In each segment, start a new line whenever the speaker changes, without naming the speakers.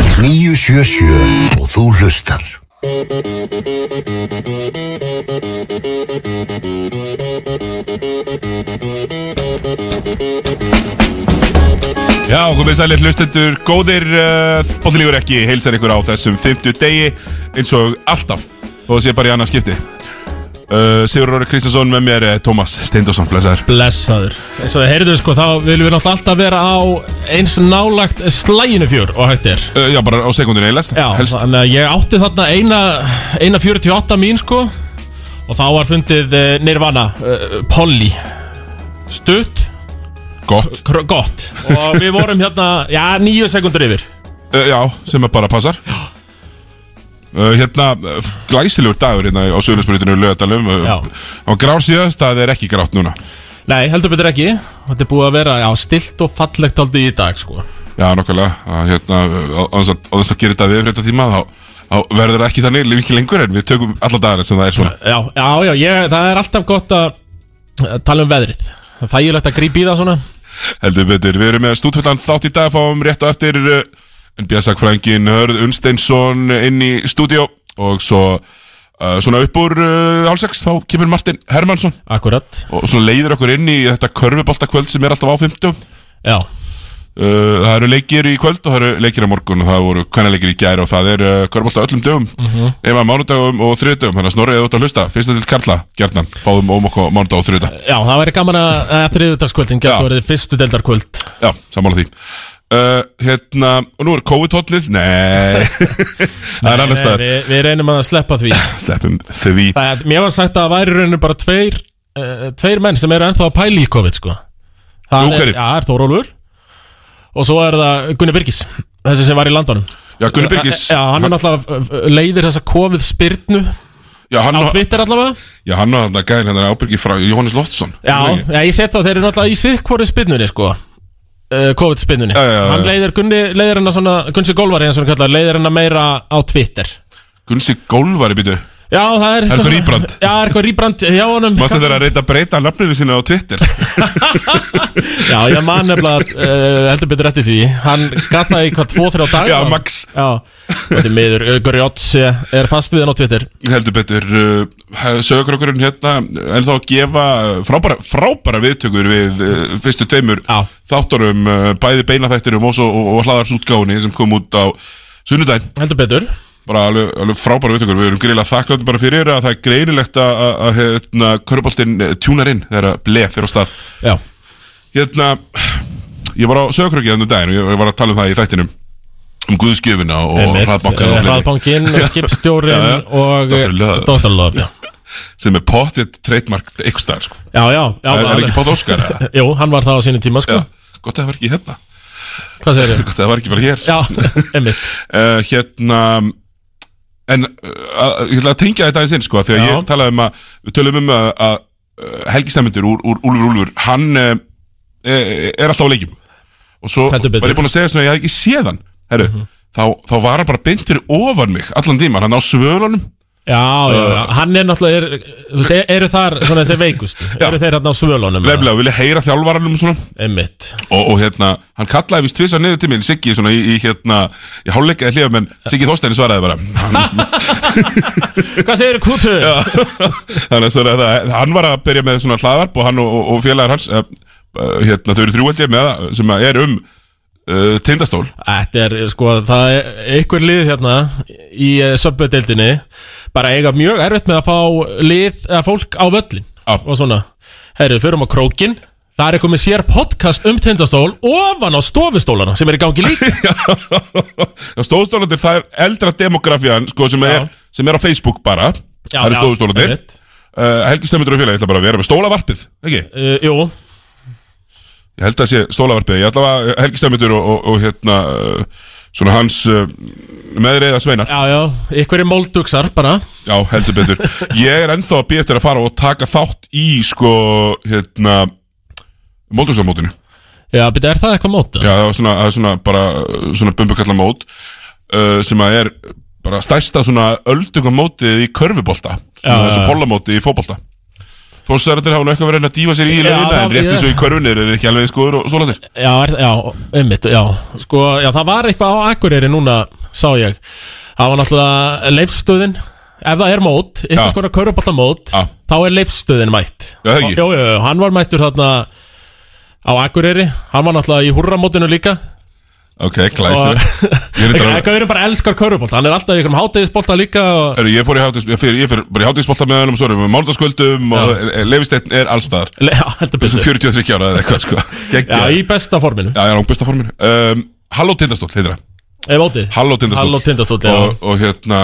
977 og þú hlustar
Já, komið sælir hlustendur, góðir uh, Bóttilíkur ekki, heilsar ykkur á þessum 50 degi eins og alltaf þó það sé bara í annað skipti uh, Sigur Róri Kristjánsson með mér er Tómas Steindorsson, blessaður
Blessaður Eins og þið heyrðu sko þá viljum við náttúrulega alltaf vera á eins nálagt slæginu fjör og hægt er
uh, Já, bara á sekundinu eilast
Já,
helst
þannig að ég átti þarna eina, eina 48 mín sko og þá var fundið eh, Nirvana, uh, Polly stutt,
gott
kr- gott og við vorum hérna, já, nýju sekundur yfir
uh, Já, sem er bara passar uh, Hérna, uh, glæsilegur dagur hérna á Suðurlandsbyrjutinu Lögadalum
Já.
Eh, Á grár síðast, það er ekki grátt núna
Nei, heldur betur ekki, þetta er búið að vera já, stilt og fallegt aldrei í dag sko
Já, nokkulega að, hérna, á þess að, á þess að gera þetta við frétta tíma þá, þá verður það ekki þannig líf ekki lengur en við tökum alla dagar sem það er svona
Já, já, já, ég, það er alltaf gott að að tala um veðrið Það er þægilegt að grípa í það svona
heldur betur, við erum með stúdfullan þátt í dag fáum rétt á eftir uh, NBA-sakfrængin Hörð Unsteinsson inn í stúdíó og svo uh, svona upp úr uh, hálfsex þá kemur Martin Hermansson
Akkurat,
og svona leiðir okkur inn í þetta körfuboltakvöld sem er alltaf á 50
já
Uh, það eru leikir í kvöld og það eru leikir á morgun og það voru hvernig leikir í gær og það er uh, körbólta öllum dögum mm -hmm. eða mánudagum og þriðdögum þannig að snorrið eða út að hlusta fyrsta til Karla gerðnan fáðum um okkur mánudag og þriðdag
Já, það væri gaman að að þriðudagskvöldin
Já.
getur verið fyrstu deildarkvöld
já, sammála því uh, hérna og nú er COVID-hotnið nei það er annars staðar
Eh, Við, við reynum að sleppa því
sleppum því
Það er- Mér var sagt að það væri rauninu bara tveir uh, tveir menn sem eru ennþá að pæli í COVID sko. Það
Nú,
er,
hverjir?
ja, er Þórólfur og svo er það Gunni Birgis þessi sem var í landanum
já, Gunni Birgis
Já, hann er náttúrulega eh, leiðir þessa COVID spyrnu á
já, hann og
Twitter allavega
já, hann og þetta gæðin hérna ábyrgi frá Jóhannes Loftsson
Já,
Ekki?
já ég set á þeir eru náttúrulega í sig hvori spyrnunni sko uh, COVID spyrnunni
já, já, já.
Hann leiðir Gunni leiðir hennar svona Gunnsi Golvari eins og hann kallar leiðir hennar meira á Twitter
Gunnsi Gólvari býtu
Já, það er
eitthvað
svona-
rýbrand.
Já, það er eitthvað rýbrand hjá honum
maður sem þeirra að reyta að breyta nafninu sína á Twitter
Já, ég man nefnilega uh, heldur betur eftir því Hann gat það í hvað tvo, þrjá dag
Já, max.
Já, þetta er miður eh, Grjóts er fast við hann á Twitter
heldur betur uh, sögur okkur um hérna en þá að gefa uh, frábæra, frábæra viðtökur við uh, fyrstu tveimur
Já.
þátturum, uh, bæði beinaþætturum og, svo- og, og hlaðarsútgáfunni sem kom út á sunnudaginn,
Heldur betur
bara alveg, alveg frábæra viðtökur við erum greiðlega þakklátt bara fyrir að það er greinilegt að, að, að hérna, köruboltinn eh, tjúnar inn þegar að blef fyrir á stað
Já,
hérna ég var á sögurkröki þannig um daginn og ég var að tala um það í þættinum um guðskjöfina og
eh,
hraðbankan
Hraðbankin, skipstjórin
Já, já.
og
Dr. Love.
Dr. Love Já,
sem er pottitt trademark einhvers dag sko.
já, já, já
er, er
alveg.
ekki pott Óskar eða?
Jú, hann var það á sínu tíma, sko
Já, gott að það var ekki hérna
Hvað segir ég?
Gott að það var ekki bara hér
Já, einmitt
uh, Hérna En uh, að- ég ætla að tengja þetta aðeins inn sko Þegar
Já.
ég talaði um að Við tölum um að, að uh, Helgi Stemmundur úr, úr Úlfur Úlfur Hann uh, er alltaf á leikjum Og svo
Heldur betur. Mhm.
var ég búinn að segja svona að Ég hafði ekki séð hann Herru, þá, þá var hann bara beint fyrir ofan mig Allan tíman, hann á svölunum
Já, já,
Uh.
já, hann er náttúrulega er, þú veist, eru þar svona þessi veikust Eru þeir hérna á svölunum eða?
Nefnilega, vilja heyra þjálfaranum svona
Einmitt
og, og hérna, hann kallaði vist tvisa niður til mín Siggi svona í, í hérna í hálfleikaði hlífum en Siggi Þorstein svaraði bara hann,
Hvað segir þið kútu? Já,
þannig að svona, það, hann var að byrja með svona hlaðarp og hann og, og- og félagar hans uh, hérna, þau eru þrjú held ég með það sem að er um uh, tindastól
Þetta er, sko, það er einhver lið hérna í uh, söpbudeildinni bara eiga mjög erfitt með að fá lið, eða fólk á völlin
Já.
og svona, herru, förum á krókin það er eitthvað með sér podcast um tindastól ofan á stofustólana sem er í gangi líka
stóðstólandir, það er eldra demografían sko, sem, er,
Já.
sem er á Facebook bara það eru stóðstólandir uh,
einmitt.
Helgi Stemmundur og félagi ætla bara að vera með stólavarpið ekki?
Uh, Jú,
Ég held að sé stólavarpið, ég ætla að Helgi Stemmundur og, og, og hérna uh, svona hans uh, meðreiða sveinar
já, já, ykkur er moldugsar bara
Já, heldur betur Ég er ennþá að býja eftir að fara og taka þátt í sko, hérna Móldursamótinu Já,
Já, beti, er það eitthvað mótið?
það var svona, það var svona bara uh, svona bumbukallamót uh, sem að er bara stærsta svona öldungamótið í körfubolta svona
Já,
þessu
já, já.
pólamótið í fótbolta Þórsaröndir hafa nú eitthvað verið hérna að dýfa sér í
Já,
lögina en
það-
rétt
ég-
eins og í körfunir er ekki alveg skoður og svolandir
Já, er, já, einmitt, já Sko, já, það var eitthvað á Akureyri núna sá ég Það var náttúrulega leifstöðin Ef það er mót,
Já.
einhvers konar köruboltamót
Já.
Þá er leifstöðin mætt
Já, það ekki.
Jó, jó, jó, hann var mættur þarna Á Akureyri, hann var náttúrulega í húrramótinu líka
Ok, glæsir Ég er reyndar að
Gaurin bara elskar körubolt Hann er alltaf í einhverjum hátegisbolta líka og...
Herru, Ég fór í hátis, ég fyrir, ég fyrir bara í hátisbolta með hennum, svo erum við mánudagskvöldum og Leifisteytn er allstaðar
Le- Já, heldur betur
43 ára eða eitthvað, sko
Já,
Gekkja
í besta forminu
Já, ég er á besta forminu um, Halló Tindastóll, heitir það
Ef ótið
Halló Tindastóll
Halló Tindastóll, já.
og, og hérna,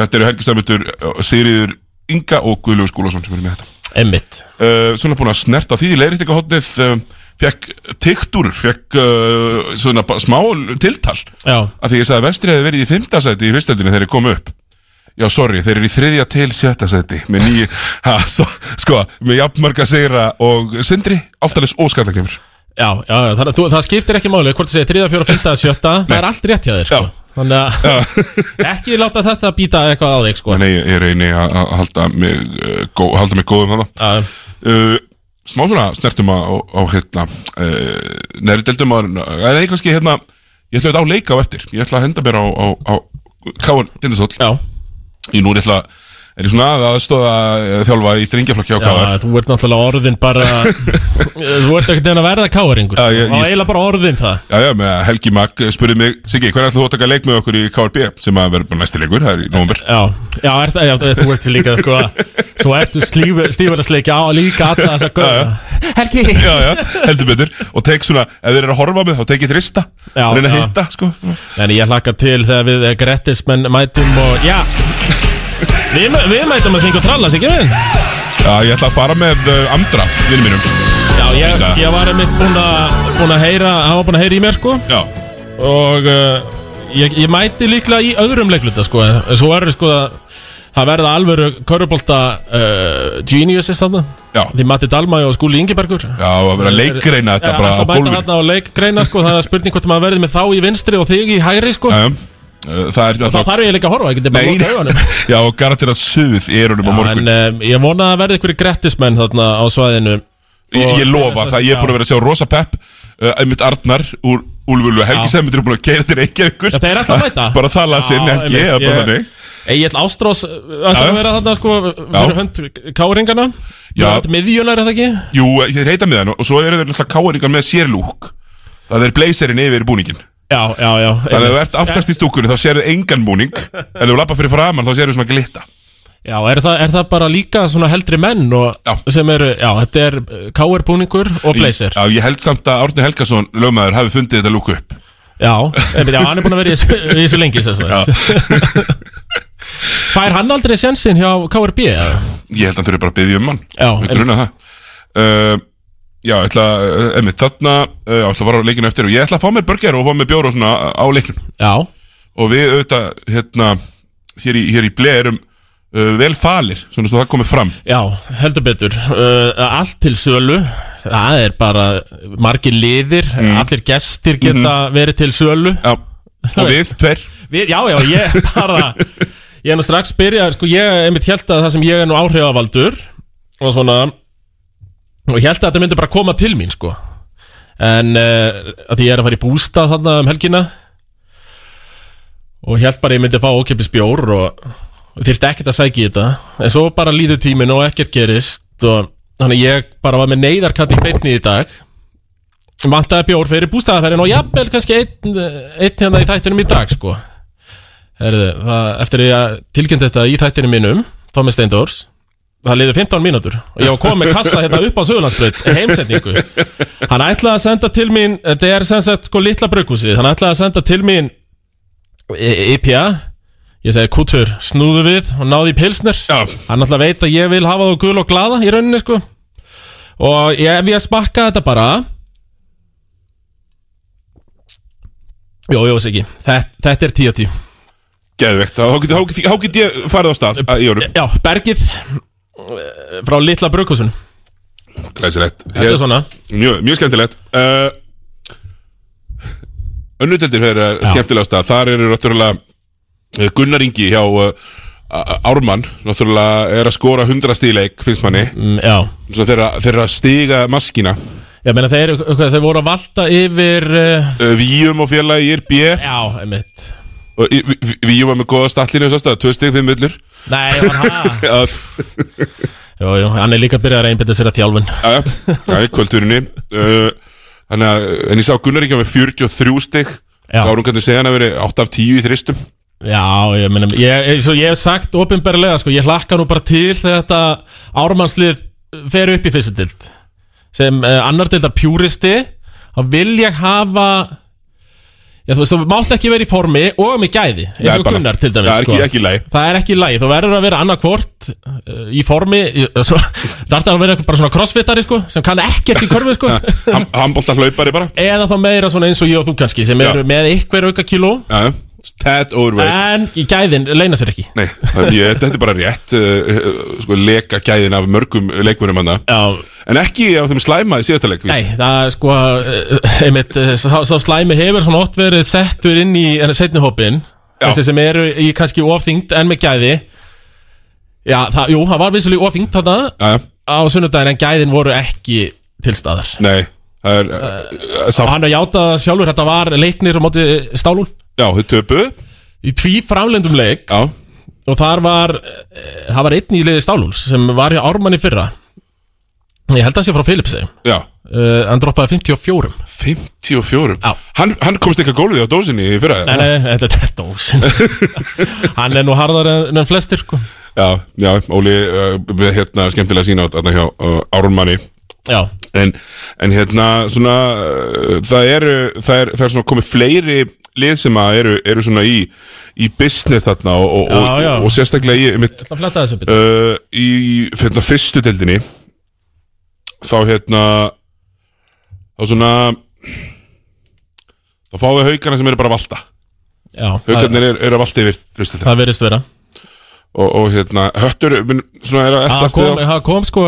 þetta eru helgisæmitur Sigriður Inga og Guðljóð Skúlason sem er með þetta
Emmitt
uh, svona búin að snerta því leiðréttingahotnið uh, fekk tiktur, fekk uh, svona bara smá tiltal
Já,
að því ég sagði að vestri hefði verið í fimmtasæti í fyrstöldinu þegar ég kom upp já, sorry, þeir eru í þriðja til sjötta sæti með nýju, ha, svo, sko með jafnmarga sigra og sindri alltanis óskallagrimur
já, já já, þannig, að þú, það skiptir ekki máli Hvort það segir 3, 4, 5, 7 Það er allt rétt hjá þér, sko
Já.
Þannig að ekki láta þetta býta eitthvað á þig, sko
þannig ég, ég reyni að að halda mig, uh, gó, halda mig góðum þarna
Já,
uh, smá svona snertum á, á hérna uh, neðri deildum að eða nei, kannski hérna ég ætla auðvitað á leika á eftir ég ætla að henda mér á, á, á Káur Tindastóll
já,
ég nú er ég ætla er ég svona að aðstóða eh, þjálfa í drengjaflokki á
já
Káur
þú ert náttúrulega orðin bara Þú ert ekkert einn að verða káringur
Já,
Það
ég-
var
ég-
eiginlega bara orðin það
Já, já, meina, Helgi Mag spurði mig Siggi, hvernig ætlaðu þú að taka leik með okkur í KRB sem að verður bara næsti leikur, það er í nómur
Já, já, er, já þú ert líka, sko Svo ertu stífæðarsleikja á líka alla þessa gauða Helgi
Já, já, heldur betur Og tek svona, ef þeir eru að horfa með þá tekið þrista
Já,
Reyna að
já.
hitta, sko
En ég hlakka til þegar við eh, Grettismenn mætum og já Við, mæ- við mætum að syngja og trallast, ekki við?
Já, ég ætla að fara með uh, Andra, vinnu mínum
Já, ég, ég var einmitt búinn að búin að heyra, hann var búinn að heyra í mér sko
Já,
og uh, ég, ég mæti líklega í öðrum leikluta sko en svo verður sko að það verða alvöru körubolta uh, geniuses þarna
já
því Matti Dalmæ og Skúli Ingibergur
Já, að vera að leikreina þetta bara á
gólfinu
gólfinu
Það er leikgreina sko, það er spurning hvort maður verður með þá í vinstri og þig í hægri sko
Já, já. Uh, Það er
Þá þarf ég líka að horfa, ég geti bara
Nei,
að loka augunum
já, og garantir að suð í erunum á
En
morgun
um, ég vona að verði ykkur grettismenn þarna á svæðinu
Ég ég lofa
og-
það, ég er búin að vera að sjá Rosa Pepp uh, Einmitt Arnar úr Úlfurlu Helgi
Já.
Sæmundur er búin að keira til Reykjavíkur
Já, þeir ætla að mæta.
Bara það
Já,
laði sinn, Helgi,
einmitt,
eða bara
ég-
þannig
Egil Ástrós eh, ætlar
Já.
að vera þarna sko fyrir hönd káringana
Já.
Já Miðjunar er það ekki?
Jú, eh, þeir heita með hann og svo eru þeir náttúrulega káeringar með sérlúk Það er blazerinn yfir búningin
Já, já, já
Þannig að þú ert aftast í stúkunni þá sérðu engan búning En ef þú lappa fyrir framann þá sérðu svona glitta
Já, er það, er það bara líka svona heldri menn og
Já.
sem eru, já, þetta er káir búningur og blazer Já,
Já, ég held samt að Árni Helgason, lögmaður, hafi fundið þetta lúk upp
einmitt, já, hann er búin að vera í þessu, í þessu lengi sem sagt. Fær hann aldrei sjensin hjá KRB? eða?
Ég held að hann þurfi bara að byggja um hann
Já,
Við gruna það uh, Já, ég ætla, uh, einmitt, þarna uh, Ég ætla að fara á leikinu eftir og ég ætla að fá mér burger og fá mér bjóra og svona á á leiknum
Já,
Og við auðvitað, hérna Hér í, hér í ble erum uh, vel falir Svona svo það komið fram
já, heldur betur uh, Allt til sölu Það er bara margir liðir
Mm.
Allir gestir geta
Mhm.
verið til sölu
Já, og við, tver
Við, já, já, ég bara Ég er nú strax byrja Sko, ég einmitt held að það sem ég er nú áhrifavaldur Og svona Og ég held að þetta myndi bara koma til mín, sko En uh, að því ég er að fara í bústað þarna um helgina Og ég held bara að ég myndi fá ókipis bjór Og, og þyrfti ekkert að sækja í þetta En svo bara líður tíminn og ekkert gerist Og þannig að ég bara var með neyðarkall í beinni í dag vantaði bjór fyrir bústæðaferðin og jafnvel kannski einn, einn hérna í þættinum í dag sko Herðu, það, eftir að ég tilkynnt þetta í þættinum mínum Tommy Steindors það liði 15 mínútur og ég var komið með kassa hérna upp á Söðurlandsbreyt heimsendingu hann ætlaði að senda til mín þetta er sem sagt sko litla brugghúsið hann ætlaði að senda til mín e- IPA ég segi kútur snúðu við og náði í pilsner
Já,
Hann alltaf veit að ég vil hafa þú gul og glada í rauninni sko Og ég, ef ég smakka þetta bara Jó, jó, Siggi Þetta, þetta er 10 af 10
Geðvegt, þá get, þá, get, þá get ég farið á stað
Eh,
að, í orðum,
Já, bergið eh, Frá litla brugghúsun
glæsilegt
Þetta er svona
Mjög, mjög skemmtilegt uh, Önnuteldir er uh, skemmtilegast að þar eru náttúrulega uh, Gunnar Ingi hjá uh, Á- Ármann náttúrulega er að skora 100 stíleik finnst manni,
mm, Já
svo þeirra, þeirra stiga maskina,
Ég meina þeir, hvað, þeir voru að valta yfir eh,
uh, Víum og félagir B
Já, einmitt
Og í- vi- vi- Við júma með góða stallinu þess aðstæða, tvö stig, fimm villur
Nei, var hann
Að-
Jú, jú, hann er líka að byrja að reynbytta sér að þjálfun
Já, já, já, kvöldturinni uh, Þannig að, en ég sá Gunnar ekki með 43 stig
Já.
Þá erum kannski segja hann að veri 8 af 10 í þristum
Já, ég meina, ég, eins og ég hef sagt ofinberlega, sko, ég hlakka nú bara til þegar þetta ármannslið fer upp í fyrstu dild sem eh, annar dildar pjúristi þá vil ég hafa já, þú veist, þú mátt ekki vera í formi og með gæði, eins
Nei,
og
bara-
Gunnar til dæmis, sko.
Það er ekki, ekki læg
Það er ekki í lagi, þú verður að vera annarkvort uh, í formi, í- svo- það er að vera bara svona crossfittari sko, sem kann ekkert í körfu sko,
Hambolta hlaupari bara
eða þá meira svona eins og ég og þú kannski, sem
Já.
eru með einhver auka kíló,
Já, já, Tad overweight
en í gæðin leina sér ekki.
Nei, það- ég, þetta er bara rétt uh, uh, sko, leka gæðin af mörgum leikmönum hann
Já,
En ekki af þeim slæma í síðasta leik víst.
Nei, það er sko eh, einmitt, eh, sá, sá slæmi hefur svona oft verið settur inn í enn setni hópin
Já.
þessi sem eru í kannski ofþyngd en með gæði Já, það, jú, það var vissulega ofþyngd þarna
Já, já,
á sunnudaginn en gæðin voru ekki til staðar
nei Það er uh,
og
sátt
hann að játa það sjálfur þetta var leiknir á móti stálúl
Já, þau töpuðu
í tví framlendum leik
Já,
og þar var eh, það var einn í liði stálúls sem var hjá Ármanni fyrra ég held að sé frá Philipsi uh,
já
hann droppaði 54
54
Já.
hann, hann komst ekki að gólfið á dósinni í fyrra
Nei, nei, þetta þetta er dósin Hann er nú harðar en, en flestir sko
Já, já, Óli uh, með hérna skemmtilega sína þarna hjá uh, Ármanni
Já,
en, en hérna svona uh, það eru það er, það er svona komið fleiri lið sem að eru, eru svona í í business þarna og, og,
Já, já.
og, og sérstaklega í, mitt,
það fletta þessu byrja
uh, í hérna, fyrstu deildinni þá hérna þá svona þá fáum við haukana sem eru bara að valta
Já, það,
haukarnir eru, eru að valta yfir fyrstu deildinni
það verðist vera
og, og hérna höttur mun- svona er að
Það
eltast
kom,
við þá.
það kom sko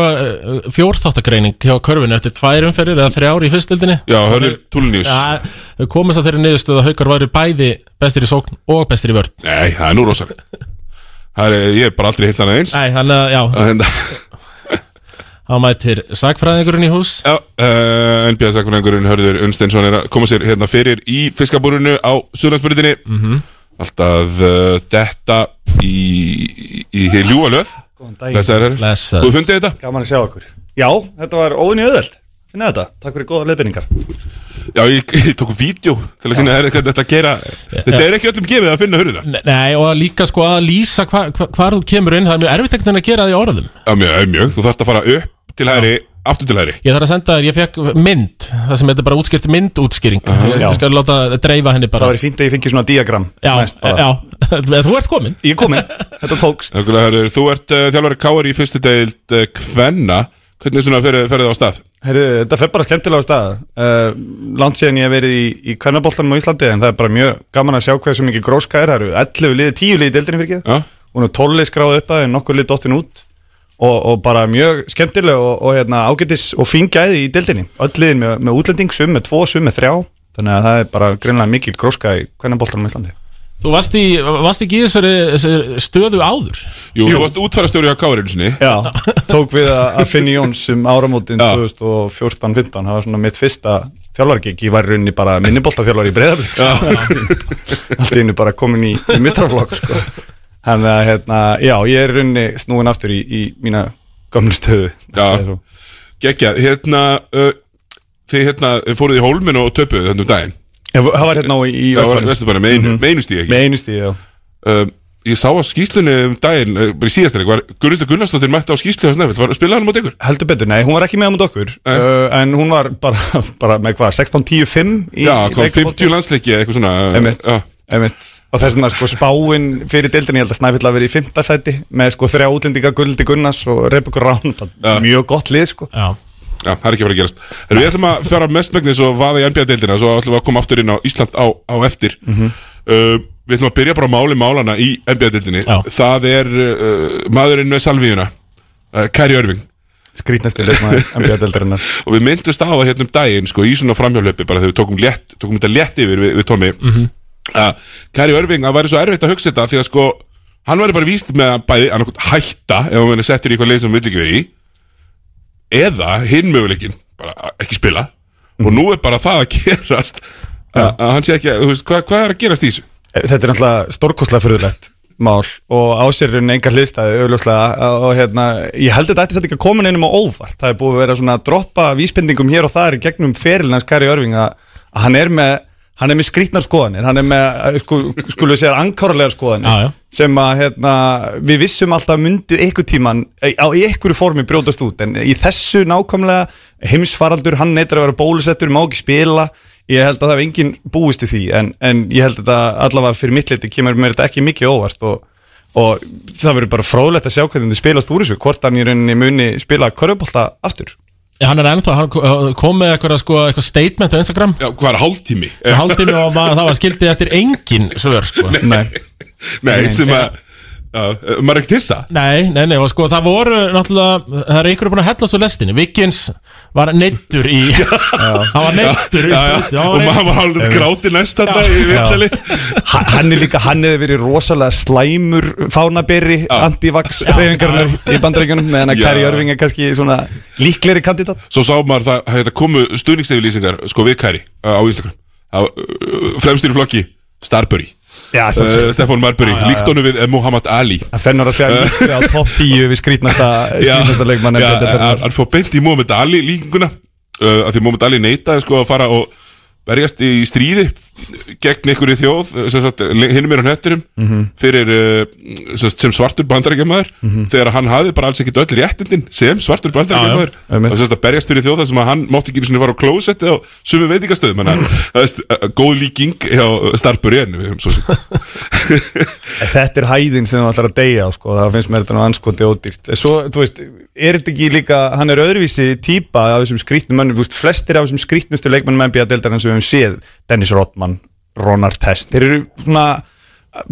fjórþáttagreining hjá körfinu eftir tvær umferðir eða þrjár í fyrstöldinni
Já, hörður Tulnius
Já, þau komast að þeirri niðurstöð að haukar væri bæði bestir í sókn og bestir í vörn
Nei, það er nú rosalega Það er, ég er bara aldrei hitt hann eins
Nei, þannig að, já,
En,
þá mætir sagfræðingurinn í hús
já, uh, NPS-akvarnengurinn Hörður Unsteinsson er að koma sér hérna fyrir í fiskabúrinu á Suðlandsbyrðinni -hmm. Alltaf uh, detta í, í, í ljúalöð
Góðan daginn.
Blessaður Hörður
Blessaður.
Þú fundið þetta?
Gaman að sjá okkur Já, þetta var óvinni auðveld Finna þetta, takk fyrir góða leiðbynningar
Já, ég, ég tók vídeo til að sína þér hvað þetta gera Þetta er ekki öllum gefið að finna hurðina
Nei, og líka sko að lýsa hva, hva, hvar þú kemur inn, það er mjög erfitt ekkert en að gera það í orðum
Já, mjög, já, mjög, þú þarft að fara upp til hæri, aftur til hæri
Ég þarf að senda þér, ég fekk mynd Það sem þetta er bara útskýrt myndútskýring Ég
Já.
ég skal láta dreifa henni
Það
bara
væri fínt að ég fengi svona diagram
Já,
næst bara.
já, þú ert komin
Ég er komin, þetta tókst
Þakkulega, Hörður, þú ert uh, þjálfari Káar í fyrstu deild uh, Kvenna Hvernig svona ferðu ferðu á stað?
Heru, Þetta fer bara skemmtilega á stað uh, Langt síðan ég hef verið í, í kvennaboltanum á Íslandi En það er bara mjög gaman að sjá hversu mikið gróska er Það eru 11 liði, 10 liði í deildinni fyrir ekki
Já.
Og nú 12 liði skráðu upp að en nokkur liði dottin út og, og bara mjög skemmtilega og, og hérna, ágætis og fín gæði í deildinni Öll liðin með, með útlending, sum með tvo, sum með þrjá Þannig að það er bara greinlega mikil gróska í kvennaboltanum á Íslandi
Þú varst, í, varst ekki í þessari, þessari stöðu áður
Jú, þú varst útfærastjóri á Káar einu sinni
Já, tók við að að Finn Jóns um áramótin
Já.
2014-15 það var svona mitt fyrsta þjálfargik ég var í rauninni bara minniboltaþjálfar í breyðablík allt í einu bara komin í, í mistraflokk sko. þannig að hérna, já, ég er í rauninni snúin aftur í, í mína gamlu stöðu
Já.
Sagði þú.
Gekja, hérna uh, Þið hérna fóruð í hólminu og töpuðu þannum daginn
Já, það var hérna á í,
Það
í
var
Vestmannaeyjum.
vesturbæri, með
Mhm.
einu, mm -hmm. einust ég ekki
með einu stíð, já
uh, Ég sá á skýslunni um daginn uh, bara í síðastæri, var Guruldur Gunnarsdóttir mætti á skýslu hans nefnilt, var spilaði hann á mót ykkur?
heldur betur, nei, hún var ekki með á mútt okkur
Nei.
uh, en hún var bara, bara með hvað, 16-10-5 í-
Já,
í
kom
leikabolta.
50 landsleiki eða eitthvað svona uh,
Einmitt.
já.
Einmitt. Og þess vegna sko spáin fyrir deildinni, ég held að Snæfell að vera í fymta sæti með sko þrjá útlendinga Guldi Gunnars og Rebekkur Rán,
Já.
bara mjög gott lið sko.
Já,
Já, það er ekki að fara að gerast Heru, Við ætlum að fara mestmegnis og vaða í NBA-deildina Svo ætlum við að koma aftur inn á Ísland á, á eftir
Mhm.
uh, Við ætlum að byrja bara á máli málana í NBA-deildinni
Já.
Það er uh, maðurinn með salvíuna uh, Kæri Örving
Skrítnasti leikmaður NBA-deildarinnar.
Og við myndust á það hérna um daginn sko, Í svona framhjálöpi bara þegar við tókum, létt, tókum þetta létt yfir við, við Tommy mm -hmm. Kæri Örving, það væri svo erfitt að hugsa þetta Því að sko, hann væri bara víst með að bæði annarkot hætta Ef hann væri settur í eitthvað leið sem hann vill ekki verið í eða hinn möguleikin bara að ekki spila og nú er bara það að gerast að að hann sé ekki að, þú veist, hvað, hvað er að gerast í þessu?
Eh, þetta er náttúrulega stórkostlega fyrirlegt mál og ásýrun engar hliðstæði auðljóslega og hérna, ég held að þetta ætti satt ekki að koma neinum á óvart það er búið að vera svona að droppa vísbendingum hér og þar í gegnum ferilin hans Kari Örving að að hann er með hann er með skrýtnar skoðanir, hann er með eh, sku, skulum við segja ankárlegar skoðanir
Já, já.
sem að hérna, við vissum alltaf myndu einhver tíman á einhverju formi brjótast út en í þessu nákvæmlega heimsfaraldur, hann neytar að vera bólusettur má ekki spila, ég held að það hef enginn búist í því en, en ég held að þetta allavega fyrir mitt liti kemur mér þetta ekki mikið óvart og, og það verður bara fróðlegt að sjá hvernig þið spilast úr þessu hvort hann í rauninni muni spila körfubólta aftur
Já, hann er ennþá, hann kom með eitthvað, sko, eitthvað statement á Instagram
Já, hvað er hálftími?
Haldið mig á að það var skildið eftir engin svör, sko
Nei.
Nei, sem að Já, maður er ekkert hissa
Nei, nei, nei, og sko það voru náttúrulega, það eru ykkur búin að hellast úr lestinni Vikins var neittur í Hann var neittur í
Já, já,
stúdíu, hann
og
var
maður var hálfur gráti næsta dag í viðtali
Ha- hann er líka, hann hefur verið rosalega slæmur fánaberi anti-vax reyfingarnir í bandreikunum meðan að
Já.
Kari Örving er kannski svona líkleri kandidat
Svo sá maður það, þetta komu stuðningsefilýsingar sko við Kæri á Instagram á, uh, fremstur í flokki Starbury,
Já, sem
uh, Stefan Marbury líkt honum við eh, Muhammad Ali
Það fennur að segja líklega á topp 10 við skrýtnasta, skrýtnasta leikmann
já, hann hann fór beint í Mohamed Ali líkinguna uh, af því Mohamed Ali neitaði sko að fara og berjast í stríði gegn einhverju þjóð eh, sem sagt, hinum er á hnetturum fyrir uh, sem, sagt, sem svartur bandarækjamaður þegar hann hafði bara alls ekkit öll réttindin sem svartur bandarækjamaður
Einmitt.
og sem sagt, að berjast fyrir þjóð þar sem að hann mátti ekki einu sinni fara á klósettið á sumi veitingastöðum þannig að það er st- eh, góð líking hjá starpur í enn við höfum svo sem
Þetta er hæðin sem þú ætlar að deyja á sko, það finnst mér þetta nú anskoti ódýrt Svo, þú veist, er þetta ekki líka hann er öðruvísi típa af þessum skrýtnum mönnum, þú veist, flestir af þessum skrýtnustu leikmannum NBA-deildarinn sem við höfum séð Dennis Rodman, Ronard Hess þeir eru svona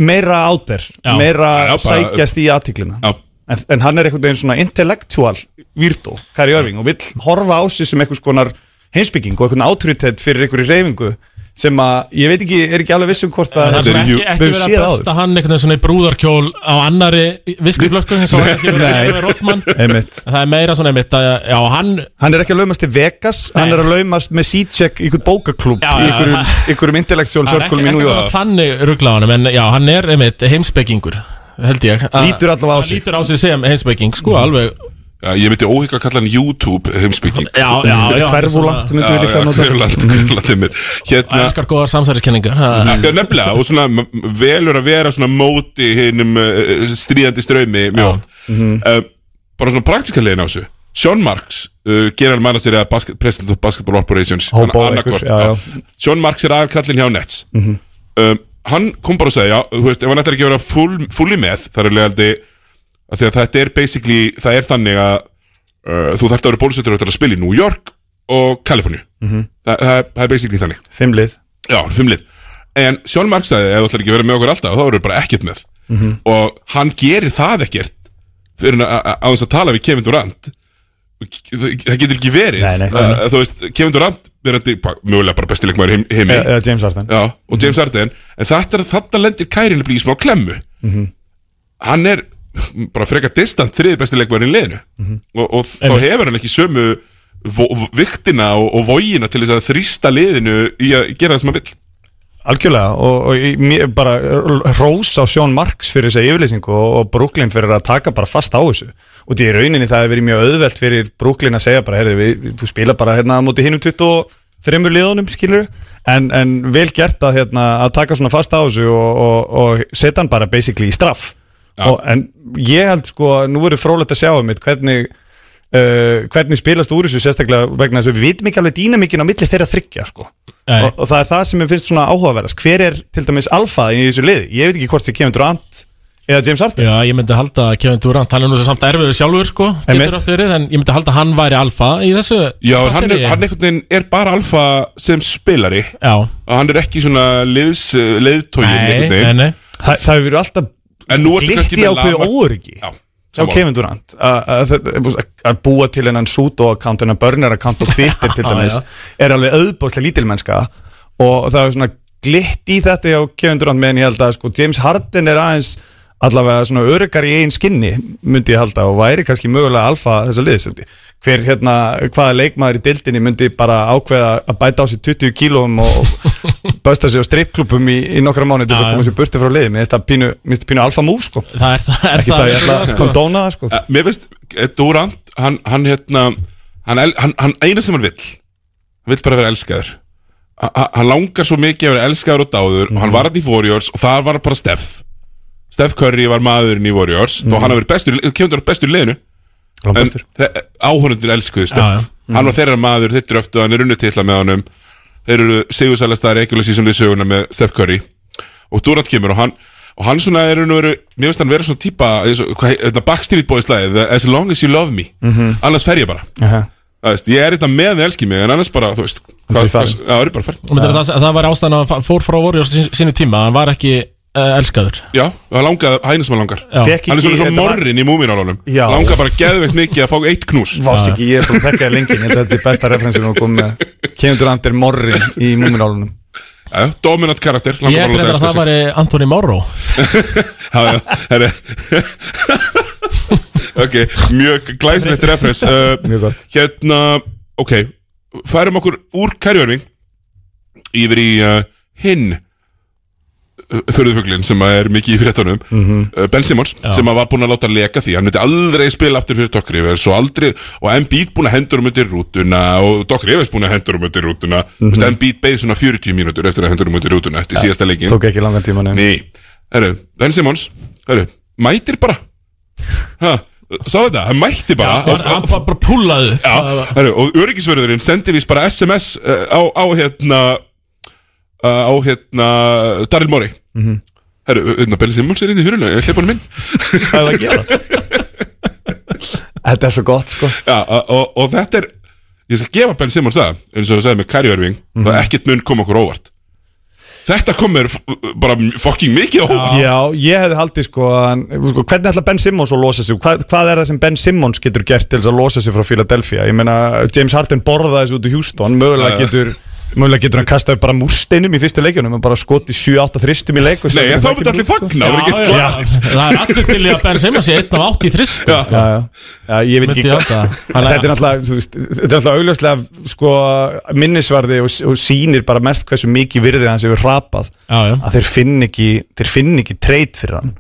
meira out there,
Já.
meira
Já, já, bara-
sækjast í aðtíklina
Já.
en, en hann er einhvern veginn svona intellectual virtu, Kari Örving og vill horfa á sig sem einhvers konar heimsbygging og einhvern autoritet fyrir einhverju reyfingu sem að, ég veit ekki, er ekki alveg viss um hvort að
Það er
Þetta er
svona ekki,
jú-
ekki
við
verið að
séð áður.
besta hann einhvern veginn svona í brúðarkjól á annari viskiflösku eins og kannski verið
Nei.
að vera Rottmann
Einmitt.
Það er meira svona einmitt að, já, hann
Hann er ekki að laumast til Vegas, hann er að laumast með C-check í einhvern bókaklúb
Já,
í
já,
einhverjum, einhverjum intellectual
Það er
circle
ekki,
í New
ekki
York
svona þannig ruggla á hann en já, hann er einmitt heimspekingur held ég Að-
Lítur
hann
allavega á sig. Mhm.
lítur á sig sem heimspeking sko alveg
Já, ég myndi óhyggja að kalla hann YouTube heimsbygging
já, já, já
Hverfuland myndum við líka að nota
Hverland, Hverland er mér
og
Hérna,
elskar góðar samsæriskenningar það-
Mhm. Mm.
Já, nefnilega, og svona m- velur að vera svona móti hinnum uh, stríðandi ströymi mjög oft
Mhm.
uh, bara svona praktikallegin á þessu Sean Marks, uh, general manager eða basket, president of basketball operations
Hópa
hann-
á
annaðhvort,
einhver, já, já. Mhm.
Sean Marks er aðalkallin hjá Nets um, hann kom bara að segja já, þú veist, ef hann ætlar ekki að vera full, fulli með þar er leiðaldi að því að þetta er basically, það er þannig að uh, þú þarft að vera bólusettur og þetta að spila í New York og Kaliforníu
Mhm.
Þa, það, er- það er basically þannig
Fimmlið
Já, fimmlið En Sjón Mark sagði, ef þú ætlar ekki að vera með okkur alltaf þá erum við bara ekkert með Og hann gerir það ekkert fyrir að- að að þess að tala við Kevin Durant Það getur ekki verið
Nei, nei.
Að- að Þú veist, Kevin Durant verandi bara- mögulega bara bestileikmaður heim, heimi
Eða James Harden
Já, og James Harden En þetta, er- þetta lendir Kærin að í smá klemmu Hann er bara frekar distant þriði besti leikmaður í liðinu og, og þá hefur hann ekki sömu vo- viktina og, og vógina til þess að þrýsta liðinu í að gera það sem hann vill
Algjörlega og, og ég- mér bara rós á Sean Marks fyrir þessa yfirlýsingu og, og Brooklyn fyrir að taka bara fast á þessu og því í rauninni það hefur verið mjög auðvelt fyrir Brooklyn að segja bara, heyrðu, við, þú spila bara hérna á móti hinum 23 liðunum skilur en, en vel gert að, hérna, að taka svona fast á þessu og, og, og setja hann bara basically í straff
Já.
og, en ég held sko, nú verður frólægt að sjá um mitt hvernig Uh, hvernig spilast úr þessu sérstaklega vegna þess að við vitum ekki alveg dýnamikinn á milli þeirra þryggja sko
Nei.
og, og það er það sem mér finnst svona áhugaverðast hver er til dæmis alfaðin í þessu liði ég veit ekki hvort þið kemur Durant eða James Harden
Já, ég myndi halda að Kevin Durant, hann er nú svo samt erfiður sjálfur sko,
Einmitt.
getur oft verið, en ég myndi halda að hann væri alfa í þessu
Já, en hann, er,
batteríi.
hann einhvern veginn er bara alfa sem spilari
Já,
og hann er ekki svona liðs, leiðtógin
nei,
einhvern
nei,
veginn
nei
Þa, það hefur verið alltaf
En nú ertu kannski
glitt í
með
ákveðu
lama-
óöryggi
Já,
á
sammála.
Kevin Durant að- að að- e, að búa til hennan Sudo-account hennan Burner-account og Twitter til dæmis
Ah, Já,
er alveg auðbóðslega lítilmennska og það er svona glitt í þetta hjá Kevin Durant meðan ég held að sko, James Harden er aðeins allavega svona örugar í eigin skinni myndi ég halda og væri kannski mögulega alfa þessa liðsöndi hver hérna, hvaða leikmaður í dildinni myndi bara ákveða að bæta á sig 20 kílóum og, bösta sig á stripklubum í, í nokkra mánu til þess
Já,
að
já.
koma sér burti frá liði mér finnst það pínu, mér finnst það pínu alfa múf sko
Það er það, er
ekki
það
það ég ætla að kondóna það sko
Eh, Mér finnst eh, Durant Hann, hann hérna hann, el- hann, hann eina sem hann vill Hann vill bara vera elskaður Ha- ha- Hann langar svo mikið að vera elskaður og dáður
Mhm.
Og hann var hann í Warriors og það var bara Steff Steff Curry var maðurinn í Warriors
Mhm.
Og hann hafði verið bestur, kemur hann bestur í liðinu
Hann
En
bestur.
þe- áhorfundir elskuðu
Já, já.
Steff Hann var þeirra maður, þeir dröftu hann er unnutitla með honum Þeir eru sigursælasta regular season við söguna með Steff Curry Og Durant kemur og hann Og hann svona er unnu veru Mér finnst hann vera svona típa eins og- hvað- Þetta Backstreet Boys lagið the- As long as you love me
Mhm.
Annars fer ég bara
Aha.
Það veist, Ég er þetta með þið elski mig En annars bara, þú veist
Annars er ég
hvað-
farin.
hvað- Já, er ég bara farin
Það, það, það var ástæðan að hann fór frá Warriors sín- sínu tíma Hann var ekki uh, elskaður
Já, það langaði hæna sem hann langar
Já.
Fekk
Hann er svona
ekki-
svo
þetta var-
morrin í múminálunum
Já.
Langar bara geðveikt mikið að fá eitt knús
Vás ekki, ég er búin að þekka þér lengi Ég held að þetta sé besta referensin og komið með Kevin Durant er morri í múminálunum
Já, Eh, Dominant karakter langar
Ég
bara að
ekki
láta
reyndar að
elska
það
sig.
væri Anthony Morrow
Já, já, herri Ok, mjög glæsnett referens uh,
Mjög gott.
Hérna, ok Færum okkur úr kærjörfing Yfir í uh, hinn Þörðufuglin sem að er mikið í fréttunum
Mhm.
uh, Ben Simmons sem að var búinn að láta leka því hann myndi aldrei spila aftur fyrir Dokkri svo aldrei, og Embiid búinn að hendur um undir rútuna og Dokkri Efes búinn að hendur um undir rútuna mm
Mhm.
-hmm. Embiid beigð svona 40 mínútur eftir að hendur um undir rútuna eftir síðasta leikin
Tók ekki langan tíma nefn
Nei, herru, Ben Simmons herru, mætir bara ha, Sá þetta, hann mætti bara
Hann
og,
hann bara púlaði
já, herru, og öryggisverðurinn sendi vís bara SMS uh, á, á hérna uh, á hérna Daryl Morey
Mhm.
Herru, hérna, Ben Simmons er inn í hurinu, ég hleip honum inn
Hvað er það að gera? Þetta er svo gott sko
Já, og, og, og þetta er ég skal gefa Ben Simmons það, eins og það sagði með Kari Örving
Mhm.
það ekkert mun koma okkur óvart Þetta kom mér f- bara fucking mikið á óvart
Já, ég hefði haldið sko, að hann- sko Hvernig ætla Ben Simmons að losa sig? Hvað, hvað er það sem Ben Simmons getur gert til þess að losa sig frá Philadelphia? Ég meina, James Harden borðaði þessu út í Houston Mögulega
Já.
getur Mögulega getur hann kastaði bara múrsteinum í fyrstu leikjunum en bara skoti 7-8 þristum í leik
Nei,
og sagði,
þá
"Það er
myndi
ekki
allir
mjög, sko."
fagna, það er
Já,
ekkert
já,
glæð
Það er allir til í að Ben Simmons sé einn af átt í sko. þrist
Já.
Já, já. já, ég veit ekki
Myndi ég halda. Hann-
Þetta er náttúrulega, þú veist, þetta er náttúrulega augljóslega sko, minnisvarði og, og sýnir bara mest hversu mikið virðið hans hefur hrapað
Já, já.
að þeir finn ekki þeir finn ekki treyt fyrir hann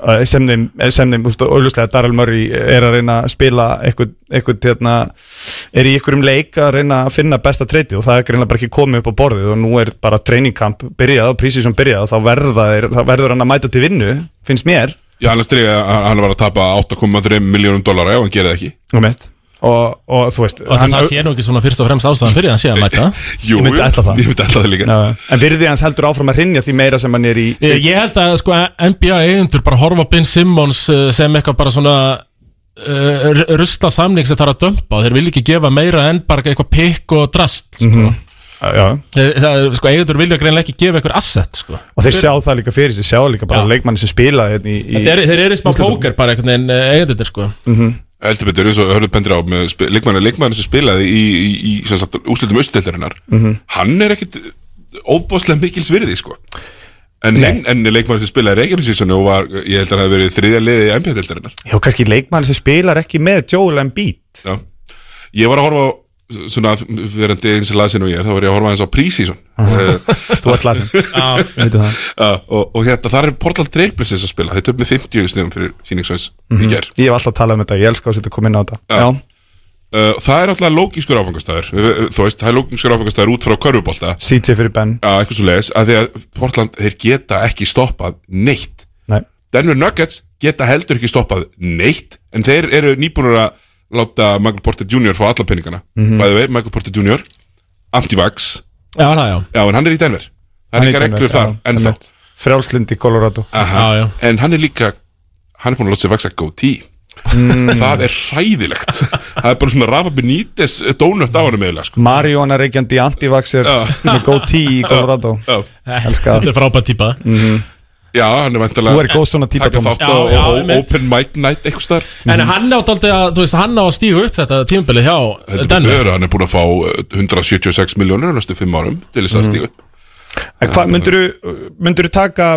Uh, sem þeim, sem þeim, þú veist, augljóslega Daryl Murray er að reyna að spila eitthvað, eitthvað, hérna, er í einhverjum leik að reyna að finna besta treyti og það er greinlega bara ekki komið upp á borðið og nú er bara treyningkamp byrjað og prísið sem byrjað og þá verða þeir, þá verður hann að mæta til vinnu finnst mér,
Já, hann er stríðið að hann var að tapa 8,3 miljónum dólara ef hann gerði það ekki.
um eitt og, og þú veist
Og það, það sé nú ekki svona fyrst og fremst ástæðan fyrir að hann sé að mæta
Jú,
Ég myndi
jú,
ætla það.
Ég myndi ætla það líka.
Já, En virði hans heldur áfram að rinja því meira sem hann er í
Ég, ég held að sko NBA eigendur bara horfa á Ben Simmons eh, sem eitthvað bara svona uh, rusta samning sem þarf að dömpa þeir vil ekki gefa meira en bara eitthvað pikk og drast sko.
já.
Eh, það, er- sko eigendur vilja greinlega ekki gefa eitthvað asset sko.
Og þeir sjá það líka fyrir sig, sjá líka bara
Já.
leikmanni sem spila hérna í, í
þeir, eru- þeir eru smá póker bara einhvern veginn eh, eigendurnir sko.
Heldur betur eins og hörðu pendur á með sp- leikmann leikmann sem spilaði í, í, í sem sagt, úslutum austöldinnar.
Mhm.
Hann er ekkit óbáslega mikils virði, sko. En, hinn, en leikmann sem spilaði regjalisísonu og var, ég held að hann hafi verið þriðja liði í MPA-deldarinnar.
Já, kannski leikmanni sem spilar ekki með Joel Embiid
Já. Ég var að horfa á svona verandi eins og lasin og ég er, þá var ég að horfa eins á Eh, prísíson.
Þú ert lasin Ég
Uh, og, og þetta, þar er Portland Trailblazers að spila, þeir töfum með 50 sniðum fyrir Phoenix Suns í gerð.
hef alltaf talað um þetta, ég elska að setja að koma inn á þetta Mhm. Já,
Uh, það er alltaf lókískur áfangastæður Þú veist, það er lókískur áfangastæður út frá körfubólta
CJ fyrir Ben
Já, eitthvað svo leiðis Að því að Portland, þeir geta ekki stoppað neitt
Nei,
Denver Nuggets geta heldur ekki stoppað neitt En þeir eru nýbúnur að láta Michael Porter Jr. fá alla penningana
Mhm.
Bæði vei, Michael Porter Jr. Antivax
já, það, já.
Já, en hann er í Denver Það er
Hann
eitthvað
í
reglur
Denver,
þar,
já,
ennþá
einmitt. Frjálslynd í Colorado
Aha.
Já, já.
En hann er líka Hann er búin að láta sér vaksa góti
Mm.
Það er hræðilegt Það er bara svona Rafa Benítez Donut á hann meðlega sko.
Mariona reykjandi antivaxir með góð tí í Colorado
Já.
Elska
þetta er frábært típa
Já, hann er vantilega
Þú er góð svona típa,
Takka
Tómas.
þátt
Já,
og,
já,
og, og
einmitt.
open mic night eitthvað starf
en hann á dálítið að, þú veist, hann á að stíga upp þetta tímabilið hjá Denver
Hann er búin að fá eh, 176 miljónir á næstu fimm árum til þess að
Mhm.
stíga upp
En hvað, myndirðu, myndirðu taka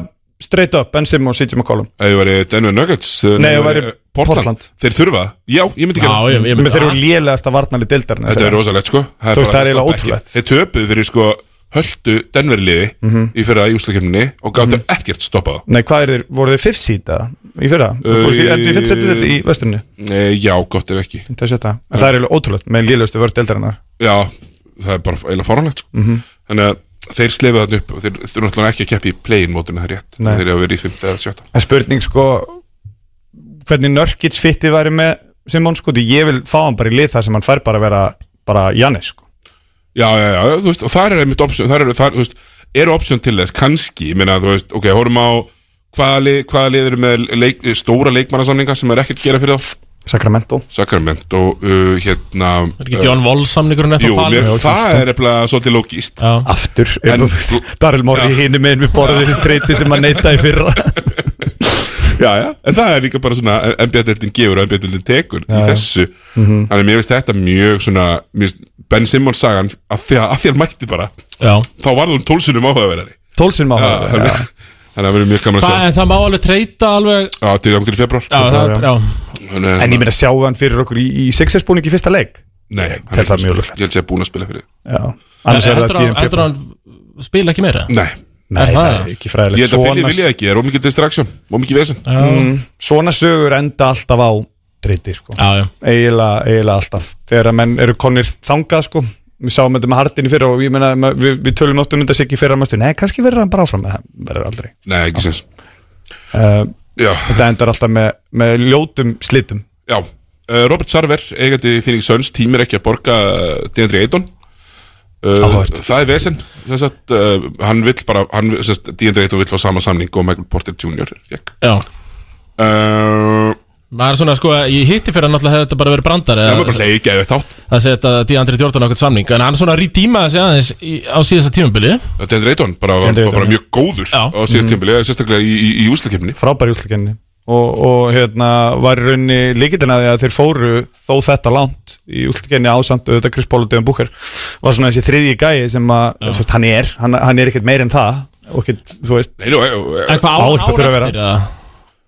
straight up Ben Simmons og CJ McCollum?
Ef ég væri Denver Nuggets eh,
Nei,
ef
ef
ég
væri
eh, Portland.
Portland.
Þeir þurfa, það. já, ég myndi ekki
já, ég, Ah, ég
Þeir
myndi
eru lélegasta varnarli deildarinn
Þetta er rosalegt sko Það
Þú veist,
bara-
það er eiginlega
stoppa ekki.
ótrúlegt.
Þeir töpuðu fyrir sko höldu Denverliði
Mhm.
í fyrra í úslakefninni og gáttu ekkert stoppað
Nei, hvað er þér, voru þið fifth seed eða? Í fyrra? Þú fórst í- Endur í fifth seed í vesturinu?
e, Já, gott ef ekki
Fimmta, sjötta. En Það er eiginlega ótrúlegt með liðlustu vörð deildarinnar
Já, það er bara eiginlega fórhánlegt sko. Þannig að þeir sleifu þarna upp og þeir þeir eru náttúrulega ekki að keppa í play-in mótinu það er rétt
Nei.
Þeir eru að vera í 5. eða 7.
En spurning sko hvernig Nörkits fitti væri með Simón sko, því ég vil fá hann bara í lið þar sem hann fær bara að vera bara Jannis sko.
Já, já, já, þú veist, og þar er einmitt option, þar eru, þar, þú veist, eru option til þess, kannski, ég meina, þú veist, ok, horfum á hvaða, lið, hvaða liður með leik, stóra leikmannasamninga sem er ekkert að gera fyrir þá,
Sacramento
Sakrament og uh, hérna,
Er ekki John Wall samningurinn eftir
jú,
að
mér,
tala?
það er eflega svolítið lógist.
Já,
aftur,
En-
Darrell Morri hinn með við borðið treyti sem hann neyta í fyrra
Já, já, en það er líka bara svona, NBA-deltin gefur og NBA-deltin tekur í þessu,
Mhm.
þannig að mér finnst þetta mjög svona, mér finnst Ben Simmons sagan, að því að, að því að hann mætti bara,
já
þá varð hún tólsunum áhugaverðari.
Tólsinn má
Já,
hafa
þannig þannig að það verður mjög gaman að
Það,
sjá.
en það má alveg treyta alveg
Já, til, þangað til februar.
Já, það,
já.
já.
En ég meina sjáu hann fyrir okkur í, í sexesbúning í fyrsta leik
Nei, hann
tel
er
það
ekki-
mjög líklegt.
Ég held sé að búin að spila fyrir
Já, annars er það
Heldur hann- heldur
DMP
hann spila ekki meira?
Nei,
Nei,
Er
það
það?
er ekki
ég
fræðilegt
held að Philly
Svona-
vilja ekki, það er ómikið distraction, ómikið vesen
Já,
Svona sögur enda alltaf á treyti sko
já, já
eiginlega, eiginlega alltaf þegar að menn eru konir þangað sko við sáum þetta með hardin í fyrra og ég meina ma- við, við tölum oft um þetta sig í fyrra mástu nei, kannski verður hann bara áfram með það verður aldrei
Nei, ekki sens
uh,
Já,
þetta endar alltaf með, með ljótum slitum
já Uh, Robert Sarver, eigandi Phoenix Suns, tímir ekki að borga uh, Deandre Ayton uh,
Áhugavert.
Það er vesen sem sagt, uh, Hann vill bara hann, sem sagt, Deandre Ayton vill fá sama samning og Michael Porter Jr. fekk
Já,
uh,
maður er svona sko Ég hitti fyrir að náttúrulega hefði þetta bara verið brandar
Það
eða-
Eh,
var bara leik eða þátt
að setja D.Andri Jordan á eitthvað samning en hann svona rítímaði sig aðeins í, á síðasta tímabili
Deandre Ayton bara, var,
Deandre
var bara
Ayton, Mhm.
mjög góður
Já.
á síðast tímpili, sérstaklega í, í, í úslakefni
frábæri úslikenni og, og hérna var í raunni líkildin að því að þeir fóru þó þetta langt í úslikenni ásamt auðvitað Chris Paul og Devin Booker var svona þessi þriðji gæi sem að þú veist, hann er, hann, hann er ekkert meir en það og ekkert, þú veist,
Nei, nú, eh,
en
eh,
hvað á
Á, þetta þurfa að vera.
eða?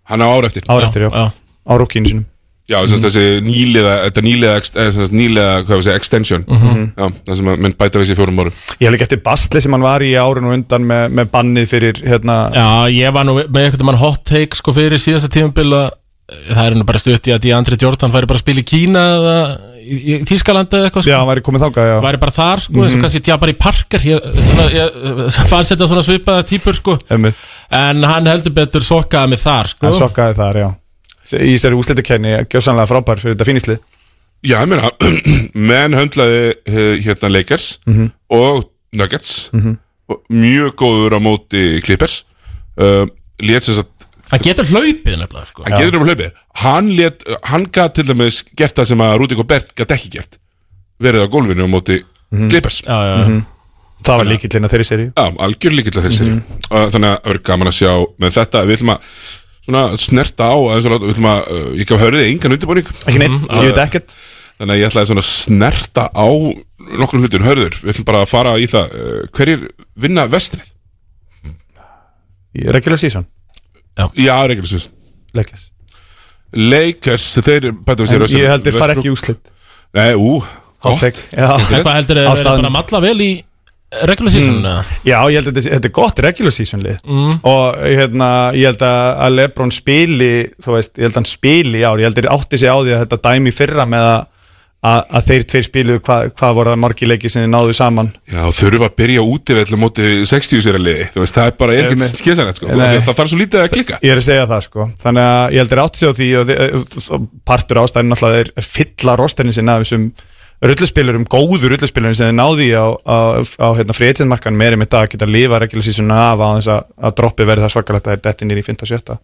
Hann á ára eftir
ára eftir já,
já.
á rúkinu sínum
Já, mm. þessi nýliða, þetta nýliða, ex- eh, sem sagt nýliða hvað við segja, extension
Mhm.
Já, það sem að menn bæta við sér fjórum árum
Ég hef líka eftir basli sem hann var í árun og undan með, með bannið fyrir hérna
já, ég var nú með eitthvað mann hot take sko fyrir síðasta tímabili að eh, það er nú bara stutt í að D.Andri Jordan væri bara að spila í Kína eða í, í Þískalandi eða eitthvað
Já,
sko.
Mhm. hann væri komið þangað, já
væri bara þar sko eins og kannski tjá bara í parker ég, svona, ég fann setja svona svipaða típur sko
Einmitt.
en hann heldur betur sokkaði mig þar sko
Hann sokkaði þar, já Í þessari úslitakenni, gjössanlega frábær fyrir þetta fínislið
Já, ég meina, menn höndlaði eh, hérna Lakers og Nuggets og mjög góður á móti Clippers uh, Lét sem sagt,
hann getur hlaupið nefnilega sko.
hann getur um hlaupið Hann lét, hann gat til dæmis gert það sem að Rúti Gobert gat ekki gert Verið á gólfinu á móti Clippers
já, já, já.
Mhm. Það var líkillina þeirri seríu
Já, algjör líkilega þeir sér mm Þannig að það verður gaman að sjá með þetta Við ætlum að svona snerta á eða svona, við ætlum að, uh, Ég gaf hörðið engan undirbúning
Ekki neitt, ég veit ekkert
Þannig að ég ætlaði svona að snerta á nokkrum hlutin hörður Við ætlum bara að fara í það uh, Hverjir vinna vestrið?
Í Regular season,
Já, Reykjavík
leikast
Lakers, þeir bæta við sér
En
össur-
ég heldur fara ekki í
Westbrook.
úslit
Nei, ú, gott
Hot take, Já,
En hvað heldur þið að vera
Ástæðan-
bara að matla vel í regular season mm.
Já, ég held að þetta, þetta er gott regular season lið og hérna, ég held að að Lebron spili, þú veist, ég held að hann spili í ár, ég held að þeir átti sig á því að þetta dæmi í fyrra með að, að, að þeir tveir spiluðu hvað hva voru það margi leiki sem þeir náðu saman
Já, þurfa að byrja úti við ætlum móti 60 sér að liði Þú veist, það er bara er
Nei.
ekki skilsanett sko.
Nei.
Það það þarf svo lítið að klika
Ég er að segja það sko Þannig að ég heldur átti sig á því og þi- og partur ástæðin náttúrulega er að fylla rosterinn sinna af þessum rulluspilurum, góðu rulluspilurum sem þið náði á, á, á hérna, frétsinmarkan meiri mitt að geta lifa regilusísuna af á þess að, að droppi verði það svakalegt að það er dettin í 15 og 17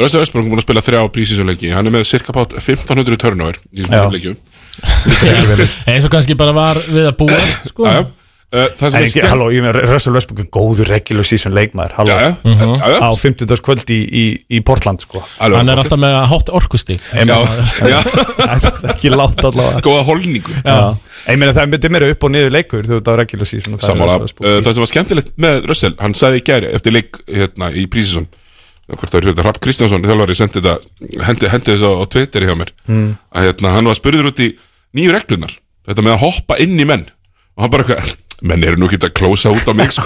Rösta Vestbrung er búin að spila þrjá prísísuleiki Hann er með cirka pát 1500 törnóir í þessum
Já.
þrejum leikjum
eins og kannski bara var við að búa sko.
Jæja. Eh, Það sem
En
er
ekki, halló, ég með Russell Westbrook er góður regilusísun leikmaður, halló
Jæja, jæja,
Mhm. á 50. kvöld í, í, í Portland sko
alveg
hann
pottþétt.
er alltaf með hot orkustig
Já, já,
ekki látt allavega
góða holningu
Já. Ég meina það myndir meira upp og niður leikur þú veit á regular season og það er
Sammála,
Russell Westbrook.
Eh, það sem var skemmtilegt með Russell Hann sagði í gæri eftir leik hérna í prísísun Hvort það er hérna, Rapp Kristjánsson Þjálfari sendi þetta, hendi, hendi þess á, á Twitter hjá mér
Hmm.
Að hérna, hann var spurður út í nýju reglunar Þetta með að hoppa inn í menn Og hann bara eitthvað menn eru nú ekki að klósa út á mig sko.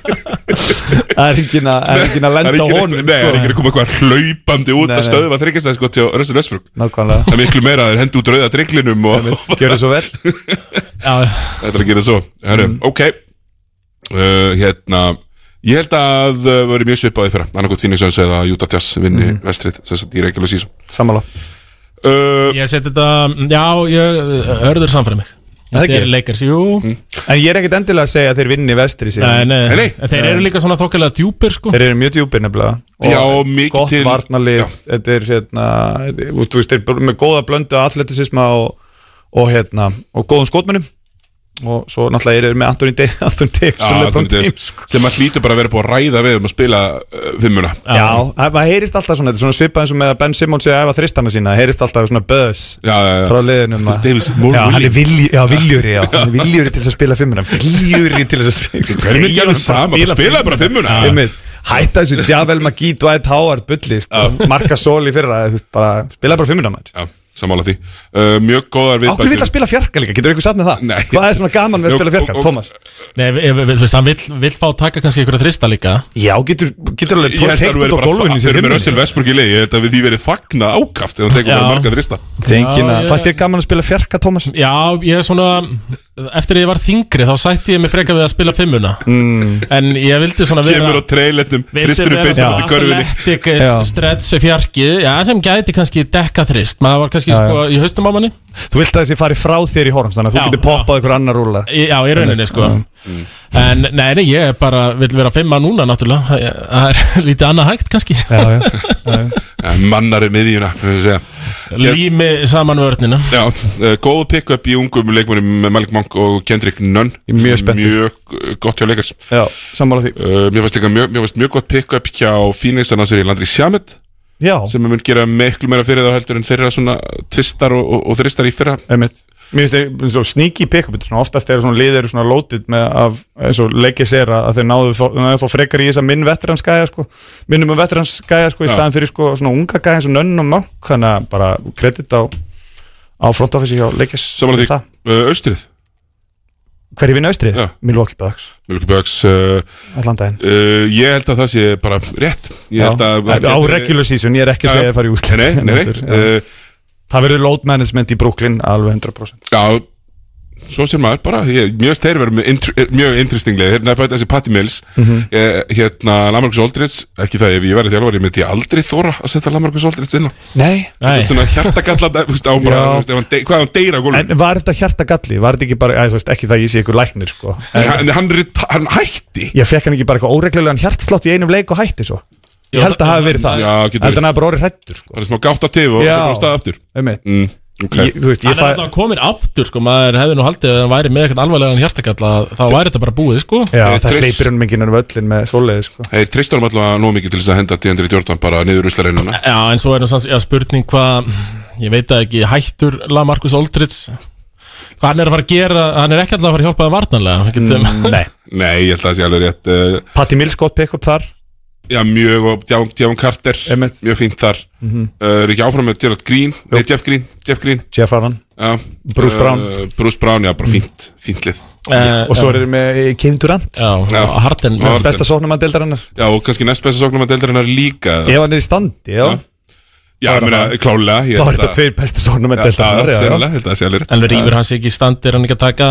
Það er engin að, það er engin að
það er
lenda á
ekki
honum sko.
nei, það er ekki að koma eitthvað hlaupandi út
Nei,
að
nei.
stöðu að þryggjast það sko til Röstur Ösbruk
Nákvæmlega
það er miklu meira að þeir hendi út rauða driklinum og
Gjör þið svo vel
Já,
þetta er að gera svo Heru,
Mm.
ok uh, hérna ég held að það uh, verið mjög svipaði fyrra annarkot Phoenix Suns eða Utah Jazz vinni
Mm.
vestrið sem sagt í Reykjavík sísum
Sammála
uh,
ég seti þetta Já, ég eh, hörður samfæri mig
Það
Þetta
ekki?
er leikars, jú
En ég er ekkit endilega að segja að þeir vinni vestri
Nei,
síðan
nei,
Nei, nei.
Þeir eru líka svona þokkilega djúpir sko
Þeir eru mjög djúpir nefnilega
Já,
Og
mikið
Gott
til-
varnalið
Já.
Þetta er hérna Þú þú veist, þeir eru með góða blöndu atletisisma og, og hérna Og góðum skotmunum Og svo náttúrulega eru þeir með Anthony Davis Anthony Davis og
Já,
LeBron
Anthony Davis,
James.
sem að hlýtur bara að vera búið að ræða við um að spila uh, fimmuna
Já, það maður heyrist alltaf svona, þetta er svona svipað eins og með að Ben Simmons eða Eva þristana sína, það heyrist alltaf svona buzz
Já, já, já.
frá liðinum
Anthony Davis, more
Já, hann
willing.
er vilji, já, viljuri, já, hann er viljuri til þess að spila fimmuna Viljuri til þess að spila
það er mér ekki alveg sama, bara spilaði bara fimmuna
Einmitt, Hætta þessu Javel McGee, Dwight Howard, Bulli, sko, Marka Sol í fyrra, þú veist, bara, spilaði bara fimmuna maður
já, samála því uh, mjög góðar við
Ákveð vil að spila fjarka líka, getur ykkur satt með það?
Nei.
Hvað er svona gaman
Jú,
með að spila fjarka,
og- og-
Thomas?
Nei, við- við- við- þú veist, hann vill, vill fá að taka kannski einhverja þrista líka
Já, getur, getur alveg
Ég held að
teikt
þú
út
verið
á
bara
gólfinu í
Þeir eru
sér
með
fimmuna
Russell Westbrook í leiði Ég held að við því verið fagna ákaft Ef hann tekur
Já.
bara marga þrista
Engin að-
Já, ég- Mm.
Fannst þér gaman að spila fjarka, Thomas?
Já, ég er svona Eftir að ég var þingri þá sætti ég mig freka við að spila fimmuna mm. En ég vildi svona vera
Kemur á treyletum Þristur upp beitt á móti körfinni
Já.
Atletik, stretch, fjarki Já, sem gæti kannski dekka þrist Maður var kannski sko í haustum á manni
Þú vilt að þessi fari frá þér í horns Þannig að
Já,
þú getur poppað ykkur annar rúla
Í- Já, í rauninni sko
Mm.
En nei, nei, ég er bara Vill vera fimma núna náttúrulega Það er- Það er lítið annað hægt kannski
Já, já
Ja, Mannar er miðjuna við við segja.
Lími saman vörnina
Já, uh, góð pick-up í ungum leikmönnum með Malik Monk og Kendrick Nunn
Ég er mjög spenntur.
Mjög uh, gott hjá leikars
Já, sammála því
uh, Mér fannst líka mjög, mér fannst mjög gott pick-up hjá Phoenix annars er í landri Sjamet
Já,
sem mun gera miklu meira fyrir þá heldur en þeirra svona tvistar og, og, og þristar í fyrra
einmitt Mér finnst þeir eins og sneaky pick-up þetta er svona Oftast eru svona lið eru svona lótið með af, eins og leikis er að að þeir náðu þó, náðu þó frekar í þess að minn veteranskæja sko, minnum um veteranskæja sko, í
Já.
staðan fyrir sko, svona unga gæja eins og nönn og mokk þannig að bara kredit á á front office hjá leikis
Samanlega því, uh, austrið
Hverju vinna austrið?
Já.
Milwaukee Bucks
Mjölku Bögs uh,
Allan daginn
uh, Ég held að það sé bara rétt Ég held að
Já. Á regular season, ég er ekki
Já,
að
já.
segja að fara í úslit
Nei, nei, nei,
Heldur,
nei.
já.
Uh,
Það verður load management í Brooklyn alveg 100%
Já, svo sér maður bara ég, Mjög stær verður með int- eh, mjög interestinglega Hérna er bara þessi Patty Mills
Mhm.
eh, Hérna Lamarcus Aldridge Ekki það, ef ég verði þjálfari Ég myndi ég aldrei þóra að setja Lamarcus Aldridge inn á
Nei
Þetta
Nei,
er Svona hjartagallan eh, þú veist, á bara,
Já.
þú veist, ef hann dey- Hvað ef hann deyra á gólfinu
En var þetta hjartagalli? Var þetta ekki bara, að, veist, ekki það ég sé ykkur læknir sko
En hann, en hann, rita- hann hætti
Ég fekk hann ekki bara eitthvað óreglulegan hjartslátt í einum leik og hætti svo Ég
Já,
held að
það-
hafi verið það
Já,
Ég
getur
held að hann hafi bara orðið hrættur sko
Það er smá gátt á tif og
Já.
svo bara á stað aftur
Einmitt.
mm, okay.
Ég- Þú veist,
Hann
ég
er
fæ
alltaf komin aftur sko, maður hefði nú haldið að hann væri með eitthvað alvarlegan hjartakalla þá væri þetta bara búið sko
Ég
Já, það um
trist.
hleypir hann mikið nörðu völlin með svoleiði sko
Það er tristur um allavega nóg mikið til þess að henda Deandre Jordan bara niður ruslareynuna
Já, en svo er það já, spurning hvað ég veit það ekki, hættur Lamarcus Aldridge hvað hann er að fara að gera hann er ekki alltaf að fara að hjálpa það varnarlega getum,
Nei,
Nei, ég held að það sé alveg rétt eh,
Patti Mills gott pick-up þar
Já, mjög og Dján, Dján Carter
Einmitt. Mhm.
Mjög fínt þar mm -hmm. Er ekki áfram með Gerald Green Nei, Jeff Green Jeff Green
Jeff Aran
já.
Bruce Brown. Mhm.
Eh, Bruce Brown, já, bara fínt Fínt lið
eh,
Og svo er þeir með Kevin Durant
já, já,
Já.
Harden
Já. Harden.
Besta sóknum að deildar hennar
Já, og kannski næst besta sóknum að deildarinnar líka
Ef hann er í standi, já
Já, ég meina, klálega ég
Þá
held
er þetta
að-
tveir bestu sóknum að
Já,
deildar
það
hennar
er
já, já.
sérlega, þetta sé alveg rétt
en við rýfur hans ekki í standi er hann ekki að taka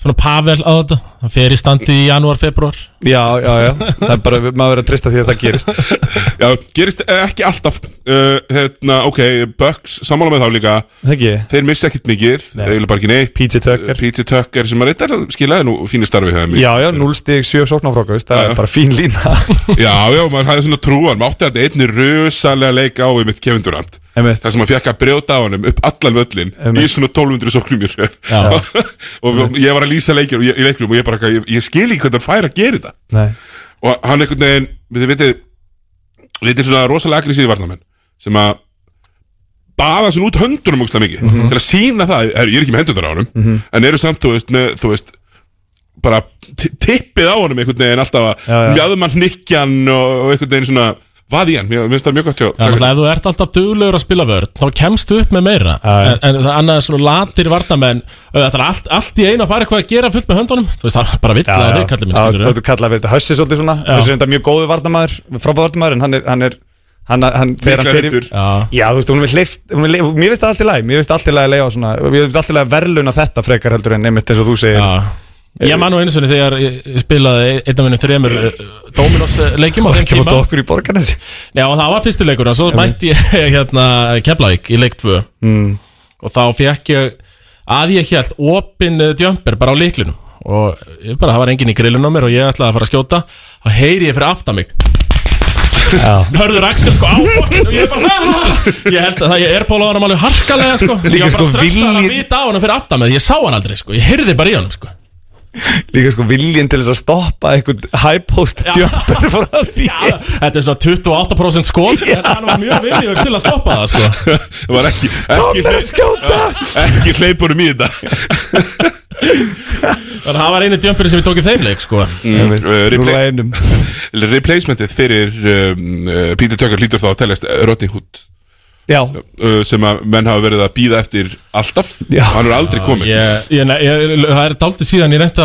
svona Pavel á þetta hann fer í standi í janúar, februar
já, já, já Það er bara, maður verður að trista því að það gerist
Já, gerist eh, ekki alltaf uh, Hérna, ok, Bucks, sammála með þá líka
Það ekki
Þeir missa ekkit mikið, eiginlega bara ekki neitt
PJ Tucker
P.T. Tucker sem að reyndar skilaði nú fínu starfi hjá þeim í-
Já, já, 0 stig 7
Já,
sóknarfrákast Það
já.
er bara fín lína
Já, já, maður hafði svona trúan, maður átti þetta einni rösalega leika á einmitt Kevin Durant
Einmitt.
Það sem maður fekk að brjóta á honum upp allan völlin
Einmitt.
í svona 1200 sóknum mér og ég var að lýsa leikjum, ég, í leiknum og ég bara, eitthvað, ég, ég skil ekki hvernig hann fær að gera þetta
Nei,
og hann einhvern veginn, við þið vitið við þið svona rosalega aggressíði varnamenn sem að baða svona út höndunum ógstlega mikið
Mhm.
til að sína það, er, ég er ekki með hendunar á honum en eru samt, þú veist, með, þú veist bara ti- tippið á honum einhvern veginn alltaf að
Já, já.
mjöðmann nikkjan og, og einhvern veginn svona vaði í hann, mér mér finnst það mjög gott hjá
Já,
Taka-
náttúrulega, ef þú ert alltaf duglegur að spila vörn þá kemst þú upp með meira en, en það annað er svona latir vartamenn það er allt, allt í einu að fara eitthvað að gera fullt með höndunum þú veist, það er bara vill að þig kallið minn
Já,
skilurðu.
Þú kallar verið þetta hössi svolítið svona Þessi er þetta mjög góðu varnamaður, frábæð varnamaður En hann er, hann er hann, hann, þegar hann
Miklar
fyrir-
hendur.
Já,
Já, þú veist, hún er leift, hún er leift Mér finnst það allt í lagi, mér finnst allt í lagi að leiða á svona Mér finnst allt í lagi að verðluna þetta frekar heldur en Nefnt eins og þú segir
já Ég man nú einu sinni þegar ég spilaði einn af minnum þremur Dominos leikjum á þeim
Ekki
tíma
fóttu okkur í borgarnes
Já, og það var fyrstileikur og svo mætti ég hérna Keflavík í leik 2 mm. og þá fekk ég að ég held opin eh, jumper bara á leiklinum og ég bara, það var enginn í grillinu á mér og ég ætlaði að fara að skjóta og heyri ég fyrir aftan mig Hörður Axel sko á fokkinu og ég bara "Ah!" Ég held að það ég er bóla á hann alveg harkalega sko Ég
Líka
var bara
sko
stressað að
viljið-
vita á hann fyrir aftan mig Ég sá hann aldrei sko, ég heyrði bara í hann sko
Líka sko viljinn til þess að stoppa einhvern high post jumper frá því
Já, þetta er svona 28% skot En hann var mjög viljur til að stoppa það sko
það var ekki ekki,
Dómar að
hleyp-
skjóta
ekki hleypurum í þetta
Þannig að það var einu djömpurinn sem ég tók í þeim leik sko
Mm, uh,
Núla
replay,
einum
replacementið fyrir um, uh, Peter Tucker lítur þá að teljast Rodney Hood
Já,
uh, sem að menn hafa verið að býða eftir alltaf,
Já.
hann er aldrei komið
ég, ég, nei, ég, það er dálítið síðan ég reynda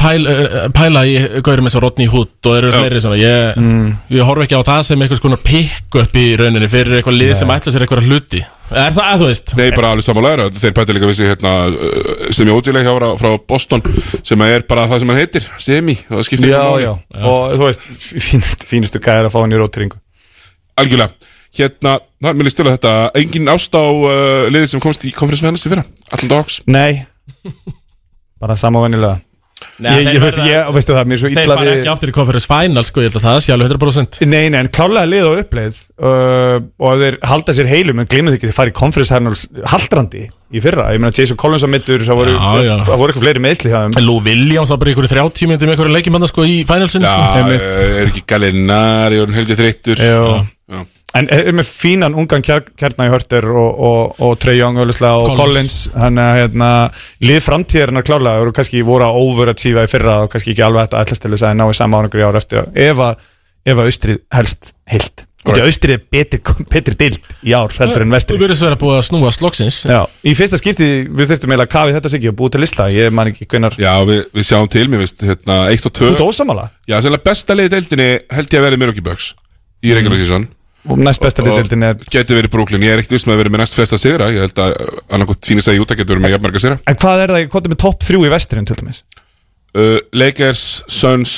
pæla, eh, pæla í gaurum eins og Rodney Hood og þeir eru
Já.
fleiri svona ég,
Mm.
ég horf ekki á það sem eitthvað skona pick up í rauninni fyrir eitthvað lið sem ætla sér eitthvað hluti er það, þú veist
Nei, bara alveg samanlega Þeir pæti líka vissi hérna uh, sem ég ótilega hjá frá- frá Boston sem er bara það sem hann heitir, semi og það skiptir
já,
ekki máli.
já Og þú veist, fínust, fínustu gæðir að fá hann í rótringu
Algjörlega Hérna, það er mér líst til að þetta engin ást á uh, liðið sem komst í konferensu hennas í fyrra Allan Dogs
Nei Bara sama venjulega
Nei,
Ég,
þeir
ég, veist,
verða-
ég, veistu það, mér er svo
þeir
illa
fara
við
ekki aftur í conference final sko, ég held að það sé alveg 100%
Nei, nei, en klálega lið og uppleið uh, og ef þeir halda sér heilum en glimma þeir ekki, þeir fara í conference hernals haldrandi í fyrra, ég meina Jason Collins á mittur, það voru,
Já, já.
það voru eitthvað fleiri meðsli hjá þeim
Lou Williams var bara í ykkur 30 myndum í ykkur leikjum hann sko í finalsinu sko.
Já,
Einmitt.
er ekki galinari og heldur þreyttur
Já.
Já.
en eh, er, er með fínan ungan kjar- kjarna í hörter og, og, og Trey Young öllslega, og
Collins.
Collins, hann er hérna, lið framtíðarinnar klálega, þeir eru kannski voru að overachieva í fyrra og kannski ekki alveg hægt að ætlast til þess að þeir náu sama ánangur í ár eftir ef að, ef að austrið helst heilt Því að
Alright.
austrið er betri, betri dild í ár heldur en
Þú
vestrið
verður svo verið að búa að snúa slokksins
Já, í fyrsta skipti við þurftum eiginlega að kafa í þetta sikki og búið til lista, ég man ekki hvenar
Já, við, við sjáum til, mér veist, hérna, 1 og 2
Þú ert ósamála
Já, sérlega besta liðið deildinni held ég að verið Milwaukee Bucks í regular
Mm.
season
og næst besta liðdeldin er
Geti verið Brooklyn, ég er ekkert viss með að verið með næst flesta sigra Ég held að uh, annarkot fínist að Júta getur verið með jafnmarga sigra
En hvað er það, hvað er með topp þrjú í vestrinu til dæmis?
uh, Lakers, Suns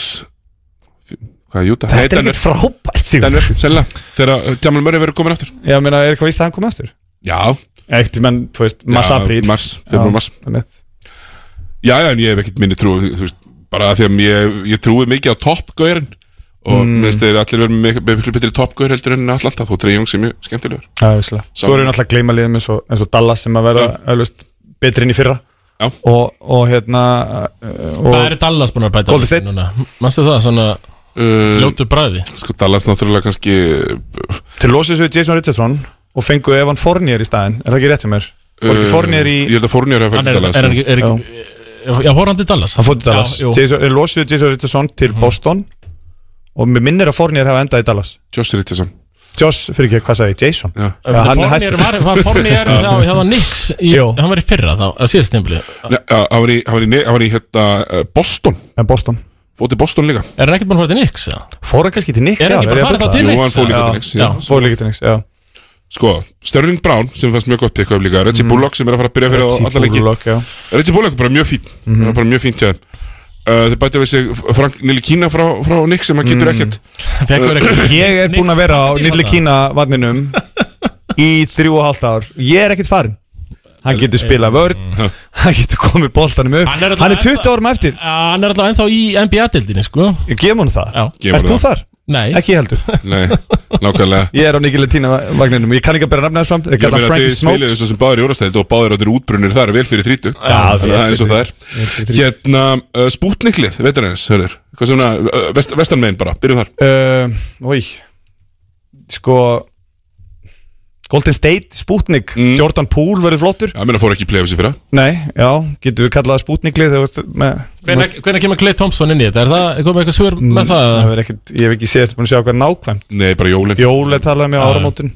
Hvað er Júta?
Þetta er ekkert frábært síðan
Denver, sérlega, þegar uh, Jamal Murray verið komin aftur
Já, meina, er eitthvað víst að hann kom aftur?
Já,
Ekkert, menn, þú veist, mars
Já,
apríl
mars, febrúar, mars.
einmitt.
já, já, en ég hef ekkert minni trú þú veist, bara af því að ég, ég trúi mikið á toppgaurin og mm. minnst þeir allir verið með með miklu betri toppgaur heldur en Atlanta þó treyjum sem mjög skemmtilegur
Já, visslega Svo erum við náttúrulega að gleyma liðum eins og, eins og Dallas sem að verða, öllust, betri inn í fyrra
Já.
Og, og hérna uh, og,
Hvað er Dallas búin að bæta?
Golden State.
Manstu það, svona
uh,
ljótu bræði
Sko Dallas náttúrulega kannski uh,
Til losið svo við Jason Richardson og fengu Evan Fournier í staðinn Er það ekki rétt sem er? Fór
Eh,
ekki Fournier í
Ég held að Fournier hafa
Hann
fyrir
er,
Dallas
er, er, er, er, Já, fór hann til Dallas?
Hann fór til Dallas
já, jú. Mhm.
Jason- Þeir losiðu Jason Richardson til Boston Og mér minnir að Fournier hafa endað í Dallas
Josh Richardson
Josh, fyrir ekki hvað sagði, ég, Jason
Já.
Já, hann er
Pornier
hættur.
var, var Pornier þá hjá það Nix í,
Jú.
hann var í fyrra þá, að síðast nefnilega
Nei, já, Hann var í, hann var í, ne- hann var í hérna, uh, Boston
En Boston
Fóti Boston líka
er hann ekkert búin að fara til Nix? eða?
Fór hann kannski til Nix
Er hann ekki bara farin þá til
Jú,
Knicks,
hann fór líka
já.
til Knicks
Já.
já.
Fór líka til Nix, já
Sko, Sterling Brown sem fannst mjög gott pikkað líka Reggie Bullock sem er að fara að byrja fyrir á alla leiki
Mm. Bullock, Mhm. já
Reggie Bullock er bara mjög fín mm -hmm. bara mjög fín til þeim uh, Þeir bæta við sig Frank Nilikina frá, frá Knicks sem hann getur
Mm.
ekkert
Hann fekk verið ekkert
Ég er
Knicks
búinn að vera á
tíma
Nilli
það.
Kína vanninum Í þrjú og hálft ár Ég er ekkit farin Hann getur spilað vörn Hann getur komið boltanum upp
Hann er
Hann er,
alltaf
20 árum eftir
Já, hann er alltaf ennþá í NBA-dildinni sko
Ég gef hún það
Já.
Gefum
Ert þú
það.
þar?
Nei,
Ekki heldur
Nei, nákvæmlega
Ég er á Nilli Kína vagninum Ég kann ekki að bera nafna þessum Ég
Ég
gæta
meina að
Frankie
þið spilir
Smokes
þess sem báðir í orðastæld og báðir áttir útbrunir þar vel fyrir 30
Já,
Þannig að það er eins og það er
vel fyrir 30.
Hérna, uh, Spútniklið, veitur eins, hörður Hvað svona, uh, vest,
Eh,
vestanmein bara, byrjum þar
Uh, Í Sko Golden State, Sputnik, Jordan Poole verður flottur
Mm. Já, meina fór ekki í play-offs í fyrra
Nei, já, getur við kallað það Sputnikli þegar þú ert með
Hvenær hvenær kemur Clay Thompson inn í þetta? Er það, er komið eitthvað svör með það?
Það er ekkert, ég hef ekki séð, búin að sjá hvað nákvæmt
Nei, bara jólin
Jól er talað með áramótun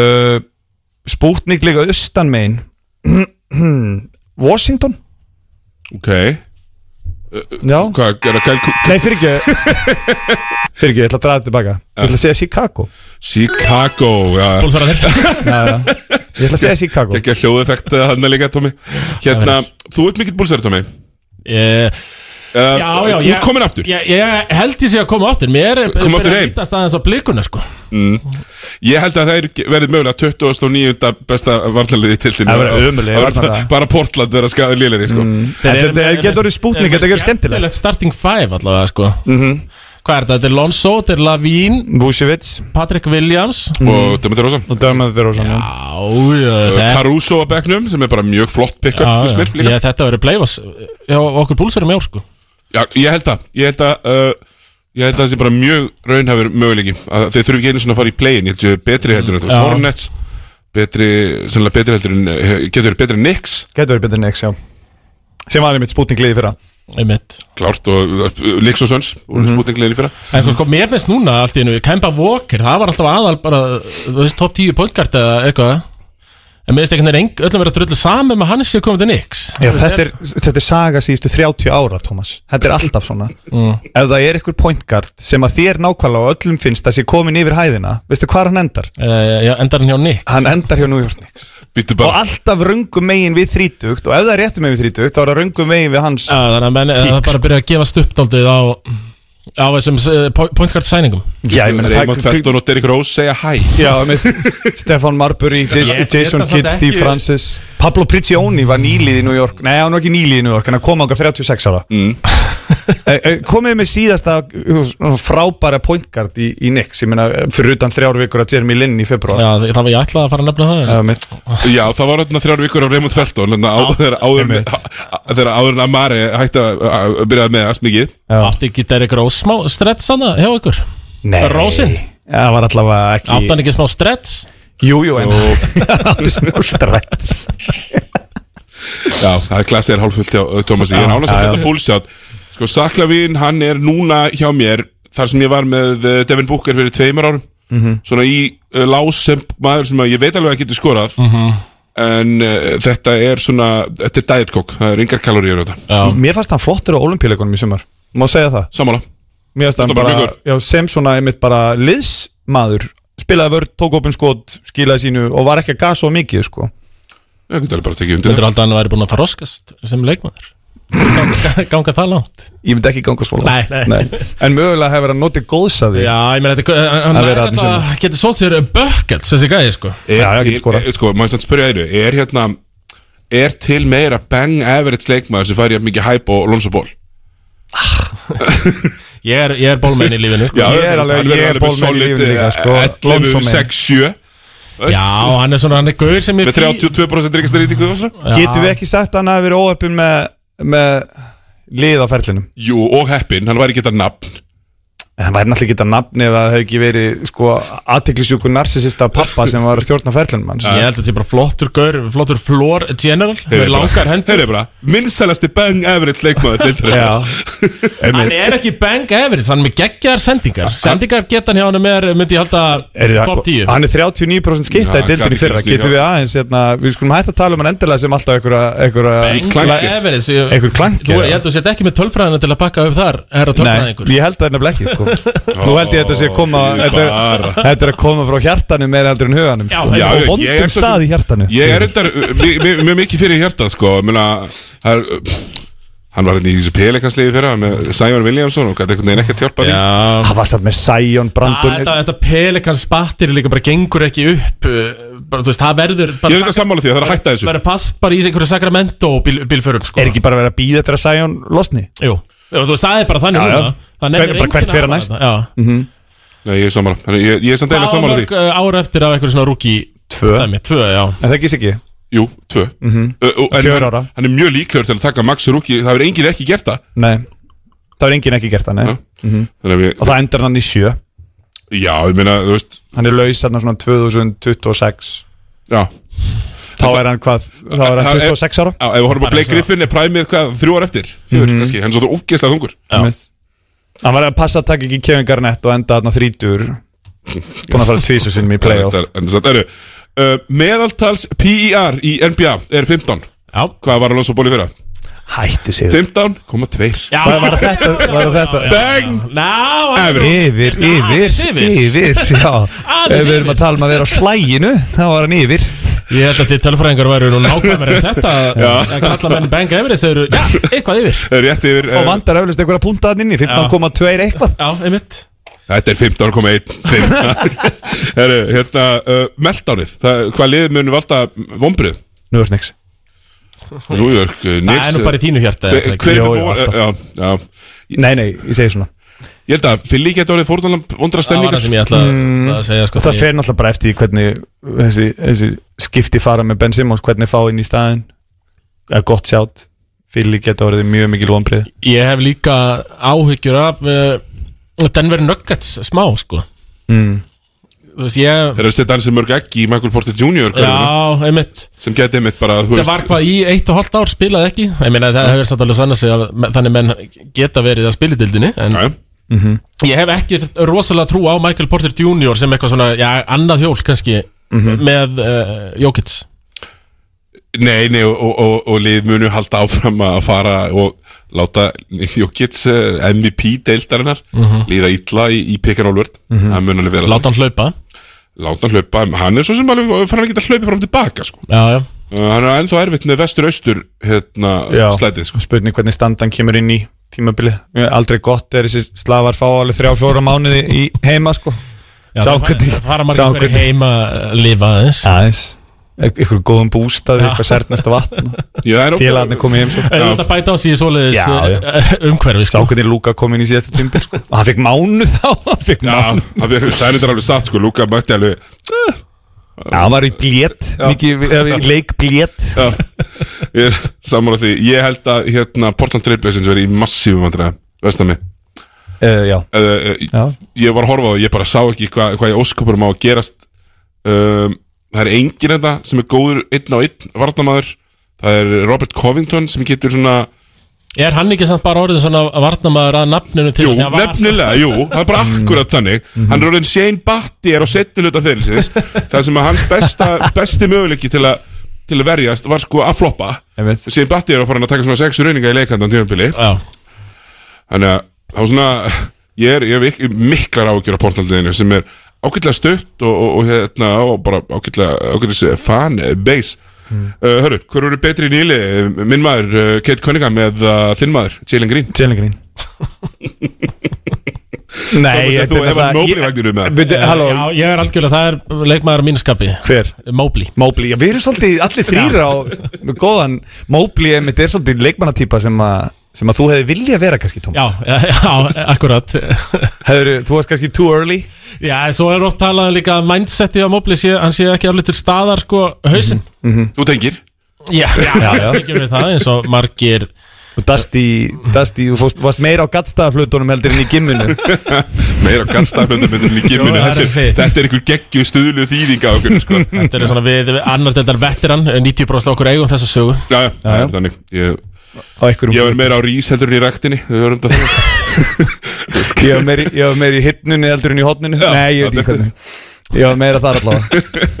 uh, Sputnik líka austan megin Washington
Ok Hvað,
Já,
er það kæl
nei fyrir ekki Fyrir ekki, ég ætla að draga þetta tilbaka Ég ætla að segja Chicago
Chicago, já
Bólþar að þeirra
Ég ætla að segja Chicago
Ekki að hljóðu effekt hann eh, líka, Tómi Hérna, þú ert mikill búlsæri, Tómi
Ég-
Uh,
Já, já,
Þú ert komin aftur
Ég, ég held ég sé að koma aftur Mér er
Koma aftur
að
heim.
hittast aðeins á blikuna sko
Ég held að það verði mögulega 29. besta varnarliði til
Það verður ömurlegir Mm, varnarliðið.
Bara Portland verður að skaða lélir sko.
En þetta þetta getur orðið spútning, þetta getur skemmtilegt Mhm.
Skemmtilegt starting five allavega sko Hvað er þetta? Þetta er Lonzo, þetta er Lavín
Vucevic
Patrick Williams
mm.
Og Dömmetir Rósa
og Dömaður Rósan
Já, já, þetta
Eh, Caruso á bekknum sem er bara mjög flott pick-up
Já,
fyrst mér
já,
líka
ég- þetta verður play-offs Já, okkur púlsurum í ár sko
Já, ég held að Ég held að uh, Ég held að það sé bara mjög raunhafur möguleiki að Þeir þurfi ekki einu svona að fara í play-in Ég held að séu betri heldur en þú veist,
Já.
Hornets Betri, sennilega betri heldur en eh, Getur verið betri en Knicks
Getur verið betur nex, já Sem var einmitt spútning liði fyrra
Einmitt
Klárt og uh, Knicks og Suns Úr
Mhm.
mm -hmm. spútinglegin í fyrra
En sko, sko, mér finnst núna allt í einu Kemba Walker, það var alltaf aðal bara, þú veist, top 10 pointgard eða eitthvað En mér finnst einhvern veginn öllum verið að drullu saman með hann sé komið til Nix
Já, þetta, er, þetta er saga síðustu 30 ára, Thomas Þetta er alltaf svona Ef það er einhver point guard sem að þér nákvæmlega og öllum finnst að sé komin yfir hæðina Veistu hvað hann endar?
uh, Já, endar hann hjá Nix
Hann endar hjá New York Knicks
Býttu
Og
bara
alltaf röngum megin við þrítugt Og ef það er réttum megin við þrítugt, þá er það röngum megin við hans
Já, þannig að menn, eh, það er bara að byrja að gefa stuptaldið á á þessum eh, po- point guard sæningum
Já, ég meina
Raymond
það
Felton og Derrick Rose segja hæ
Já, með Stefan Marbury, Jason,
Ég sé
Jason
þetta
Kidd,
samt
Steve
ekki.
Francis Pablo Prigioni var nýlið í New York Nei, hann var ekki nýlið í New York, en hann kom ánga 36 ára
Mm.
Eh, eh, komið með síðasta eh, svona frábæra pointgard í, í Nix ég meina eh, fyrir utan þrjár vikur að Jeremy Lin í februar
Já, það var ég ætlaði að fara að nefna það en-
uh, mitt,
Já, það var þarna þrjár vikur á Raymond Felton þarna á- þegar áður en-
einmitt.
þegar áður en Amari hætti að að byrja með allt mikið
Átti ekki Derrick Rose smá stretch hann hjá ykkur
nei,
Rósin?
það var allavega
Átti hann
ekki
ekki smá stretch
jújú, en átti smá strætt
Já, það er klassið er hálffullt hjá uh, Tómasi Ég er nánast að þetta búlsjátt Sko, Saklavín, hann er núna hjá mér Þar sem ég var með uh, Devin Booker fyrir tveimur árum
Mhm.
Svona í uh, lás sem maður sem að ég veit alveg að getur skorað
Mhm.
En uh, þetta er svona Þetta er diet coke, það er yngar kaloríur í þetta
mér fannst hann flottur á olimpíuleikunum í sumar má segja það
Sammála
mér fannst hann
bara
bara,
myggur.
já, sem svona einmitt bara liðsmaður spilaði vörð, tók opinn skot, skilaði sínu og var ekki að gasa svo mikið sko.
Ég get alveg bara að tekið undir
Myndur
það
alltaf hann væri búin að þroskast sem leikmaður Ganga- Ganga það langt
ég myndi ekki ganga svona
Nei, nei.
en mögulega hefur hann notið góðs að því
Já, ég meina þetta Hann
Að
er
vera þarna
alltaf Getur sótt sér bökkels Þessi gæði, sko
Er
Já, ég get
til-
skorað.
er- Sko, maður sann spyrja einu Er hérna Er til meira bang average leikmaður sem fær jafn mikið hæp og Lonzo Ball
Ég er, ég er bólmenn í lífinu, sko
Já,
Ég
þú
er
veist,
alveg-
hann verður
ég er
alveg með
bólmenn í
solid,
lífinu líka,
eh,
sko.
11,
Lonzo
6, 7
Já, hann er svona, hann er gaur sem er
Með 32% ríkastarýtingu
Já.
Getum við ekki sagt að hann hafi verið óöppin með, með lið á ferlinum?
Jú, og heppin, hann væri ekki þetta nafn
En það væri náttúrulega ekki þetta nafn eða það hefði ekki verið sko aðtiklisjúku narsisista pappa sem var að stjórna ferlinum hans.
Ég held að þetta sé bara flottur gaur Flottur floor general Með langar hendur
Hörðu bara, minnsælasti bang average leikmaður
Já,
deildarinnar.
Hann
einmitt.
er ekki bang average Hann er með geggjar sendingar Sendingar geta hann hjá hann með Myndi ég
Er
halda
það-
top 10
Hann er 39%
Já,
skipta í dildinni
gat
fyrra
ekki
Getum við aðeins, hérna, við skulum hætta að tala um hann endilega sem alltaf einhverja einhverja-
Bang
klankir.
average
einhver
ég-
klankir,
Þú- Ég
já.
held að þú sett ekki með tölfræðina Til að bakka upp þar Herra
Nei,
tölfræðingur
ég held það er nefnilega ekki sko. Nú held ég að þetta sé að koma
Ó,
þetta, er-
bara.
þetta er að koma frá hjartanu meira heldur en huganum
Já,
Þetta er
Já,
á
ég-
vondum
ég er svo sem-
stað í hjartanu
Ég er þetta mjög mikið fyrir hjartað sko Muna, það er, eh, Hann var hérna í þessu pelikansliði fyrra með Sævar Williamson og gæti einhvern veginn ekki að hjálpa því
Já
Það var satt með Sæjón,
Að
Brandon
Þetta, þetta pelikans battir líka bara gengur ekki upp uh, bara, þú veist, það verður bara,
Ég er þetta sammála því að það er að hætta þessu
verður fast bara í einhverju sakramento bíl, bílförum sko.
Er ekki bara verið að býða eftir að Sæjón losni?
Jú, Jú, þú veist, það er bara þannig
Já,
núna
já.
Það
Hver-
nennir
bara
enginn
hvert
að
fer
hafa
næst?
þetta, já.
Nei, ég er sammála Þannig, Ég, ég er samt eða
Hvað var
sammála því
mörg uh, ára eftir af einhverju svona rúki
Tvö.
dæmi, tvö já.
En það gís ekki
Jú, tvö mm -hmm.
Fjögur Mhm. ára.
Hann er mjög líklegur til að taka Max Rúki Það verður enginn ekki gert það
Nei, það er enginn ekki gert það, nei
Hm? Þannig að við
Og Mhm. það endar hann í sjö
Já, ég meina, þú veist
Hann er laus hérna svona 2026
Já,
Þá er hann hvað, þá er hann
Það er-
26 ára
já ef við horfum á Blake Griffin er præmið hvað, þrjú ár eftir Fjör,
Mhm.
kannski, hann er svo ógeðslega þungur
Einmitt. Hann var að passa að taka ekki Kevin Garnett og enda þarna 30 Búin að fara tvísu sinum í playoff
Þetta er- en þetta er- uh, Meðaltals PIR í NBA er 15
Já,
Hvað var Alonso Ból í fyrra?
Hættu sig
15,2
já
Var var þetta, var þetta
Bang!
Ná,
Average
Yfir,
Aðeins
yfir,
yfir.
yfir, já
Aðeins
Ef við erum
yfir.
að tala um að vera á slæginu Þá var hann yfir
Ég held að þið tölfræðingar væru nú nákvæmur en þetta að kalla menn bang Everest þeir eru, já, eitthvað yfir
Það er Rétt yfir
Og
uh,
vandar eflust einhverja púnta hann inni 15,2 eitthvað
Já, einmitt
Þetta er 15,1 Herru, hérna uh, Meltdánið, það- hvað liðið mun valda vombrið?
Nú er nix
New York, uh,
Það er
Knicks
nú bara í þínu hjarta er
Hver
það
er
ekki?
Jó,
fór?
jú,
uh,
alltaf.
Já, já
Nei, nei, ég segi svona
Ég held að Fili geti orðið fórnalamb vondra
Það var það
stemningar
sem ég ætlaði að segja sko
Það
því-
fer náttúrulega bara eftir því hvernig þessi, þessi skipti fara með Ben Simmons hvernig fá inn í staðin eða gott sjátt Fili geta orðið mjög mikil vonbrið
Ég hef líka áhyggjur af uh, Denver Nuggets smá sko
mm.
Þú veist, ég
Það er að setja hans mörg ekki í Michael Porter Jr. körfuna,
Já, einmitt
sem geti einmitt bara þú
sem
veist,
var hvað í eitt og hálft ár spilaði ekki ég meina það hefur samt alveg svanna sig að me- þannig menn geta verið að spila í dildinni en
já, já.
ég hef ekki rosalega trú á Michael Porter Jr. sem eitthvað svona, já, annað hjól kannski
Mhm.
með uh, Jokic
Nei, nei, og, og, og, og lið munu halda áfram að fara og láta Jokic eh, MVP deildarinnar líða illa í, í pick and roll vörd Það mun alveg vera
Mhm. láta hann hlaupa
láta hann hlaupa hann er svo sem alveg fann að geta hlaupið fram og tilbaka sko.
já, já,
uh, hann er ennþá erfitt með vestur-austur hérna, slætið sko.
Spurning hvernig standan kemur inn í tímabili Aldrei gott er þessi slafar fá alveg þrjá fjóra mánuði í heima sko
já það
Sá
fa-
hvernig-
fara
sá
margir hverju
hvernig-
heima eh, lifa aðeins
aðeins ykkur góðum bústaði, eitthvað særnasta vatn
Já, það er oft-
félagarnir komið heim svo
Það er að bæta á sig í svoleiðis
Já, já.
eh, umhverfi
sá
sko.
hvernig Lúka kom inn í síðasta tímbil sko. og hann fekk mánuð þá hann fekk
Já,
mánuð.
það er- það er þetta alveg satt sko, Luka mætti alveg
Eh,
Já, hann var í blét, mikið, eða í leik blét
já, ég er sammála því ég held að hérna, Portland Trailblazers verið í massífum vandræðum vestan mig
uh, já,
uh,
já,
ég var að horfa á það, ég bara sá ekki hvað, hvað ég óskapur má að gerast um, það er engin þetta sem er góður einn á einn varnamaður það er Robert Covington sem getur svona
er hann ekki samt bara orðin svona varnamaður að nafninu til
jú,
því að Mm. Mm-hmm. var-
nefnilega, jú, það er bara akkurat þannig hann er orðin Shane Battier á setniluta fyrirlisins, það sem að hans besta, besti möguleiki til að til að verjast var sko að floppa
einmitt
Shane Battier er að fara að taka svona sex rauninga í leikandan tíðanbili
já,
Þannig að þá svona Ég er, ég hef ik- miklar ágjör á portaldinu sem er ágætlega stutt og, og, og hérna og bara ágætlega, ágætlega fan base mm. uh, Hörru, hver eru betri í nýli? Minn maður, uh, Kate Cunningham eða uh, þinn maður, Jalen Green
Tjelengrín Nei,
Thomas,
ég-
ert þú
þetta-
hefur móbli
ég-
vagninu með það
Byrju,
Eh,
Halló,
já, ég er algjörlega, það er leikmaður á mínu skapi
hver?
Móbli
Móbli, já, við erum svolítið allir þrýra á með góðan Móbli, einmitt er svolítið leikmannatýpa sem að sem að þú hefði vilja vera kannski, Tom
Já, já, já, akkurat
Hefur, Þú varst kannski too early
Já, svo er oft talað um líka að mindseti á Móbli sé, hann sé ekki alveg til staðar sko hausinn
Þú tengir?
Já, já, já, tekjum við það eins og margir
og Dusty, Dusty þú fórst, varst meira á gattstæðaflutunum heldur en í gimminu
Meira gannstaflöndum í gimmunum
Jú, það
Þetta,
er að
er-
segja.
þetta er einhver geggju stuðlu þýðinga á okkur sko. Já,
Þetta er svona við, við annar deildar veteran eh, 90% okkur eigum þessa sögu
já, það er þannig Ég,
á einhverjum
ég var meira á rís heldur en í ræktinni Við höfum þetta þannig
Ég var meira, ég var meira í hittnunni heldur en í hotnunni Nei, ég veit ekki hvernig Ég var meira þar allavega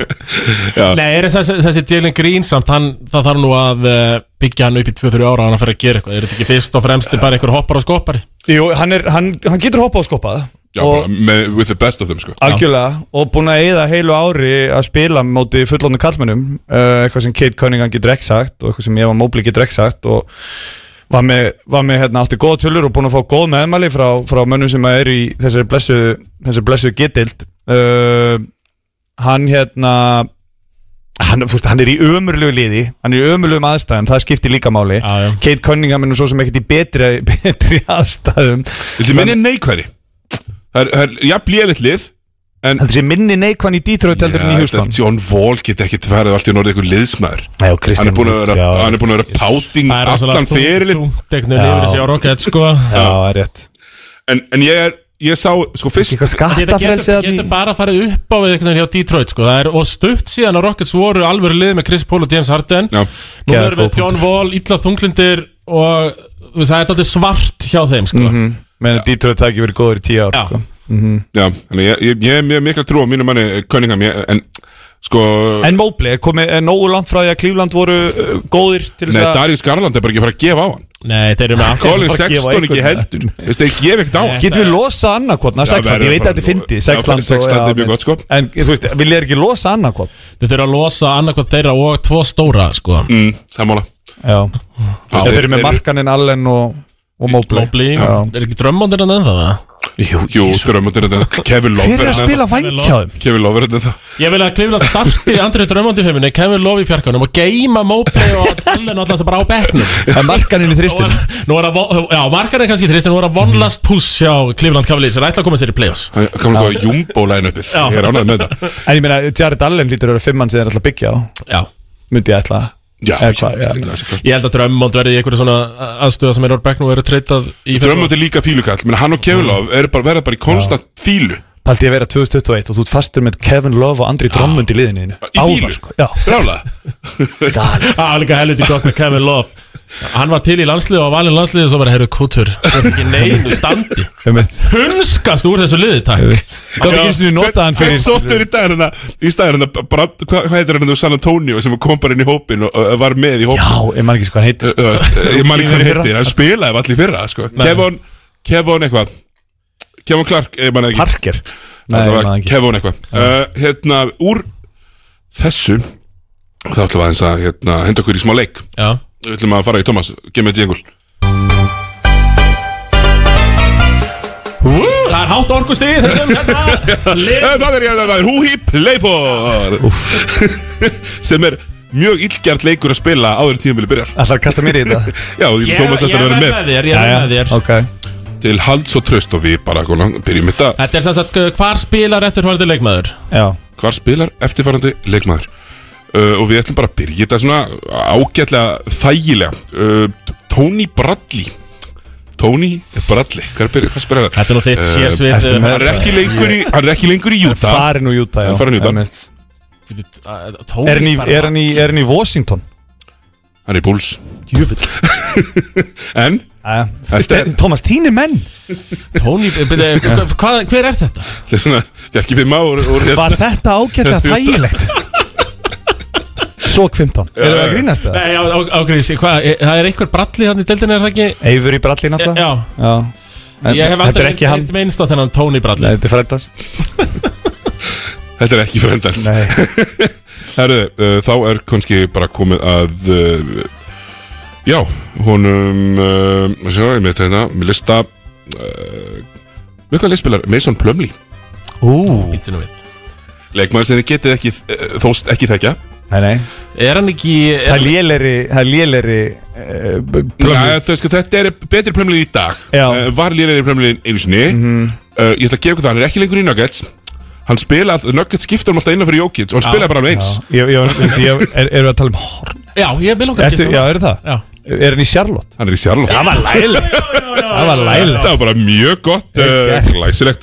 Nei, er þessi, þessi Jalen Green samt hann, það þarf nú að eh, byggja hann upp í 2-3 ára að hann fyrir að gera eitthvað, er þetta ekki fyrst og fremst bara einhver hoppar og skoppari
Jú, hann, er, hann, hann getur hoppað og skoppað
Já,
og
bara með, with the best of them sko.
algjörlega og búin að eyða heilu ári að spila móti fullónu kallmennum uh, eitthvað sem Kate Cunningham getur ekki sagt og eitthvað sem ég var móbli getur ekki sagt og var með, var með hérna, átti góða tölur og búin að fá góð meðmæli frá, frá mönnum sem er í þessari blessu, þessari blessu getild uh, hann hérna hann, fúst, hann er í ömurlegu liði hann er í ömurlegum aðstæðum, það skiptir líka máli
Já, já.
Kate Cunningham er nú svo sem ekkert í betri, betri aðstæðum
Þessi minn er neikværi Það er, það er jafn lélitt lið En
Þetta sé minni neikvann í Detroit heldur en í Houston
þetta- John Wall get ekki tverið allt í norðið eitthvað liðsmaður
Já,
hann
Kristján
er búin að vera, hann er búin að vera páting allan fyrirlin
Þú tegnur
Já.
yfir þessi á Rocket sko
Já, rétt
en, en ég er ég sá, sko fyrst
Eitthvað
Þetta
skattafrelsi
getur,
þarna
getur
í-
bara farið upp á við einhvern veginn hjá Detroit sko. Það er og stutt síðan að Rockets voru alvöru lið með Chris Paul og James Harden
Já.
Nú erum við John Wall, illa þunglindir og þú veist, það er alltaf svart hjá þeim sko.
meðan Detroit það ekki verið góður í tíu ár
Já.
Mhm, sko.
Já, þannig ég, ég, ég, ég er mikla trú á mínu manni eh, Cunningham, ég, en sko
En Mobley er komið er nógu langt frá því að Cleveland voru uh, góðir til
Nei,
þess að
Darius Garland er bara ekki að fara að gefa á hann
Nei, þeir eru með allt
Colin
fara að gefa
16 ekki
einhverjum.
heldur Þú veist, þeir gefa ekkert á hann
Getum við losa annarkotna,
Já,
sexland,
verður
ég veit
bara-
að þetta er fyndi
Já,
Sexland og-
Sexland er
já,
mjög
en-
gott, sko.
En þú veist, vil ég ekki losa annarkot?
Þeir eru að losa annarkvæmt þeirra og tvo stóra sko.
mm, Sammála
Já
Já,
Þeir eru með
eru-
markaninn Allen og, og Mobley
Mobley,
Já.
er ekki drömmondir en ennþá það?
Jú, jú drömmundir þetta Kevin Love
Hver er að
hérna.
spila vængjáðum?
Kevin Love er hérna. þetta
Ég vil að klifla starti andri drömmondi heiminni, Kevin Love í fjarkanum og geima Mobley og Allen alltaf bara á bekknum
Það er markaninn í
Nú
þristin
er- Nú er að, von- já, margar er kannski þrist en nú er að vonlast puss hjá Cleveland Cavaliers sem ætla að koma sér í play-offs
Það er Gamla góða jumbo-læn uppið
Já.
Ég er ánægð með þetta
En ég meina, Jared Allen lítur að vera fimm mann sem þeir ætla að byggja á
Já,
Myndi ég ætla
Já,
Eða hvað, já.
já
ég held að Drömmond verði í einhverju svona aðstöða sem er orð bekkn og verið treytað í
Drömmundir líka fílukall Menn hann og
Mm.
Kevin Love eru bara verða bara í konstant fílu
Paldi ég að vera 2021 og þú ert fastur með Kevin Love og Andri Drummond í liðinu þínu.
Í fílu
Áðan, sko. Já,
Brála
það
Það var líka helviti gott með Kevin Love Hann var til í landslið og valin landslið og svo bara heyrðu kútur Það er ekki neinu standi
er mitt
Hunskast úr þessu liði, takk
Það er ekki eins og nota hann
Fyrir
fyrir
sóttur í dag hérna Í stað hérna bara- Hvað hvað heitir hann þú San Antonio Sem kom bara inn í hópin Og og var með í hópin
Já, ég man ekki sko hann heitir
Ö- ö, ö, ég man ekki hvað hann
Í fyrra.
heitir, hann spilaði allir fyrra sko. Kevon, Kevon eitthvað Kevon Clark, ég man ekki
Parker Nei,
Alla
ég
vega,
man ekki
Kevon eitthvað uh, hérna, úr þessu þá ætlum við aðeins að hérna, henda okkur í smá leik
Já,
við ætlum að fara í Thomas, gef mér djengul
það er hátt orkustig þessum hérna lið.
Eh, það er, það er Who He Play For sem er mjög illgjart leikur að spila áður en tíðanbili byrjar
Ætlar að kasta mér í þetta?
já, og ég vil
Ég
Thomas
ég
eftir að
verð
vera
með
með
þér, ég er hérna með þér
ok
til halds og tröst og við bara konan, byrjum þetta
Þetta er sem sagt uh, hvar spilar eftirhóðandi leikmaður
Já
hvar spilar eftirfarandi leikmaður uh, og við ætlum bara að byrja þetta svona ágætlega þægilega uh, Tony Bradley Tony Bradley hver byrja, hvað spilar það?
Þetta er nú þitt
Eh,
sérsvið
ertu
uh,
hann er ekki lengur í hann er ekki lengur í Utah
Farin úr Utah, já
Hann farinn úr Utah.
einmitt.
uh, Tóri
Er hann í-
bara-
er hann í, er hann í Washington?
hann er í Bulls en
Æja
Þetta er-
Thomas, þínir menn
Tóni, byrja, eh, hvað, hver er þetta?
það er svona Bjarki Fimma og, og
Var þetta ágætlega þægilegt? Sók 15 Erum við að grínast það?
Nei, á, á, á, Grís, hvað, e- það er einhver bralli hann í deildinni, er það ekki?
Eifur í brallin alltaf?
Já,
Já En
ég hef
Þetta
aldrei
er ekki hann
eitt meinst á þennan Tóni
Nei,
bralli
þetta er frættas
þetta er ekki frendans
Nei
Herru, uh, þá er kannski bara komið að uh, Já, honum uh, Sjá, ég með þetta Mér lista uh, Mjög hvað liðspilar, Mason Plumley
Ú
Bíddu nú við.
Leikmaður sem þið getið ekki, uh, þóst ekki þekja
Nei, nei
Er hann ekki
Það
er,
er léleri Það er léleri eh, b-
Plumley. Ja, sko, Þetta er betri Plumley í dag
Já. Mhm.
uh, Var lýrið í Plumley einu sinni uh, Ég ætla að gefa ykkur það, hann er ekki lengur í Nuggets Hann spila, allt- Nuggets skipta hann alltaf innan fyrir Jókits Og hann spilaði bara alveg eins
Já, ég, ég, ég, er, erum við að tala um horn?
Já, ég vil okkar
Ertu, já, eru það?
já.
Er hann í Charlotte?
Hann er í Sjarlótt
Það var lægilegt Það var lægilegt
Þetta var bara mjög gott
Vel
uh,
gert.
Læsilegt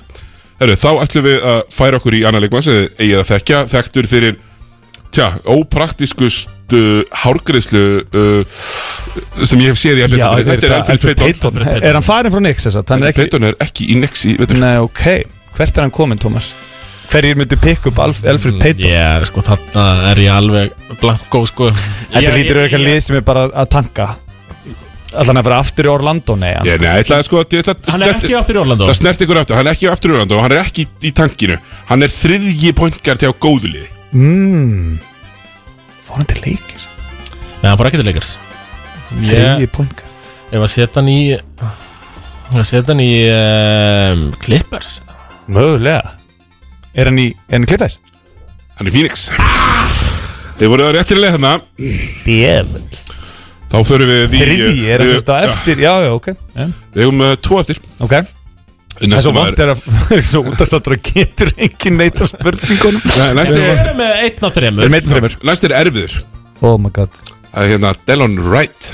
Herru, þá ætlum við að færa okkur í annar leikmann sem þið eigið að þekkja Þekktur fyrir, tja, ópraktiskust uh, hárgreðslu uh, sem ég hef séð í
Já,
NBA.
er
Þetta er
það
Alfred Payton
Payton Er hann farin frá Nix þess að? Hann er
Alfred
ekki
Payton er ekki í Nexi veitur.
Nei, ok Hvert er hann komin, Thomas? Hverjir myndu pick upp Alf- Alfred Payton?
Já, sko, þarna er ég alveg blankó, sko
Þetta lítur auðvitað lið sem er bara að tanka Allan að vera aftur í Orlando, nei hann-
Ég, nei, ætla að sko þetta,
Hann er ekki aftur í Orlando
Það snerti ykkur aftur, hann er ekki aftur í Orlando og hann er ekki í tankinu Hann er þriðji pointgar til á góðuliði
Mmm Fór hann til leikis?
Nei, hann fór ekki til leikars Ég,
Þriðji poingar
ég var setan í Ég var setan í um, Clippers
Mögulega Er hann í, er hann í klippæs?
Hann er Phoenix Þið voru að réttir leið þarna
Djöfn
Þá förum við í
Þriðji, er það
uh,
sem stað
já,
eftir, já, já, ok já.
Við hefum uh, tvo eftir
Ok, það er svo vant er að það er svo útast að það getur enginn neitt á spurningunum
Næ- Næst
Við
er,
erum með einn af
Við
þremur
erum einn fremur
næst er erfiður
Oh my god
Það er hérna Delon Wright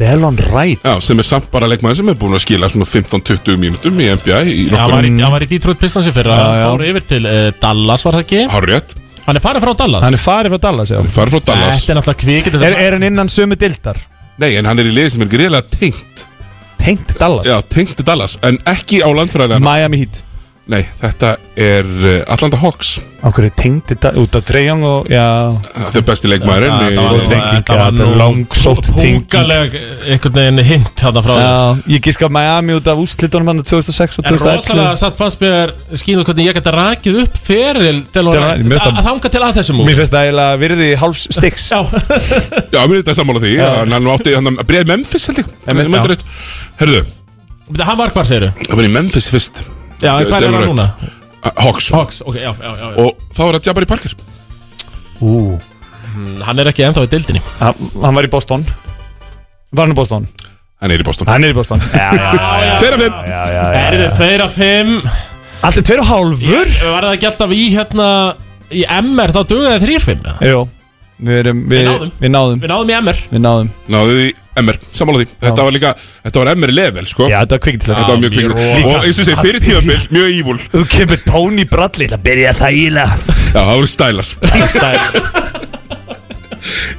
Delon Wright
Já, sem er samt bara leikmaður sem er búin að skila svona 15-20 mínútum í NBA í
Hann var,
nokkur
í,
Mm.
hann var í Detroit Pistons í fyrra Fór yfir til uh, Dallas var það ekki
Hárrétt,
Hann er farin frá Dallas
Hann er farið frá Dallas, já
farið frá Dallas
Þetta er náttúrulega kvikið
Er, er hann innan sömu dildar?
Nei, en hann er í liði sem er greiðlega tengt
Tengt Dallas?
Já, tengt Dallas, en ekki á landfræðilega
Miami Heat
Nei, þetta er eh, Atlanta Hawks
Okkur er tengt Dallas Út af Treyjong og Já
Þetta er besti leikmaðurinn í-
var-
Þetta
tenging,
Ah,
já,
var
þetta er
nú
langsótt tenging.
pungaleg einhvern veginn hint þarna frá þér.
Já, ég gíska Miami út af úslitunum hann 2006 og
En rosalega
2011
satt fannst mér skínuð hvernig ég geta rakið upp feril Delon
Delon Wright, mér
Wright
finnst það-
að þanga til að þessum
Mér
úr
finnst það eiginlega virði hálfs sticks
Já,
Já, mér er þetta sammála því En hann átti, hann breiði Memphis held ég Ef
Einmitt,
ég man
já.
rétt. Herðu,
Þetta, hann var hvar segiru
það var í Memphis fyrst
Já, en hvað er
Delon
hann
Wright.
núna?
Ah, Hawks
Hawks, ok, já, já, já, já.
Og þá er það Jabari Parker
Ú
Hann er ekki ennþá í deildinni
Hann hann var í Boston Var hann í Boston?
Hann er í Boston
Hann er í Boston Já, já, já,
Tveir af fimm
já, já, já.
Er þetta 2 af 5
Allt er tveir og hálfur
Var það ekki alltaf í hérna Í MR þá dugði það 3 af 5
Jú Við erum Við
Við náðum. Við
Við náðum
náðum í MR
Við náðum
Náðu því MR, sammála því Þetta var líka, þetta var MR level, sko
Já, þetta var kviktilegt
Þetta var mjög kvikkur
Líka-
Og eins og segi, fyrir tíðanbíl, mjög ívúl
Þú kemur Tony Bradley Það byrja þægilega
Já, það voru stælar
Stæl.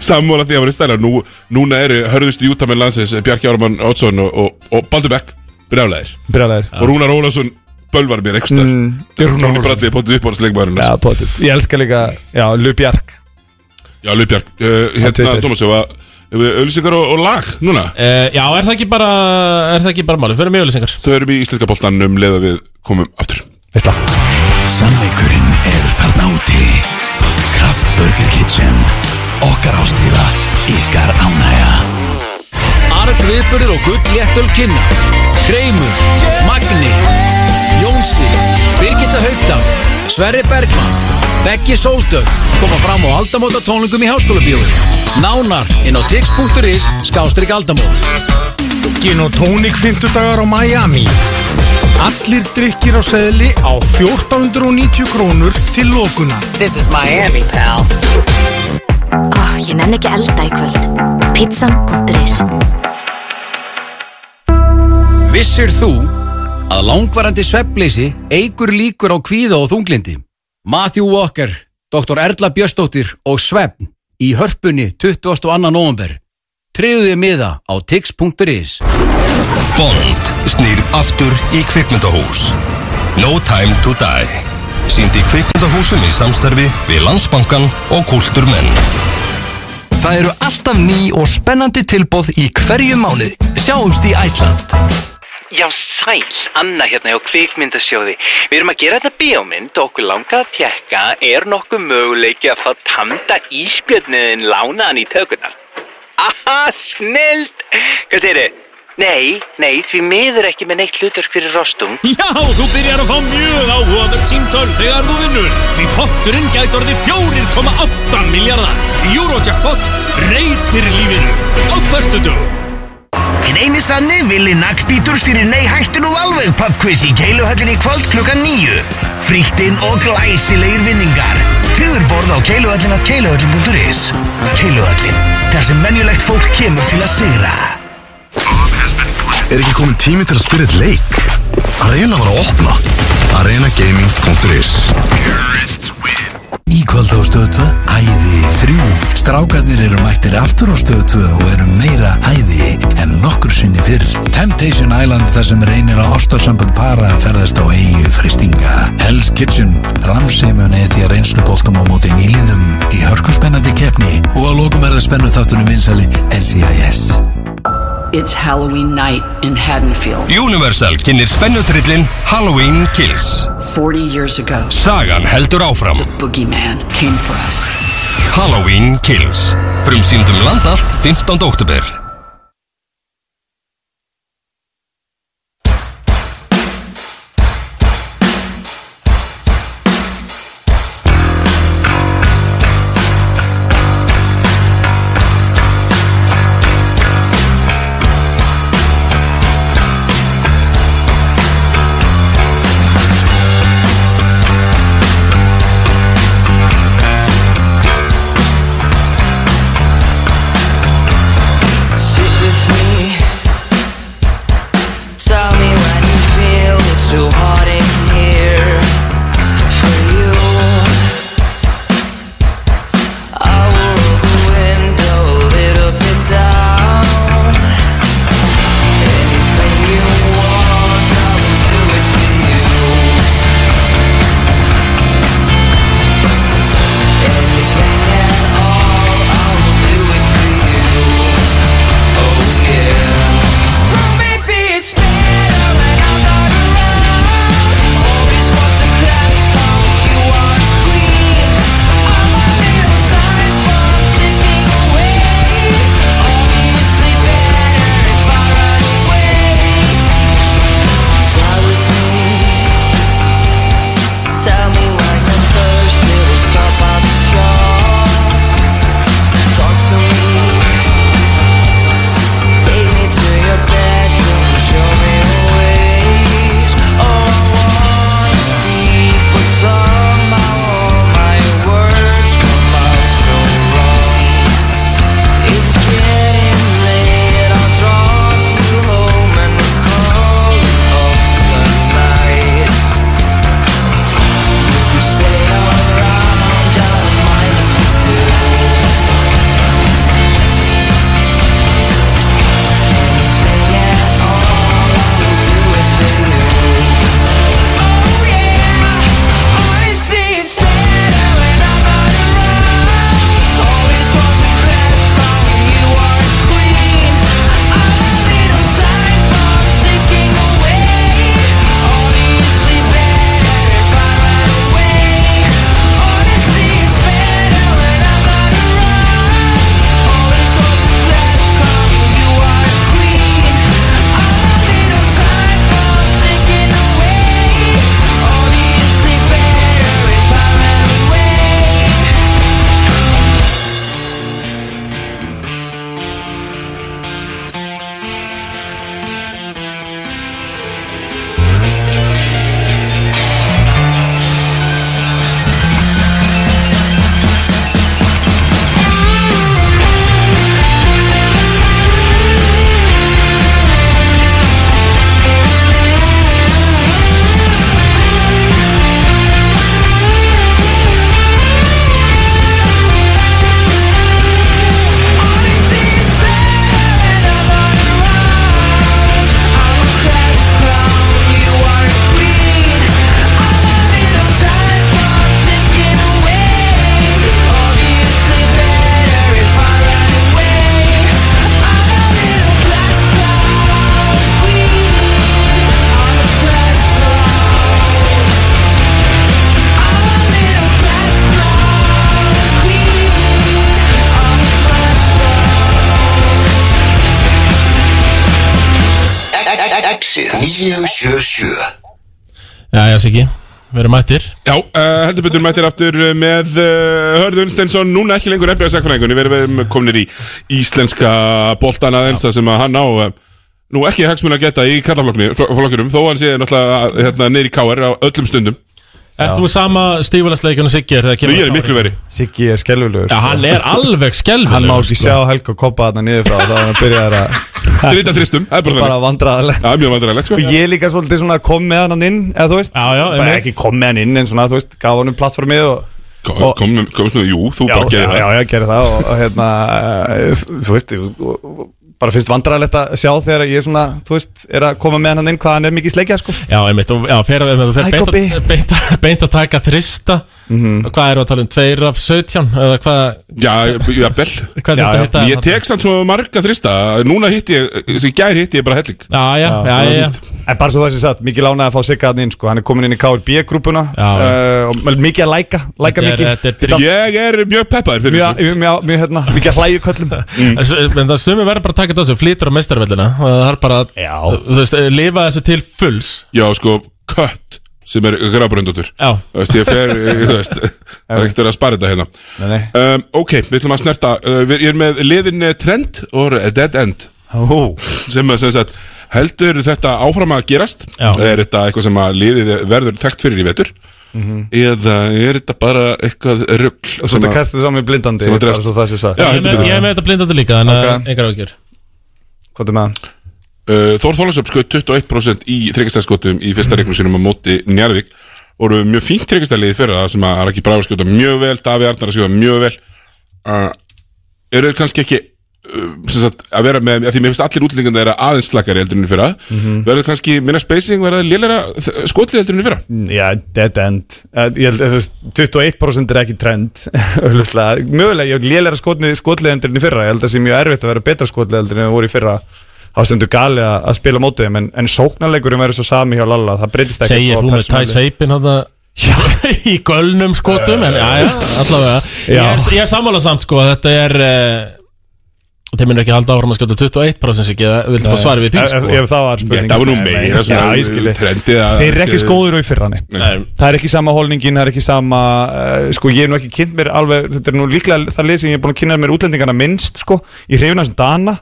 Sammála því að voru stælar Nú, Núna eru hörðustu jútamenn landsins Bjarki Áramann Oddsson og, og, og Baldur Beck Brjálæðir
Brjálæðir
Og Rúnar Ólafsson bölvar mér ekstra mm, Rúnar Brallið potið uppáhaldsleikmaðurinn
Já,
ja.
potið Ég elska líka Já, Lu Bjark
Já, Lubjark uh, Hérna,
Twitter.
Tómas, hefa Ölsingar og, og lag núna
uh, Já, er það ekki bara Er það ekki bara málið Fyrir mjög lýsingar
Þau erum í íslenska boltanum Leða við komum aftur
Veistla
Sannleikurinn er þarna úti Kraft Burger Kitchen Okkar ástríða, ykkar ánægja
Arg viðbörður og gull léttöl kynna Hreimur, Magni Jónsi, Birgitta Haugdal Sverri Bergman Beggi Sóldögg koma fram á aldamóta tónlingum í háskóla Nánar inn á tix.is skástrík aldamót
Gin og tónik 50 dagar á Miami Allir drikkir á seðli á 1490 krónur til lókunar
This is Miami, pal.
Oh, ég nenni ekki að elda í kvöld. Pizzan.is
Vissir þú að langvarandi sveppleysi eigur líkur á kvíða og þunglindi? Matthew Walker, Dr. Erla Björstóttir og Sveppn í hörpunni 22. november. Treyðuðið miða á tix.is.
Bond snýr aftur í kvikmyndahús No Time to Die Sýnd í kvikmyndahúsum í samstarfi við Landsbankan og Kulturmenn
Það eru alltaf ný og spennandi tilbóð í hverju mánuði. Sjáumst í Æsland.
Já, sæl, Anna hérna hjá Kvikmyndasjóði. Við erum að gera þetta bíómynd og okkur langað að tekka er nokkuð möguleiki að fá tamda íspjörniðin lánaðan í tökunar. Aha, snilt! Hvað segir þið? Nei, nei, því miður ekki með neitt hlutverk fyrir rostung.
Já, þú byrjar að fá mjög áhugaverð símtöl þegar þú vinnur Því potturinn gæti orðið 4,8 miljardar Eurojackpot reytir lífinu á förstu
En eini sanni, Vili Nagbítur stýrir Nei hættu nú alveg pubquiz í Keiluhöllinni í kvöld klukkan nýju. Fríktinn og glæsilegir vinningar. Fyðurborð á keiluhöllin at keiluhöllin.is Keiluhöllin, þar sem venjulegt fólk kemur til að sigra.
Er ekki komin tími til að spyrja eitt leik? Arena var að opna arenagaming.is Í kvöld á stöðu 2, hæði 3 Strákarnir eru mættir aftur á stöðu 2 og eru meira hæði en nokkur sinni fyrr Temptation Island þar sem reynir að ástarsambund para að ferðast á eigu fristinga Hell's Kitchen, Ramseimun etja reynsluboltum á móti nýliðum í hörkurspennandi keppni og að lókum er það spennu þáttunum vinsali NCIS
It's Halloween night in Haddonfield.
Universal kynir spennutrillin Halloween Kills.
40 years ago,
Sagan heldur áfram.
Boogeyman came for us.
Halloween Kills. Frumsýndum landallt 15. oktober.
Já, já, Siggi, við erum mættir
Já, uh, heldur betur mættir aftur uh, með uh, Hörðu Unstensson, núna ekki lengur NBA sakfræðingunni, við erum kominir í íslenska boltan aðeins þar sem að hann á uh, nú ekki hagsmun að geta í kallaflokkurum, þó hann sé náttúrulega uh, hérna, niður í káar á öllum stundum
Ert þú sama stífulegsleikun og Siggi er þegar
Nú
kemur
ég er
að
miklu veri
Siggi er skelvulegur
Já, hann er alveg sko. skelvileg
Hann má ekki sjá Helga koppa þarna niður frá þá er hann byrjaður að
Drita þristum, það er bara
bara
þannig
vandraðalegt
Það er mjög vandræðilegt sko
Og ég líka svolítið svona kom með hann inn eða þú veist,
Já, já,
bara
einmitt.
ekki kom með hann inn en svona þú veist, gaf hann um plattformið og
Kom- kom- Komst nú, jú, þú bara
já,
gerir
já,
það
já, gerir það og, og hérna, eh, þú veist og- og- og bara finnst vandræðilegt að sjá þegar ég er svona, þú veist, er að koma með hann inn hvað hann er mikið sleikja, sko
Já, einmitt, og já, fer, ef þú fer
Hæ,
beint,
Kobbi.
að- beint, að- beint að taka þrista Hvað eru að tala um, 2 af 17 eða hvað,
Já, já, bell
hvað er
Já,
þetta
já.
hitta
Ég tek samt svo marga þrista Núna hitti ég, sem gær hitti ég bara helling
Já, já, já, já, já.
En bara svo það sem sagt, mikið lánaði að fá Sigga hann inn, sko hann er komin inn í KLB-grúpuna
Já, já.
uh, og mikið að læka,
Þetta
læka
er-
mikið
þetta er
Þetta-
Ég er mjög peppaður fyrir
mjög,
þessu
mjög, mjög, mjög, hérna, mikið að hlæju köllum
En s- en það sumi verður bara að taka þetta á þessu flýtur á mestarvellina það er bara að,
Já.
þú veist, eh, lifa þessu til fulls
Já, sko, kött sem er grabröndotur
Já,
Þú veist, ég fer, þú veist Það er ekkert verið að spara þetta hérna
Nei, nei.
um, Ok, við ætlum að snerta uh, við- Ég er með liðin eh, Trend og Dead End
Ó,
sem, sem sagt, heldur þetta áfram að gerast
Já.
Er þetta eitthvað sem að liðið verður þekkt fyrir í vetur Eða er þetta bara eitthvað rugl
og svo þetta kastið saman í blindandi
sem að
bara
drefst.
svo það sem sagt
Já,
ég er með, ég er með þetta blindandi líka þannig
Ok.
að engar ákjör
Hvað er með hann?
Uh, Þór Þólasöp skaut 21% í þryggastæðskotum í fyrsta reiknum sinum á móti Njarðvík og eru mjög fínt þryggastæðlið fyrir það sem að Raki Braga skjóta mjög vel, Davi Arnar að skjóta mjög vel uh, eru þeir kannski ekki uh, sem sagt, að vera með, að því mér finnst allir útlendingandi þeirra aðeins slakari heldur enn fyrir það mm -hmm. verður þeir kannski minna spacing, verður þeir lélera skotlið heldur enn fyrir það
Já, dead end Eh, Ég held, eh, þú veist, 21% er ekki trend augljóslega. Mögulega, ég held lélæra skotleðendurinn í fyrra Ég held að það sé mjög erfitt að vera betra skotleðendurinn en voru í fyrra Það stundu gali að, að spila mótið þeim En, en sóknarleikurinn verður svo sami hjá Lalla Það breytist ekki
Segir
frá
þú með Tæ
persónuleik.
Seipin hann í gölnum skotum en já, já, allavega Ég er, ég er sammála samt sko að þetta er eh, þeir myndu ekki halda áfram að skjóta 21% ekki, ég vildi fá svari við því
Ef- Eh, ef-
sko
Ef það var spurning
Ég, það var nú
Nei,
meira
nei,
svona
Já, ég skil þig.
trendið að-
Þeir eru ekki skóður og í fyrra nei.
Nei,
Það er ekki sama holningin, það er ekki sama uh, sko ég hef nú ekki kynnt mér alveg þetta er nú líklega það lið sem ég er búin að kynna mér útlendingana minnst sko, ég hrifin að sem Dana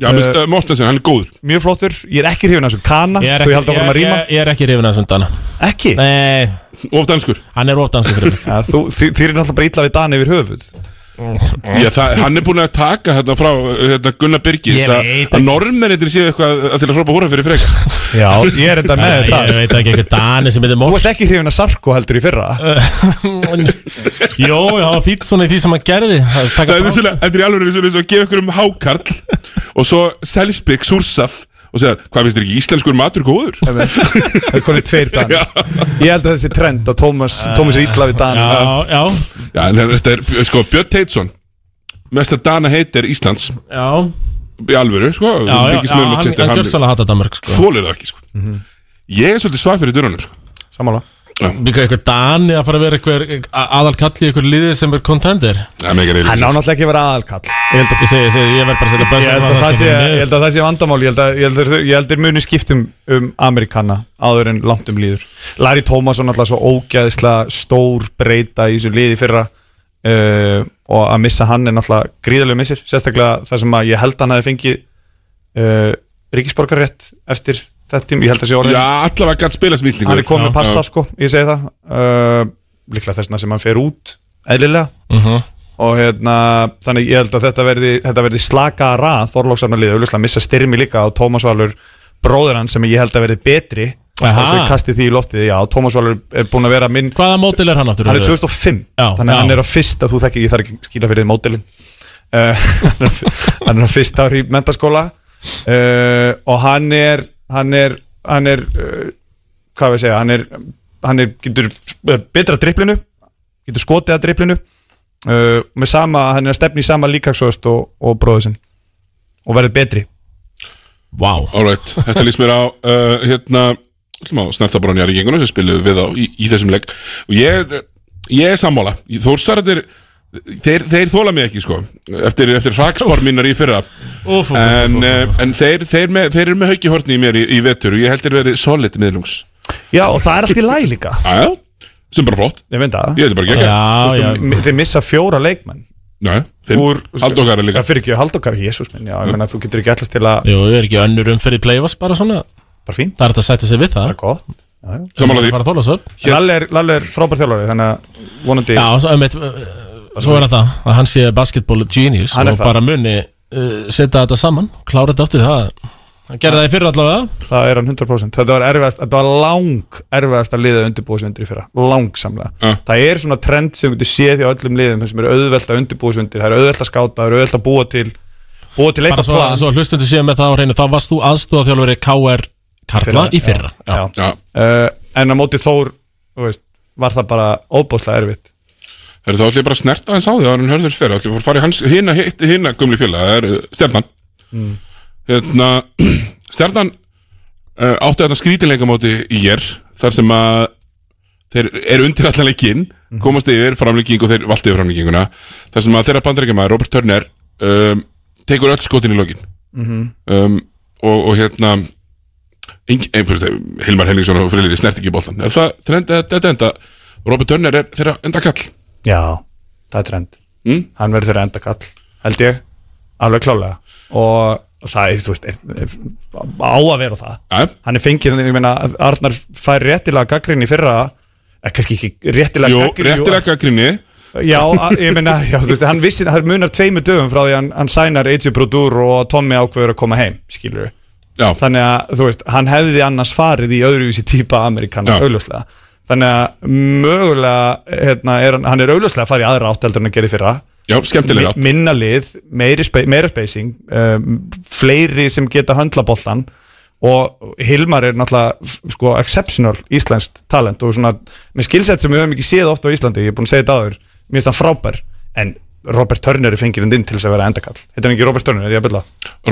Já, uh, minnst Mortensen, hann er góður
mjög flottur, ég er ekki hrifin að sem Kana
ég er
svo
ekki,
ég held að vorum að
ég,
rýma
ég, ég er ekki rifin að sundana
Ekki?
Nei,
of danskur,
hann er ofdansku fyrir mig
Ja, þú, þi- þið eru náttúrulega bara illa við Dan yfir höfuð
Já, það, hann er búin að taka hérna frá hérna, Gunnar Birgis
Ég
að
veit
að norðmennir séu eitthvað að- til að hrópa hóra fyrir frekar
Já, ég er enda með
Ég
það
veit ekki eitthvað dani sem heitir
Þú
Mór
varst ekki hrifin að Sarko heldur í fyrra
Jó, já, það var fýtt svona í því sem hann gerði að taka
Það er
brátt.
svona, þetta er í alveg svona eins og að gefa ykkur um hákarl og svo Selsbygg, Súrsaf og segja, hvað finnst þér ekki, íslenskur matur góður?
Það er konið tveir Dan Ég held að þessi trend að Tómas, Tómas er illa við Dan
Já, já,
Já, en þetta er, sko, Björn Teitsson mesta dana heitir Íslands
já
í alvöru, sko,
Já, já,
fylgist
já,
með um
hann,
að
hann
Twitter, hann
gjössalega hata Danmark sko
þólir það ekki, sko Ég er svolítið svag fyrir dörunum, sko
Samála
Líka eitthvað dani að fara að vera eitthvað aðal kalli eitthvað liði sem er contender
Það er mega
Hann á
reyðilega
náttúrulega ekki að vera aðalkall
Ég held að ég segi, ég segi, ég verð bara að setja
Ég
bæsum
held að það sé, ég held að það sé vandamál Ég held að, ég held að, ég held að muni skiptum um Amerikanna áður en langt um líður Larry Tómasson alltaf svo ógæðislega stór breyta í þessu liði í fyrra uh, og að missa hann er alltaf gríðarlega missir, sérstaklega þar sem að ég held að hann hafi fengið uh, ríkisborgarrétt eftir þetta tím, ég held að sé orðin
Já, allavega gætt spila sem íslingur
hann er komið passa sko, ég segi það uh, líklega þessna sem hann fer út eðlilega og hérna, þannig ég held að þetta verði, þetta verði slakara Þorlóksamnarlið auðvitað missa styrmi líka á Tómas Valur bróður hann sem ég held að verði betri
Aha.
þess að ég kasti því í loftið, já, Tómas Valur er búin að vera minn,
Hvaða mótil er hann aftur?
hann er 2005
Já,
þannig að
já.
hann er á fyrsta, þú þekkir, ég þarf ekki að skýla fyrir þið mótilin uh, hann er á fy- hann er á fyrsta ári í mentaskóla uh, og hann er hann er, hann er uh, hvað við segja, hann er hann er, getur eh, betra dripplinu getur skotið að dripplinu uh, með sama, hann er að stefni í sama líkaksöðust og, og bróðu sinn og verður betri
Vá
Alright, þetta líst mér á uh, hérna, ætlum að snerta bara nýjar í genguna sem spiluðu við á í, í þessum legg og ég er, ég er sammála Þórsarðir, þeir, þeir þóla mig ekki sko, eftir, eftir hrakspor mínar í fyrra eh,
Úf, úf, úf, eh,
en, uh, en þeir, þeir, með, þeir eru með hauki hortni í mér í, í vetur og ég held þeir verið solid miðlungs
Já, og það er allt í læg líka
Aðja, sem bara flott
Ég veit það
Ég veit bara ekki ekki
Já,
Þú
já
veist, mi- Þið missa fjóra leikmenn
Nei,
Úr-
þeim Halldókar er líka
Það fyrir ekki að halda okkar, jésús minn
Mm.
Já, ég meina þú getur ekki allast til að
Jú, er ekki önnur umferði playfast bara svona
Bara fínt,
Það er þetta að sæta sig við það
bara gott
Samanlega
Það
því
var að þóla svo
En Lalli er, Lalli er frábær þjálfari Þannig að vonandi
Já, svo, um, svo er það að hann sé basketball genius
Hann er
og
það.
bara muni uh, setja þetta saman, klára þetta aftur það Hann gerði það í fyrir allavega
Það er hann 100% Þetta var erfiðast, þetta var lang erfiðast að liða undirbúið sig undir í fyrra Langsamlega
Ja.
Það er svona trend sem þú getur séð hjá öllum liðum sem eru auðvelt að undirbúið sig undir Það er auðvelt að skáta, það er auðvelt að búa til Búa til
bara
eitthvað
svo,
plan
svo hlustundu síðan með það á hreinu þá varst þú aðstóða þjálfur KR Karla í fyrra
já.
já.
Já,
Uh, En á móti Þór, þú veist, var það bara óbúslega erfitt
er það allir bara að snerta hans á því Það er hann hörður fyrir Allir bara að fara í hans Hina, hitt- hina gumli fjöla Það er uh, stjarnan Hérna Stjarnan uh, Átti þetta skrítileika móti í ég Þar sem að Þeir eru undir allan leikinn Komast yfir framlíking Og þeir valdi yfir framlíkinguna Þar sem að þeirra bandarækjamaður Robert Turner um, Tekur öll skotin í lokin um, og, og hérna Ingi, ein, fyrst, Hilmar Henningsson og Friðlíði snert ekki í boltan er það trend eða þetta enda Robert Turner er þeirra enda kall
Já, það er trend
Mm.
Hann verður þeirra enda kall, held ég Alveg klálega Og það er, þú veist, er, er, á að vera það
ja,
hann er fengið, ég meina Arnar fær réttilega gaggrinni fyrra eh, kannski ekki réttilega
jú,
gagnrýni, jú,
réttilega gaggrinni
já, a- ég meina, já, þú veist, hann vissi, það munar tveimu dögum frá því hann, hann sænar AJ Brodur og Tommy ákveður að koma heim, skilur
já,
þannig að, þú veist, hann hefði annars farið í öðruvísi típa Amerikana,
Já.
augljóslega þannig að mögulega hérna, er, hann- hann er augljóslega að fara í aðra átt heldur en að gera í fyrra
já, skemmtilega
Mi- minna lið, meiri, spe, meira spacing um, fleiri sem geta höndla boltan og Hilmar er náttúrulega f- sko, exceptional íslenskt talent og svona með skilsett sem við höfum ekki séð ofta á Íslandi, ég er búin að segja þetta aður mér finnst hann frábær, en Robert Turner er fengirinn inn til þess að vera endakall heitir hann ekki Robert Turner, er ég að byrla?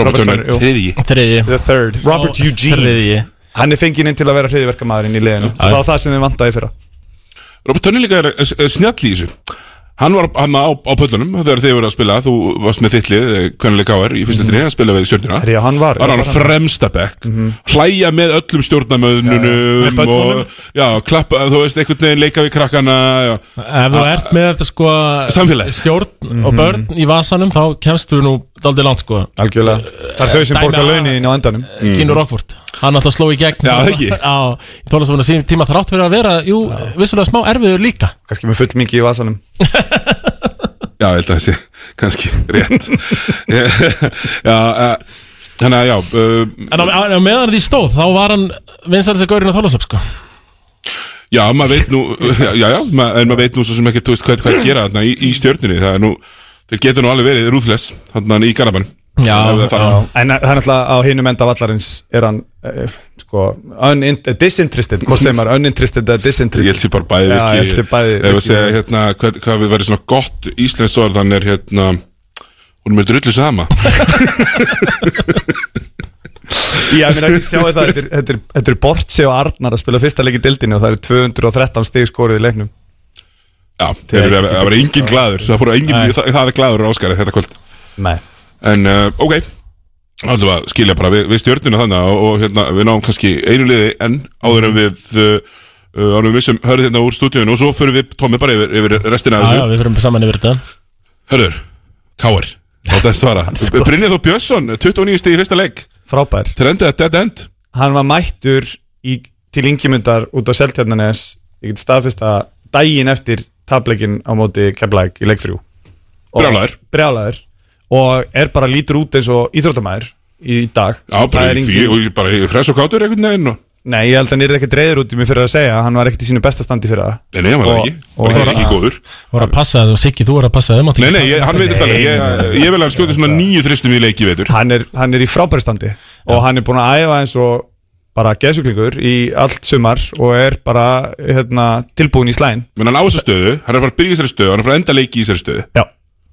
Robert Turner,
jú.
þriðji
Þriði
The third, Robert Eugene
Þriði
hann er fengirinn inn til að vera hriðverkamaðurinn í liðinu og það var það sem þið vantaði fyrra
Robert Turner líka er, er, er snjall í þessu hann var hann á, á pöllunum þegar þið voru að spila þú varst með eh, þittlið, Könnuleg Káar í fyrstu mm. að spila við stjórnina
Mhm. Herri, já, hann var-
var hann á
var hann- Mhm.
fremsta bekk hlæja með öllum
Með
stjórnamöðnunum
börnunum.
og já, klappa, þú veist, einhvern veginn leika við krakkana já.
Ef þú ert með þetta sko
Samfélagið.
Stjórn og börn í vasanum þá kemst þú nú daldið langt sko
algjörlega, það er þau sem
Eh, Dæmi
borgar
að-
launin á endanum
mm. Kínur Rockford hann alltaf sló í gegn
Já, það ekki.
á tónlistafuna sínum tíma þrátt fyrir að vera jú, vissulega smá erfiður líka
kannski með full mikið í vasanum
Já, ég held að það sé kannski rétt Já, eh, þannig að já uh,
en á, á, á meðan því stóð þá var hann vinsarðis að gaurinn á þólasöp sko
Já, maður veit nú Já, já, já ma, en maður veit nú svo sem ekki þú veist hvað, hvað gera þarna í, í stjörnunni Það er nú, þeir getur nú alveg verið rúðless Þannig í Garabæn
Já,
já
En eh, það er náttúrulega á hinum enda vallarins er hann eh, sko, unin, eh, disinterested, hvort sem er uninterested eða
Ég held
disinterested
sér bara bæði
Já,
virki
ég held sér bæði
Ef
virki
að segja hérna hvað, hvað við verið svona gott íslensk orð Þannig er hérna Hún er mér drullu sama
Já, ég meina ekki sjá það, þetta er, þetta er, þetta er Bortse og Arnar að spila fyrsta leik í dildinu og það eru 213 stig skorið í leiknum
Já, þeir, eru- það var engin glæður Það fóru engin, það, það er glæður áskari þetta kvöld
Nei
En uh, ok Alltaf að skilja bara við, við stjörnuna þannig og, og hérna, við náum kannski einu liði en áður en við uh, uh, áður en við sem hörðu hérna úr stúdíun og svo förum við Tommi bara yfir, yfir restina af
já, já,
þessu
við fyrir saman yfir þetta
Hörður, Káar, þetta svara
Sko.
Brynjaður Björnsson, 29 stig í fyrsta leik
Frábær,
Trendið að dead end
hann var mættur í, til yngjumundar út á Seltjarnanes ég get staðfesta daginn eftir tableikin á móti Keflæk í leik 3
Brjálaður.
Brjálaður og er bara lítur út eins og íþróttamæður í dag
Já, bara,
Það
í
er engin-
því, og ég bara í fress og kátur einhvern veginn og
Nei, ég held að hann er ekkert reyður út í mig fyrir að segja að hann var ekkert í sínu besta standi fyrir það
Nei, nei, hann var það
Og-
ekki,
og-
bara ekki, ekki góður
voru að passa þessu, Siggi, þú voru að passa þeim
Nei, nei, ég, hann veit þetta alveg Ég, ég vil að hann skjóti svona nýju þristum í leiki veitur
Hann er, hann er í frábæri standi og hann er búin að æfa eins og bara geðsuglingur í allt sumar og er bara hérna, tilbúin í slæn
Men hann á þessa stöðu, hann er að fara að byrja í þessari stöðu Hann er að fara að enda leiki í þessari stöðu
Já.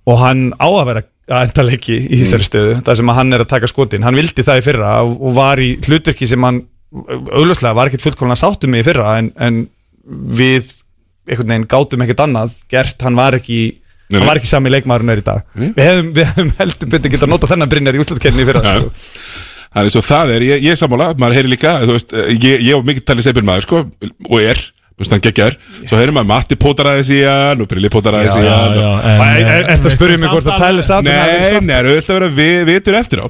og hann á að vera að enda leiki í þessari stöðu þar sem að hann er að taka skotin hann vildi það í fyrra og og var í hlutverki sem hann augljóslega var ekkert fullkomlega sáttum í fyrra en, en við einhvern veginn gátum ekkert annað gert, hann var ekki
Nei,
hann
nei.
var ekki sami leikmaðurinn er í dag við hefum, við hefum heldur betur geta nota þennan Brynjar í úslatkerni í fyrra
Já.
sko.
Það er svo það er, ég, ég er sammála, maður heyri líka þú veist, eh, ég, ég var mikið talið seipin maður sko, og er, þú veist, hann geggjar svo heyri maður Matti pótar aðeins í hann og Brilli pótar aðeins í hann og...
eh,
e-
Eftir að spurja mig hvort það tæli saman
sko?
Nei, nei, það er auðvitað að vera vi- vitur eftir á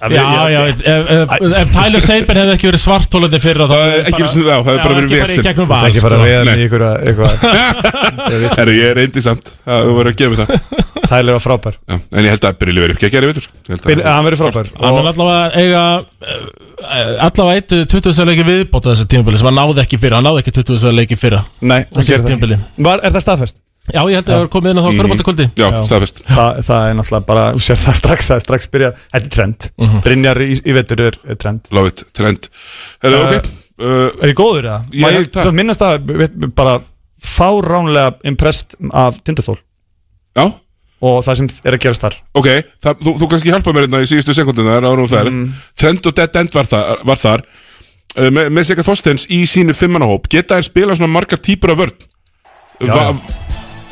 Já, já, ef, ef, ef Tyler Sabin hefði ekki verið svartólandi fyrir
Það er ekki einu sinni- já, það hefði bara verið vesen.
Það er
Það er ekki
sko.
fara að veða
Nei.
mig í einhverja eitthvað
Herru, ég reyndi samt, það voru að gefa mér það
Tæli var frábær
já, En ég held að Brilli verið geggjar í vitur sko. Ég held að
Bin-
það sé-
Hann verið frábær
Hann
Og-
er allavega að eiga eh, allavega eitt 20 sæða leiki viðbót á þessu tímabili sem hann náði ekki fyrir, hann náði ekki 20 sæða leiki fyrir
Nei, hann
síðasta
gerir það
tímabili.
ekki. Var- Er það staðfest?
Já, ég held að það var komið inn á þá körbóltakvöldi
Já, staðfest
Þa, það er náttúrulega bara, þú sér það strax það er strax byrja, þetta er trend Brynjar í, í vetur er, er trend
Love it, trend Herru,
Eh,
ok uh,
Er ég góður eða?
Ég
Má
held
Ég
það.
samt minnast að við, við bara fáránlega impressed af tindastól
Já,
og það sem er að gerast þar
ok, það, þú, þú kannski hjálpa mér hérna í síðustu sekundina Það er árum ferð
Mm.
Trend og dead end var, það, var þar uh, Me, Með Sega Þorsteins í sínu fimmanahóp Geta þær spila svona margar típur af vörn
Já,
Va-
já.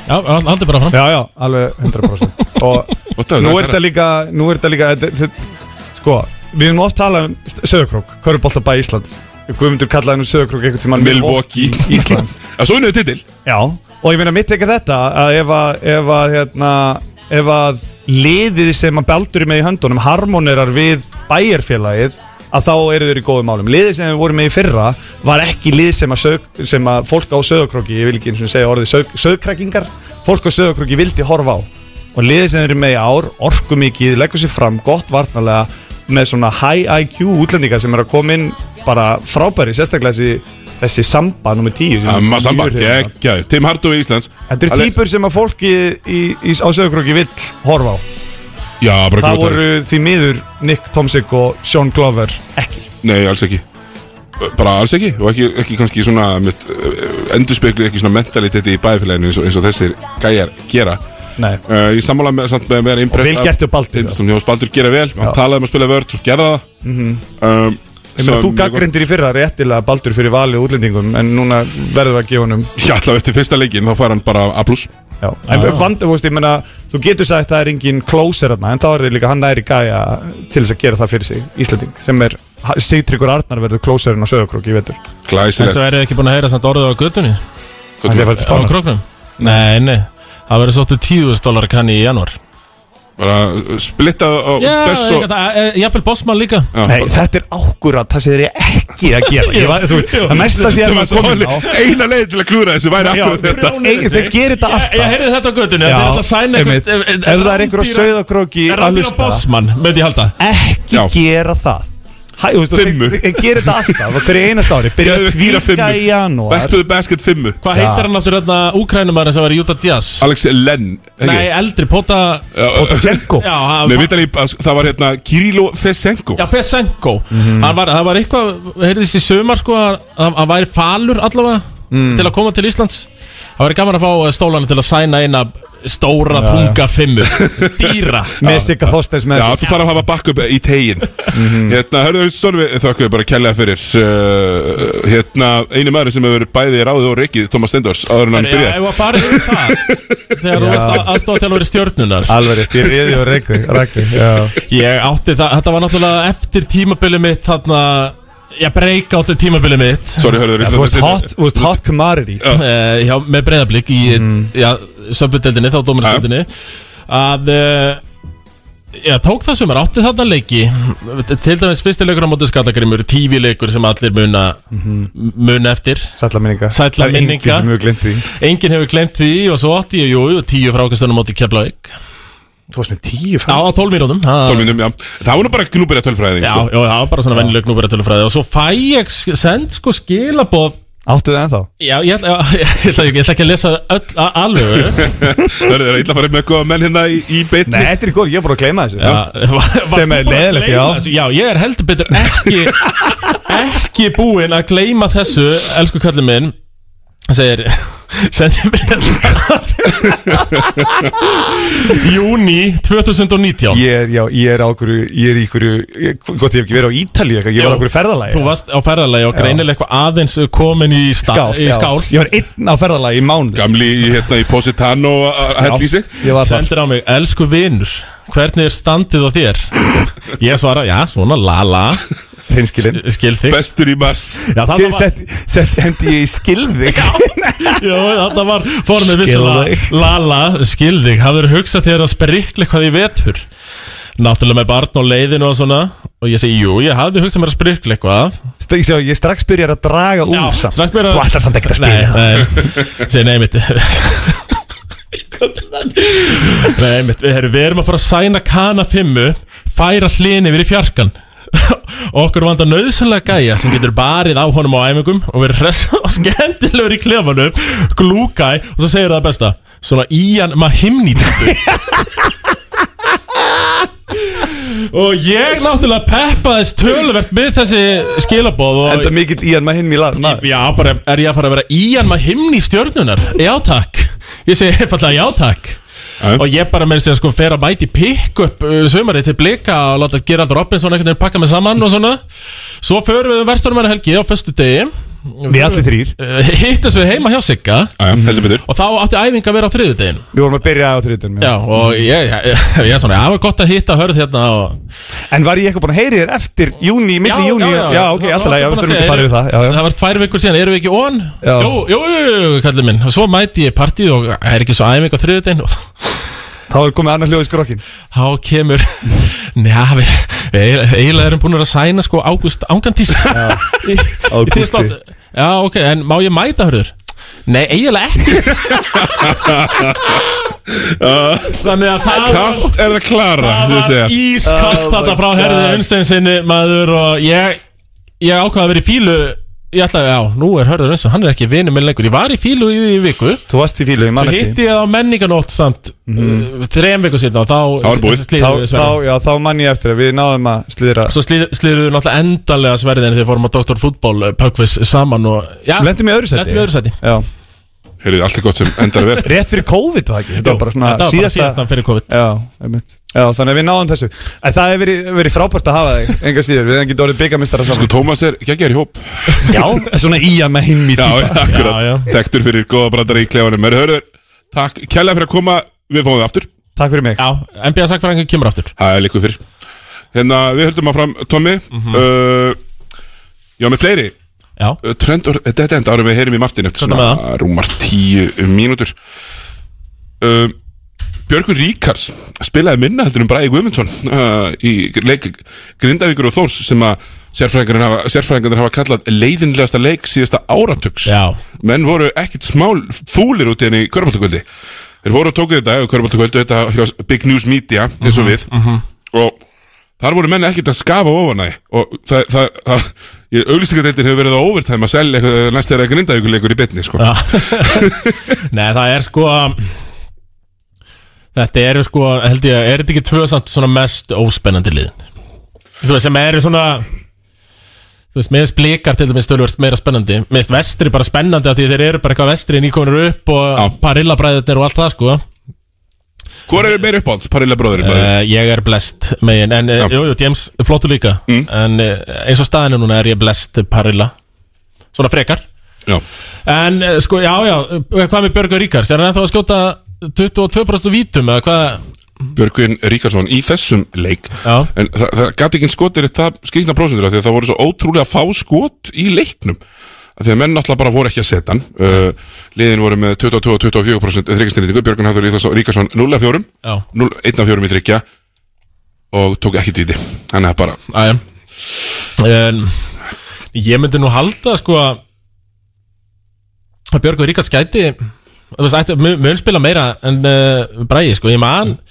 Já, hal- haldið bara fram
Já, já, alveg 100% Og
What the-
nú
það
er
er-
þetta líka, nú er þetta líka þetta, þetta, Sko, við erum oft talað um Söðurkrók, Köruboltabæ Íslands Guðmundur kallaði nú Söðurkrók einhvern tímann
Milwaukee
Íslands
Já, svo unniðu titil
Já, og ég meina mitt ekki þetta að ef að, ef að, hérna, ef að liðið sem að Baldur er með í höndunum harmonerar við bæjarfélagið að þá eru þeir í góðum málum. Liðið sem þeir voru með í fyrra var ekki lið sem að, sög, sem að fólk á söðakróki, ég vil ekki eins og segja orðið sög, söðkrækingar, fólk á söðakróki vildi horfa á. Og liðið sem þeir eru með í ár, orku mikið, leggur sér fram, gott varnalega með svona high IQ útlendinga sem eru að koma inn bara frábæri, sérstaklega þessi, þessi samba nummer 10. sem
Amma samband,
mjög hrifinn af.
geggjar Tim Hardaway Íslands
Þetta eru
Alveg-
típur sem að fólki í, í, á sögurkróki vill horfa á
Já, bara
Það
glótar
voru því miður Nick Tomsik og Sean Glover
Eh,
ekki
Nei, alls ekki Eh, bara alls ekki og ekki, ekki kannski svona mitt, uh, endurspegli ekki svona mentaliteti í bæðfélaginu eins og, eins og þessir gæjar gera
Nei
uh, ég sammála með, samt með að vera impress
Og vel gert hjá Baldur,
Tindastól, hjá Baldur gera vel, hann talaði um að spila vörð og gerða það um,
Sem þú gaggrindir í fyrra réttilega baldur fyrir valið og útlendingum En núna verður að gefa honum
Já, allavega eftir fyrsta leikin, þá fær hann bara A+.
Já En
Ah.
vand, þú veist, ég meina Þú getur sagt að það er engin closer þarna En þá er þið líka hann næri gæja til þess að gera það fyrir sig Íslending Sem er Sigtryggur Arnar verður closerinn á sögurkróki í vetur
En
Glæsilegt
svo er ég ekki búin að heyra samt orðið á göttunni Á
Hann sé að fara til Spánar
króknum Nei, nei Það verður sóttu 10.000 dólar kanni í janúar
bara uh, splitta og
Já,
best og
jafnvel Bossmann líka
Já,
Nei,
bara-
þetta er ákkurat það sem þeir eru ekki að gera Ég var, þú, veist, Það mesta sem
Þetta
ég
var
er
svo
komin á
leið- Eina leið til að klúra þessu væri
Já,
akkurat þetta
Ey, þeir gerir þetta alltaf
Ég heyrði þetta á göttunni Það
Já,
er alltaf að eh, sæna
einmitt. Ef það er einhver á Sauðárkróki að
Randýra
hlusta.
Bossmann, möndi ég halda
ekki
Já.
gera það Hæ, þú veist,
Fimmu.
þeir- þeir gerir þetta alltaf á hverju einast ári, byrja að
Geðveikt dýra
tvíka
fimmu.
í janúar
Back to the basket 5
Hvað heitir hann aftur þarna úkrænumæðurinn sem var í Utah Jazz?
Alex Len ekki?
Nei, eldri, Pota
Potjenko
Já, hann-
Nei, vitali, það var hérna Kirilo Fesenko
Já, Pesenko
Mhm.
hann var, Það var eitthvað, heyrðist í sumar sko að að hann væri falur allavega
Mm.
til að koma til Íslands Það væri gaman að fá stólana til að sæna eina stóra þunga fimmu Dýra
með Sigga Þorsteins með
Já,
þessu
þú þarf að hafa backup í tegin Hérna, hörðu, svona við þökkum við bara kærlega fyrir uh, Hérna, eini maður sem hefur verið bæði í ráðið og reikið Thomas Stendors, áður en hann
Já, ef
byrjaði
að fara yfir það Þegar þú varst aðstofa til að vera stjórnunar
alveg rétt, ég reyði og reykvi rækvi, já
Ég átti það, þetta var náttúrulega eftir tímabilið mitt þarna Ég breyka átti tímabilið mitt
Sorry, hörðu,
þú veist hot, þú veist hot commodity
uh, já, með breyðablík í mm. söpbudeldinni, þá dómarasteldinni að uh, Já, tók það sumar, átti þarna leiki Til dæmis fyrsti leikur á móti skallagrimur Tífileikur sem allir muna Muna eftir
sætla minninga
Sælla
það er enginn
minninga.
sem hefur glint því
Enginn hefur glemt því og svo átti ég, jú, jú, tíu frákastunum móti Keflavík
þú veist með tíu
Á,
fram
á tólmínútum
Tólmyndum, já Það var nú bara gnúbyrja tölfræðing,
Já,
sko
já, það var bara svona vennileg núbæra tölufræði Og svo fæ ég sk- send sko skilaboð
áttu það ennþá
Já, ég ætla, já, ég ætla, ég ætla ekki að lesa öll a- alveg
Hörðu, það er illa að fara upp með góða menn hérna í, í
nei,
beinni
þetta er í góð, ég er búin að gleyma þessu
Já, var- varstu
Sem
búinn
er
að
leiðilegt,
gleyma
já.
þessu? Já, ég er heldur betur ekki ekki búinn að gleyma þessu elsku kallið minn segir sendi mér þetta. júni 2019
ég er, já, ég er á okkur ég er í okkur, gott ég hef ekki verið á Ítali eitthvað, ég var á okkur ferðalagi
Þú varst á ferðalagi og greinilega eitthvað aðeins komin í, sta,
skál,
í
já.
skál.
ég var einn á ferðalagi í mánu
Gamli, í, hérna, í Positano að að hella í sig
ég var þar
sendir á mig, elsku vinur Hvernig er standið á þér? Ég svara, já, svona, la la
Hinskilin
Skil þig
Bestur í mass
Já, þarna var,
Sett, sett hendi ég í skilði
já, þarna var formið vissulega La la, skil þig Hafður hugsað þér að sprikla eitthvað í vetur Náttúrulega með barn og leiðinu og svona Og ég segi, jú, ég hafði hugsað mér að sprikla eitthvað
Ég sjá, ég strax byrjar að draga úr samt
strax byrjar að-
Þú ætlar samt ekkert að spila
Nei, nei, segi nei mitt Nei mitt, við, herru, við erum að fara að sæna kana fimmu Færa hlinn yfir í fjarkan Okkur vanda nöðsynlega gæja sem getur barið á honum á æfingum og verið hress og skemmtilegur í klefanum glúkæ og svo segir það besta svona Ian Mahimni typu. og ég náttúrulega peppaðist tölvert með þessi skilaboð og
Enda mikill í hann maður hinn í lag
Já, bara er ég að fara að vera Ían maður himni stjörnunar Já, takk Ég segi einfallega já, takk
Já.
Og ég bara með þess að sko fer að mæti pick-up uh, sömari til blika og láta Gerald Robinson einhvern veginn pakka mig saman og svona Svo förum við um verstunumæri helgi á föstu degi
Við allir þrýr
Hittast við heima hjá Sigga
Æja, heldur betur
og þá átti æfing að vera á þriðudegin
Við vorum að byrja á þrjóttunum
Já, og ég, ég, ég er svona, já, var gott að hitta hörð hérna og
En var ég eitthvað búin að heyri þér eftir júni, milli
Já,
júni
já, já.
Já, ok,
Þá-
alltaf,
þá
já,
ertu
við
búin að segja,
þurfum ekki að fara yfir það Já, já
það var tvær vikur síðan, erum við ekki on?
Já.
Jú, jú, jú, kallið minn, svo mæti ég í partíð og er ekki svo æfing á þriðudegin og
þá er komið annað hljóð í skrokkin
þá kemur Njá, við, við eiginlega- eiginlega erum búin að sæna sko Ágúst Ángantís í, í
Ágústi.
tilslátt Já, ok, en má ég mæta hörður? Nei, eiginlega ekki Þannig að það var
Kallt er það klara
það
sem ég segja.
var
Oh
ískallt þetta frá herði Unnsteinsinni maður og ég ég ákvaði að vera í fílu ég ætlaði, já, nú er hörður Unnstein, hann er ekki vinur minn lengur, ég var í fílu í því viku
Þú varst í fílu, ég
svo
man
hitti
eftir
ég það á menninganótt samt mm. þrem viku síðan og þá
Þá var búið.
Mhm. Þá,
slíður
þá, já, þá man ég eftir að við náðum að slíðra
svo slíður við náttúrulega endanlega sverðin þegar við fórum á Dr. Fútból Pökvis saman og já,
Lendum í öðru sæti
Lentum í öðru sæti.
Já
Heyrðu, allt er gott sem endar vel
Rétt fyrir COVID var það ekki Þetta var
þetta
bara
var
svona
bara
síðasta
síðastan fyrir COVID
Já, einmitt Já, þannig að við náðum þessu En það hefur verið, verið frábært að hafa þig Enga síður, við hefum getið orðið byggamistara
Sko,
saman
Tómas er geggjær í hóp
Já, svona í að með hinn í
Já,
tíma
akkurat
já.
Þekktur fyrir góða brandar í klefanum Mér hörður, takk kjærlega fyrir að koma Við fáum við aftur,
Takk fyrir mig
já, NBA Sakfræðingur kemur aftur
það er líkuð fyrir Hérna, við höldum áfram, Tommi uh, Já, með fleiri
já,
Uh, Trend og Dead End árum við heyrim í Martin eftir
Hvernig
svona
með
rúmar tíu mínútur uh, Björgur Ríkars spilaði minna heldur um Bræði Guðmundsson uh, í leik Grindavíkur og Þórs sem að sérfræðingarnir hafa, sérfræðingarnir hafa kallað leiðinlegasta leik síðasta áratugs
Já.
menn voru ekkit smál fúlir út í henni í Körbáltakvöldi þeir voru og tóku þetta í Körbáltakvöldi þetta hjá Big News Media eins og við og Þar voru menn ekkert að skafa ofan það og það, það, það ég, auglýstingadeildir hefur verið á overtime að selja eitthvað næst þegar að grinda ykkur leikur í bytni sko.
Já. Nei, það er sko Þetta eru sko, held ég, er þetta ekki tvö samt svona mest óspennandi liðin Þú veist, sem eru svona Þú veist, meðist blikar til dæmis stöluvert meira spennandi Meðist vestri bara spennandi af því þeir eru bara eitthvað vestri nýkonur upp og
Já.
parillabræðirnir og allt það sko
Hvor eru meir uppáhalds, parilla bróðurinn? Uh,
Uh, ég er blest megin En uh,
Já. Mm.
jú, jú, James, flottu líka En uh, eins og staðinu núna er ég blest parilla Svona frekar
já,
En uh, sko, já, já, uh, hvað með Björgur Ríkars? Er hann ennþá að skjóta 22% vítum eða hvað?
Björgvin Ríkarsson í þessum leik
Já.
en það, það gæti ekki skotir það skýrna prósendur af því að það voru svo ótrúlega fá skot í leiknum af því að menn náttúrulega bara voru ekki að setja hann uh, liðin voru með 22-24% þryggastinnitingu, Björgvin Hættur Ríkarsson 0-4,
Já,
1-4 í þryggja og tók ekki dvíti þannig að bara,
aðja en, Ég myndi nú halda sko að að Björgur Ríkars gæti þú veist, ætti- mun mun spila meira en uh, Bræði, sko, ég man þú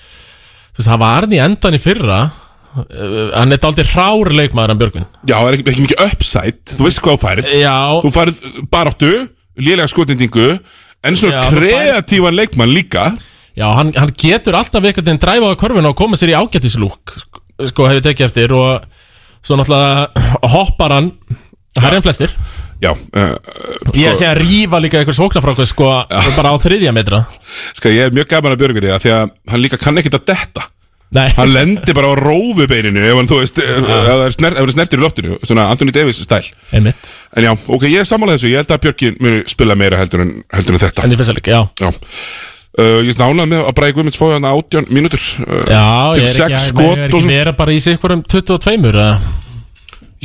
veist, það var hann í endan í fyrra uh, hann er daldið hrár leikmaður en Björgun
já, það er ekki, ekki mikið upside þú veist hvað þú færið
Já,
Þú færð baráttu, lélega skotendingu En svona Já,
Já, þú færð-
kreatívan leikmann líka
Já, hann, hann getur alltaf einhvern veginn dræfað á korfinu og koma sér í ágætislúk sko, sko hefur tekið eftir og svo náttúrulega hoppar hann hærri en flestir
Já, uh,
Ég sé að rífa líka einhvers hóknarfrákvæð sko bara á þriðja metra
sko ég er mjög gaman að Björgvin Því að hann líka kann ekkert að detta
Nei,
Hann lendir bara á rófubeininu Ef hann, þú veist, ef ef það er, snert, ef hann er snertir í loftinu Svona Anthony Davis stæl
einmitt
En já, ok, ég er sammála þessu Ég held að Björgvin muni spila meira heldur en, heldur en þetta
En ég finnst það líka, já
Já Uh, ég snálaði með að Bræði Guðmunds fóði hann 18 mínútur uh,
Já,
Tek
ég er ekki,
sex
ég
skot
er
og
ekki
svona.
meira bara í sig ykkur um 22 eða?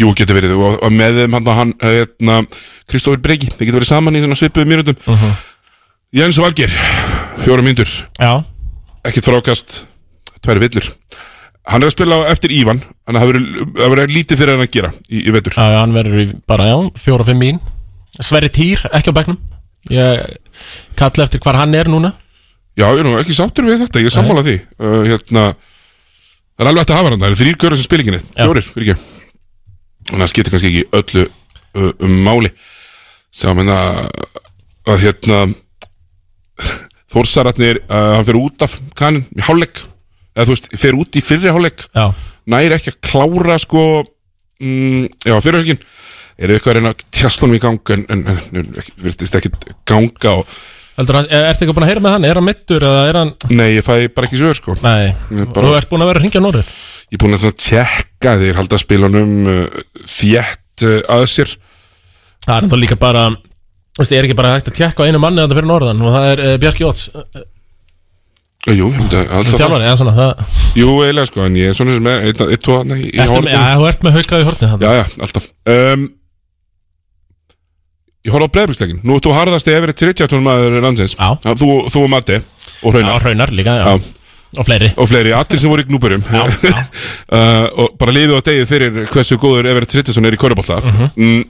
Jú, getur verið og, og með þeim hann, hann uh, hérna, Kristófur Breki Þeir getur verið saman í svona svipuðu mínútum Jens Valgir, fjóra mínútur
Já,
Ekkert frákast, tvær villur Hann er að spila á eftir Ívan Þannig að það verður- það verður lítið fyrir hann að gera í, í vetur
já, já, hann verður í bara, já, fjóra, fimm mín Sverri Týr, ekki á bekknum Ég kalla eftir hvar hann er núna
Já, ég er nú ekki sáttur við þetta, ég er sammála því uh, Hérna Það er alveg hægt að hafa hann, það eru þrýr görður sem spila ekki neitt
Já.
Fjórir, fyrir ekki Þannig að það skiptir kannski ekki öllu uh, um máli Sem hérna Að hérna Þórsararnir, uh, hann fer út af kanin Í hálfleik Eða þú veist, fer út í fyrri hálfleik
Já,
Nær ekki að klára sko mm, Já, fyrir hálfleikin Eru eitthvað að reyna að tjastlunum í gang En, en, en, en ekki- virtist ekki ganga og,
heldur hann, er, ertu ekki búin að heyra með hann? Er hann mittur eða er hann,
Nei, ég fæ bara ekki sögur sko
nei
Ég bara-
Þú ert búin að vera að ringja á norður
ég er búinn að svona tjekka þeir halda spilunum uh, þjætt uh, að sér
Það er þá líka bara, þú veist, er ekki bara hægt að tjekka á einu manni þetta fyrir norðan og það er uh, Bjarki Óts,
Eh, Jú, ég myndi að halda það
þjálfari, eða svona það,
Jú, eiginlega sko, en ég er svona sem með eitt, eitt, tvo, nei, í
Ertu með,
horninu.
já, þú ert með haukað í hortið þannig
Já, já, alltaf um, Ég horfði á breyðbyggsleikin Nú ert þú harðasti efrið Tritjartón maður landsins
Já.
Þú, þú og Matti og
Já,
Hraunar
hraunar líka, já,
Já.
og fleiri
og fleiri, allir sem voru í gnúburum
Já, já.
uh, og bara liðið á degið fyrir hversu góður Everett Sittison er í körubólta mm
Mhm.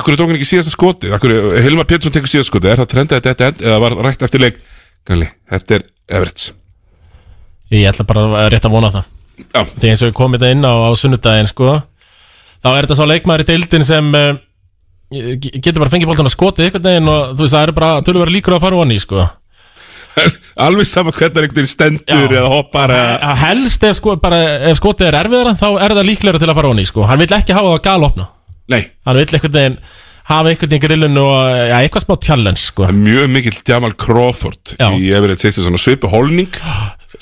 Akkur er tókin ekki síðasta skotið Akkur er Hilmar Pétursson tekur síðasta skotið Er það trendið að þetta end eða var rætt eftir leik Kalli, þetta er Everett
Ég ætla bara að rétt að vona það
Já.
Því eins og við komum þetta inn á, á sunnudaginn sko, Þá er þetta svo leikmaður í deildin sem uh, Getur bara fengið bóltan að skoti einhvern veginn Og þú veist það eru bara Tölvöru líkur á að fara vonni sko.
Alveg sama hvernig einhvern veginn stendur
Já.
eða hoppar eða
Að Helst ef, sko, bara, ef skotið er erfiðara Þá er það líklegra til að fara vonni sko. Hann vill ekki hafa það galopna
Nei,
Hann vill einhvern veginn hafa einhvern veginn grillun Og ja, eitthvað smá challenge sko.
það er mjög mikill Jamal Crawford
Já.
í Everett Sittison og svipu holning
Já,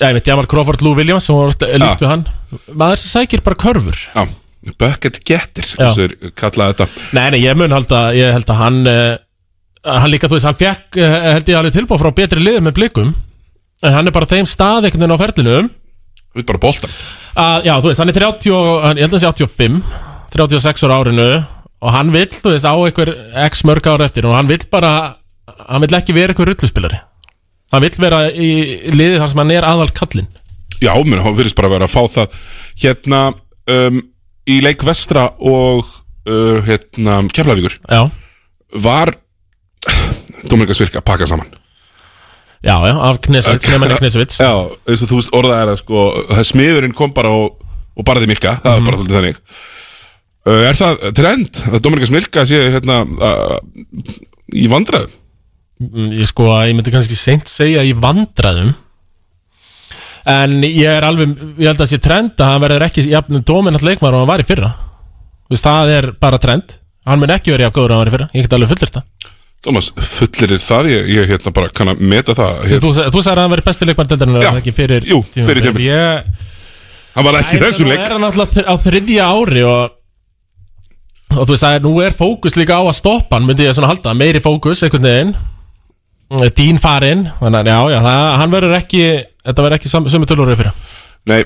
Ég veit Jamal Crawford, Lou Williams Sem var
Já.
líkt við hann Maður sem sækir bara körfur
Já, bucket getter þessu er kallað þetta
Nei, nei, ég mun halda, ég held að hann uh, hann líka, þú veist, hann fekk uh, held ég alveg tilbúið frá betri liðum með blikum en hann er bara á þeim stað einhvern veginn á ferlinu
Við bara boltan
að, já, þú veist, hann er 30, og- hann, ég held að hann sé 85 36 ára árinu og hann vill, þú veist, á einhver x mörg ára eftir og hann vill bara hann vill ekki vera einhver rulluspilari hann vill vera í liðið þar sem hann er aðal kallinn
Já, mér hann virðist bara að vera að fá það Hérna um, Í leik vestra og uh, Hérna, Keflavíkur
já,
Var Dómurika Svirk að pakka saman
já, já, af Knesvits,
Ok.
nefnir Knesvits
Já, eins og þú veist orðað er að sko Það smiðurinn kom bara og, og barði mirka Það
Mhm.
var bara alltaf þannig uh, Er það trend að Dómurika Smirka sé hérna uh, Í vandræðum?
Mm, ég sko ég myndi kannski seint segja í vandræðum en ég er alveg ég held að það sé trend að hann verður ekki jafnum dóminant leikmaður og hann var í fyrra Þú veist, það er bara trend hann mun ekki verið jafn góður og hann var í fyrra ég get alveg fullir það
Thomas, fullir það, ég, ég hérna bara kann að meta það
þú,
hérna,
þú, þú sagði að hann verið besti leikmaður
Já,
deildarinnar er það ekki fyrir
jú, fyrir
tímabil?
tímabil.
ég,
Hann var ekki í
Æ,
þessum
nú
leik
er hann alltaf á þriðja ári og og þú veist það er, nú er fókus líka á að stoppa hann myndi ég svona halda, meiri fókus einhvern veginn Dín farinn, þannig að já, já, það, hann verður ekki þetta verður ekki sam- sömu tölurið fyrir
Nei,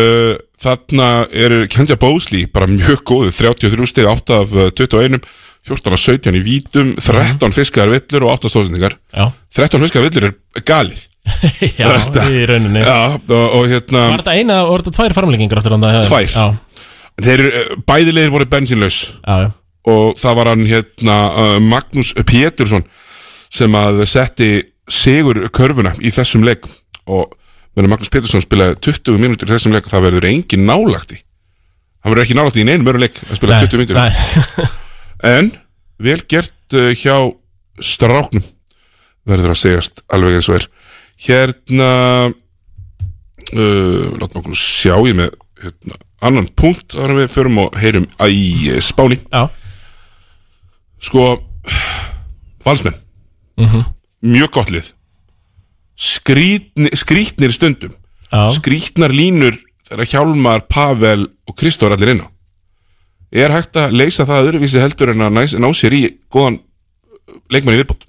uh, þarna er Kenja Bósli bara mjög góðu 33 stig, 8 af uh, 21 14 af 17 í vítum
Mhm.
13 fiskaðar villur og 8 stóðsendingar
Já,
13 fiskaðar villur er galið
já
Veist það?
í rauninni
Já, og, og hérna
Var þetta eina, var þetta tvær framlengingar eftir hann?
Tvær.
Já,
þeir, bæðilegir voru bensinlaus
já, já
og það var hann hérna uh, Magnús Pétursson sem að setti sigur körfuna í þessum leik og meðan Magnús Pétursson spilaði 20 mínútur í þessum leik það verður engin nálagt í hann verður ekki nálagt í neinum öru leik að spila 20 mínútur
Nei,
En vel gert uh, hjá stráknum verður að segjast alveg eins og er hérna uh, látum okkur nú sjá ég með hérna, annan punkt þar við förum og heyrum í eh, spáni
já,
sko valsmenn mjög gott lið Skrýtni, skrýtnir stundum
já
skrýtnar línur þegar Hjálmar, Pavel og Kristór allir inn á er hægt að leysa það öðruvísi heldur en að næs, ná sér í góðan leikmann í viðbót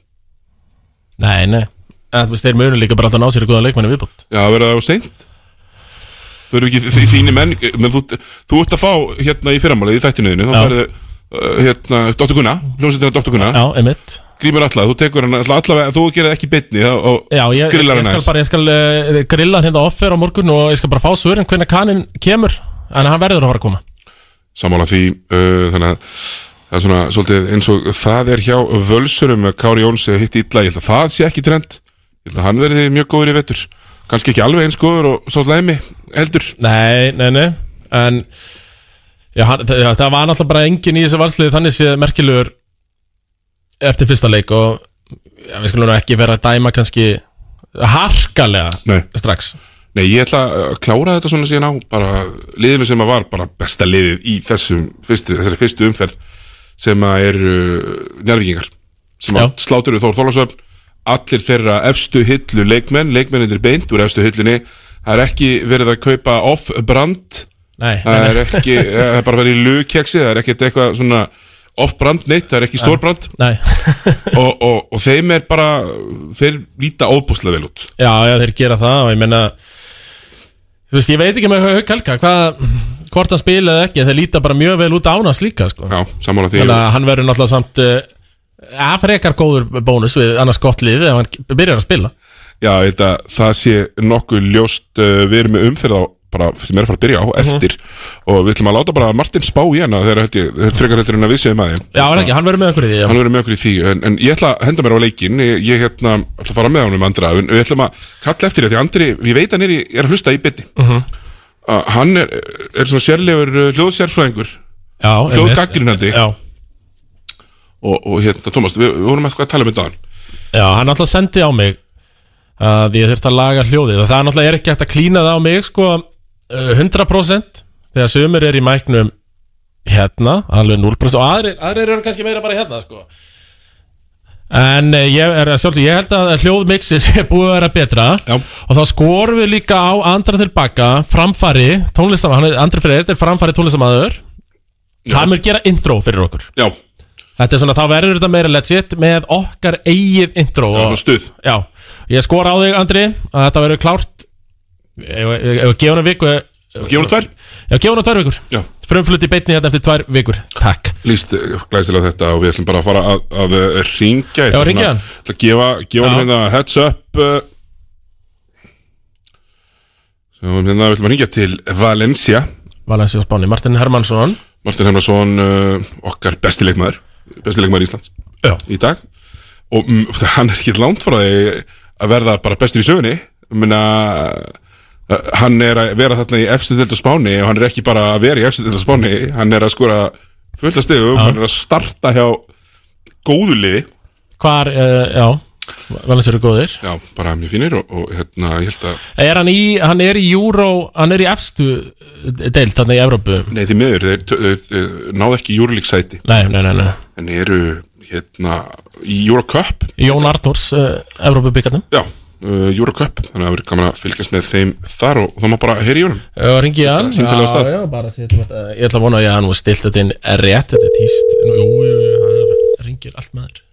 Nei, nei En þú veist, þeir munu líka bara alltaf ná sér að góða leikmenni viðbútt
Já, verða það á seint Þau eru ekki þi- þínir menn eh, menn þú, þú ert að fá hérna í fyrramálið í þættinuðinu Þá
Já.
færðu uh, hérna, Dr. Gunna, hljómsveitina Dr. Gunna
Já, emitt
Grímur alla, þú tekur hann alla- allavega Þú gerir ekki bitni þá, og
Já, ég, ég,
grillar hann
skal
aðeins
bara, ég skal uh, grilla hann hérna offer á morgun og ég skal bara fá svörin hvernig kaninn kemur en hann verður að fara að koma
Sammála því uh, Þannig að það er svona svolítið eins og það er hjá völsurum með Kári Jóns eða hitt illa Ég held að það sé ekki trend Ég held að hann verði mjög góður í vetur Kannski ekki alveg eins góður og svo slæmi heldur
Nei, nei, nei En já, hann, það, já, það var náttúrulega bara engin í þessu valsliði þannig séð merkilegur eftir fyrsta leik og já, við skulum nú ekki vera að dæma kannski harkalega
Nei.
strax
Nei, ég ætla að klára þetta svona síðan á bara liðinu sem að var bara besta liðið í þessum fyrstu, þessari fyrstu umferð sem að eru njárvíkingar sem að
Já.
slátur við Þór Þólasöfn allir þeirra efstu hillu leikmenn leikmennindir beint úr efstu hillunni það er ekki verið að kaupa off-brand
Nei, nei,
það
nei.
er ekki, það er bara verið í lukkeksi það er ekkert eitthvað svona off-brand neitt, það er ekki stór-brand
nei.
og, og, og þeim er bara þeir líta óbúslega vel út
Já, já, þeir gera það og ég meina Þú veist, ég veit ekki með Hauk Helga hvað, hvort hann spila eða ekki, þeir líta bara mjög vel út ánast líka sko.
Já, sammála því
Þannig að hann verður náttúrulega samt eh, að frekar góður bónus við annars gott lið ef hann byrjar að spila
Já, þetta, það sé nokkuð ljóst uh, við erum með umferð á bara, sem er að fara að
Mhm.
byrja á eftir og við ætlum að láta bara Martin spá í hana þegar held ég, þegar frekar heldur en að við séum að því
Já, er ekki, hann verður með einhverju í því já.
hann verður með okkur í því, en, en ég ætla að henda mér á leikin ég, ég hérna, ætla að fara með honum andra en við ætlum að kalla eftir því, því andri ég veit hann er, í, er að hlusta í bytti uh
Mhm.
hann er, er svona sérlegur uh, hljóðsérfræðingur
Já, einmitt.
gagnrýnandi.
Já,
og, og hérna, Tómas, við, við vorum eitthvað að tala um þetta áðan.
já hann náttúrulega sendi á mig að ég þurfti að laga hljóðið og það náttúrulega er ekki hægt að klína það á mig sko eh, 100% þegar sömur er í mæknum hérna, alveg 0% og aðrir, aðrir eru kannski meira bara hérna sko En eh, ég, er, sjálfsög, ég held að hljóðmixi sé búið að vera betra
Já.
og þá skorum við líka á Andra til baka, framfari tónlistamæður, Andra fyrir þetta er framfari tónlistamæður Það mjög gera intro fyrir okkur
já,
Þetta er svona, þá verður þetta meira legit með okkar eigið intro
það var
og,
stuð
Já, ég skor á þig Andri að þetta verður klárt Ef ef- ef gefa hana viku Já,
Gjónu tvær?
gefa hana tvær vikur
Já.
Frumflutt í beinni hérna eftir tvær vikur Takk
líst eh, glæsilega þetta og við ætlum bara að fara að, að eh, hringja Ég ætla
Já, hringja
svona-
hann.
ætla að gefa, gefa hann
Já.
hérna heads up uh, sem hérna við ætlum að hringja til Valencia
Valensi á Spáni, Martin Hermansson
Martin Hemnason, uh, okkar bestileikmaður bestileikmaður Íslands
Já.
í dag og mm, hann er ekki langt frá því að verða bara bestur í sögunni Minna, hann er að vera þarna í efstu delta spáni og hann er ekki bara að vera í efstu delta spáni hann er að skora fulla stegum hann er að starta hjá góðu liði
Hvar, uh, já, Valensi eru góðir
já, bara mjög fínir og, og hérna, ég held að
Er hann í, hann er í Euro, hann er í efstu eh, deild þarna í Evrópu
nei, því miður, þeir, tö- þeir, þeir náðu ekki júrulíksæti,
Nei, nei, nei, nei
en eru hérna, í Eurocup
Jón Arnórs, uh, Evrópu byggarnum
Já, uh, Eurocup Þannig að það verður gaman að fylgjast með þeim þar og þá má bara heyri í honum
Já, ringi ég hann
Sýndu- sýndu á stað.
Já, já, bara setjum þetta Ég ætla að vona að ég hann var stilt þetta inn rétt Þetta er tíst Nú, jú, jú, jú, hann ringir allt maður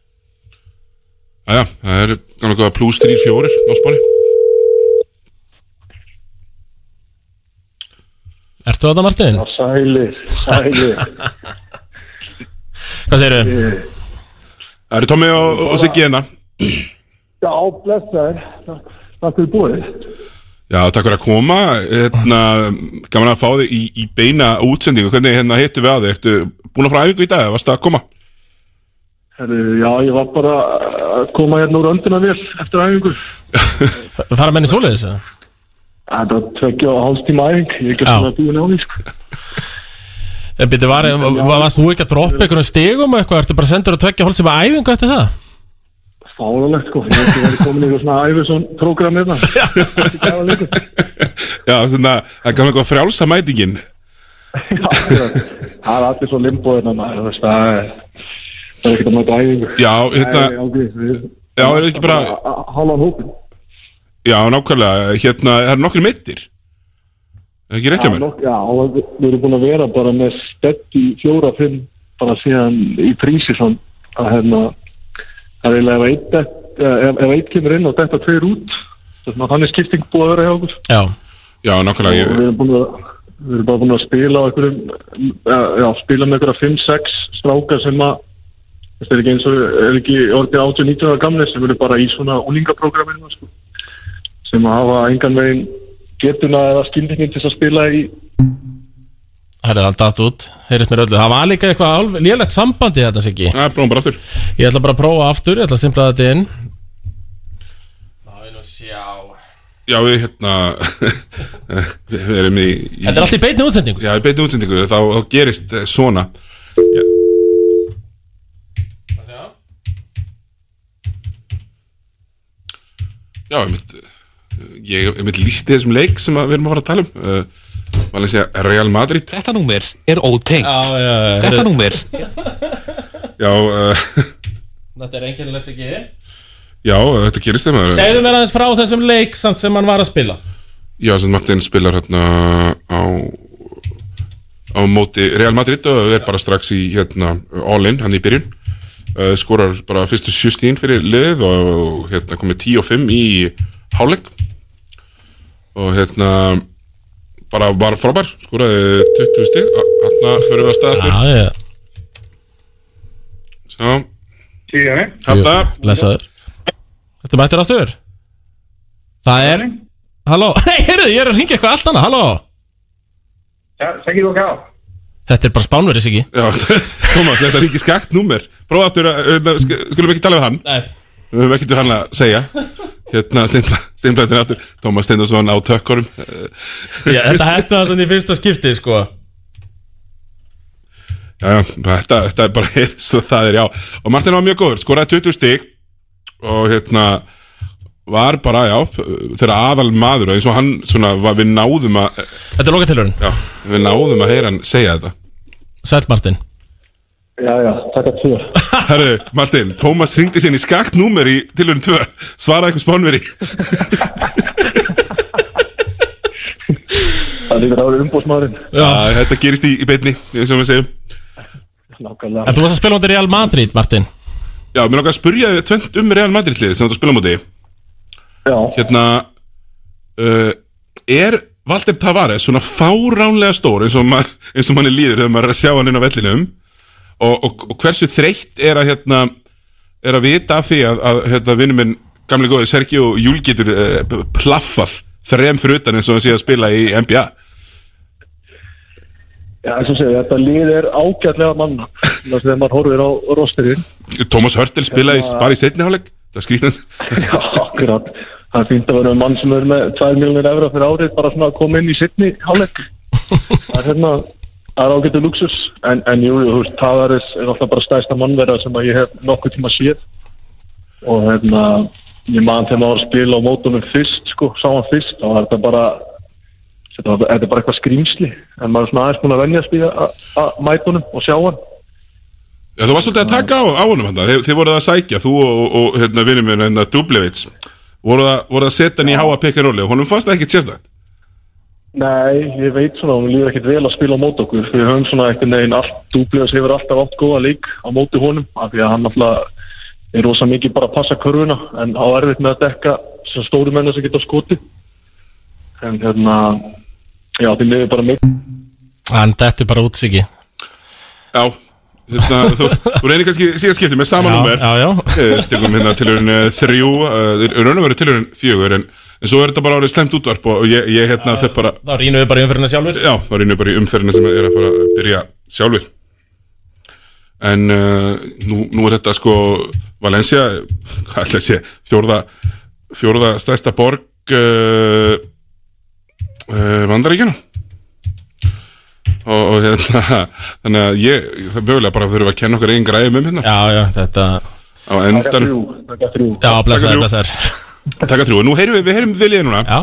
Æja, það er gaman að goða plus 3, 4 á spáni
Ertu þetta, Martin?
Sælir, sælir.
Hvað segirðu?
Það eru Tommi og, og Siggi hérna
Já, blessaður. Takk, takk fyrir búið.
Já, takk fyrir að koma hérna, Gaman að fá þig í, í beina útsendingu Hvernig hérna hittu við að þig? Ertu búin að fara æfingu í dag? eða Varstu að koma?
Herru, já, ég var bara að koma hérna úr öndina vel eftir æfingu.
Fara menni svoleiðis? eða?
Það var tveggja og hálf tíma æfing. Ég er
Já.
ekki svona búin á því, sko.
En byrju, Eh, var, var, varst þú ekki að droppa einhvern stigum og eitthvað? Ertu bara sendur að tveggja hólstíma æfingu eftir það?
Fáralegt, sko. Ég er ekki verið komin í eitthvað svona æfisón prógram hérna. Ekki gæfa lengur.
Já, þannig að það er gaman að goða frjálsa mætingin
Já, Það er allir svo limbo hérna, maður. þú veist, Það er það er ekkert að mæta æfingu.
Já, hérna,
Nei, ágríns, við-
já, er ekki bara
Hálfan hópin.
Já, nákvæmlega, hérna, það eru nokkur meittir Er ekki rétt hjá
Já,
mér?
nokk- já, og við við erum búin að vera bara með stett í fjóra, fimm bara síðan í prísi að hérna, það er eiginlega ef einn dett- ef, ef einn kemur inn og þetta tveir út þannig að þannig skipting búið að vera hjá okkur
Já
Já, nákvæmlega
og
ég,
við erum búin að við erum bara búin að spila á einhverjum já, já, spila með einhverja 5-6 strákar sem að þetta er ekki eins og er ekki orðið 80-90 ára gamlega sem eru bara í svona uningaprógraminu sko, sem að hafa engan veginn getuna eða skildingin til þess að spila í
Herrið, hann datt út, heyrðist mér öllu Það var líka eitthvað alveg lélegt sambandi þetta sig ekki
Já, prófum bara aftur
Ég ætla bara að prófa aftur, ég ætla að stimpla þetta inn
já við hérna Við erum í, í
Þetta er allt í beinni útsendingu
Já, í beinni útsendingu, þá, þá gerist eh, svona Já. Já, ég mitt Ég ég mitt lísti þessum leik sem að við erum að fara að tala um uh, Valencia Real Madrid
Þetta númer er ótengt
já, já, já,
Þetta
heyrðu.
númer
Já, uh,
Þetta er einkennilegt ekki
já eh, þetta gerist þeim að
Segðu mér aðeins frá þessum leik samt sem hann var að spila
Já, sem Martin spilar hérna á á móti Real Madrid og er bara strax í hérna all-in, hann í byrjun uh, skorar bara fyrstu sjústíðin fyrir liðið og, og hérna komið 10 og 5 í hálfleik og hérna bara var frábær, skoraði 20 stig A- hérna hörum við að staða aftur
já
Sjá,
Síðan
hérna
Blessaður Þetta mættir aftur Það er Halló, nei, heyrðu, ég er að ringja eitthvað allt annað, halló
Sækir þú hvað?
Þetta er bara spánverðis ekki
Já, Thomas, þetta er ekki skakt númer Prófa aftur, að- hérna, sk- skulum ekki tala við hann
Nei
Við höfum ekkert við hann að segja Hérna, stimpla, stimpla þetta aftur Tómas Steindorsson á Eh, tökkorum
Já, Þetta hefnaði þannig í fyrsta skipti, sko
Já, já, þetta, þetta er bara eins og það er, já Og Martin var mjög góður, skoraði 20 stig Og hérna Var bara, já, þegar aðal maður Eins og hann, svona, var, við náðum að
Þetta er lokatilurinn
Já, við náðum að heyra hann segja þetta
Sæll Martin
já, já, taka tvö
Herðu, Martin, Tómas ringdi sér í skakt númer í tilhörin 2 Svaraði eitthvað spánveri
það líka það verið umbóðsmaðurinn
Já, þetta gerist í, í beinni, eins og við segjum
En þú varst að spila undir Real Madrid, Martin
Já, mér langar að spurja þig tvennt um Real Madrid liðið sem þú ert að spila á móti
Já
Hérna uh, Er Valdir Tavares svona fáránlega stór eins og, ma- eins og manni líður þegar maður er að sjá hann inn á vellinum og, og, og hversu þreytt er að hérna er að vita af því að, að hérna, vinnum minn gamli góði Sergio Júl getur uh, plaffað þrem fyrir utan eins og hann sé að spila í NBA
já, eins og segja, þetta lið er ágætlega manna Þannig að þegar maður horfir á rostirinn
Thomas Hörtel spilaði í- bara í setni hálfleik það skrýtans
Já, akkurat. Það er fínt að vera með mann sem er með 2 miljonir evra fyrir árið bara svona að koma inn í sittni hálfleik. Það er hérna, það er ágættu luxus. En, en jú, jú, þú veist, Tavares er alltaf bara stærsta mannverða sem að ég hef nokkuð tíma séð. Og hérna, ég man þegar maður var að spila á mótunum fyrst, sko, sá hann fyrst. Þá var þetta bara, þetta var- þetta er bara eitthvað skrýmsli. En maður er svona aðeins búin að venja að spila að mætunum og sjá hann.
Já, þú varst svolítið að taka á, á honum hann þið, þið voruð að sækja, þú og, og, og hérna, vinnum minn hérna, Dublevits voruð að, voruð að setja hann í háa pekka róli og honum fannst það ekkert sérstætt
Nei, ég veit svona, hún líður ekkert vel að spila á mót okkur. Við höfum svona einhvern veginn allt, Dúbliðas hefur alltaf átt góða leik á móti honum, af því að hann alltaf er rosa mikið bara að passa körfuna, en á erfitt með að dekka sem stóru menna sem geta skoti. En hérna, já, því miður bara meitt.
Hann dettur bara út sig
Já, hérna, þú, þú reynir kannski síðan skipti með sama
Já,
númer
já, já.
Eh, Tökum hérna tilhörin þrjú, uh, raun og veru tilhörin fjögur en, en svo er þetta bara árið slemt útvarp og, og ég, ég hérna þeir bara
Þá rínum við bara í umfyrirna sjálfur
Já, þá rínum við bara í umferðina sem er að fara að byrja sjálfur En uh, nú, nú er þetta sko Valencia, hvað ætla að sé fjórða, fjórða stærsta borg uh, uh, Vandaríkjana og, og hérna þannig að ég, það er mögulega bara að þurfa að kenna okkur einn græðum um hérna
Já, já, þetta
á endan
Takka þrjú.
Já, blessaður,
þrjú.
blessaður
Takk að þrjú, og nú heyrum við, við heyrum vilja núna
Já,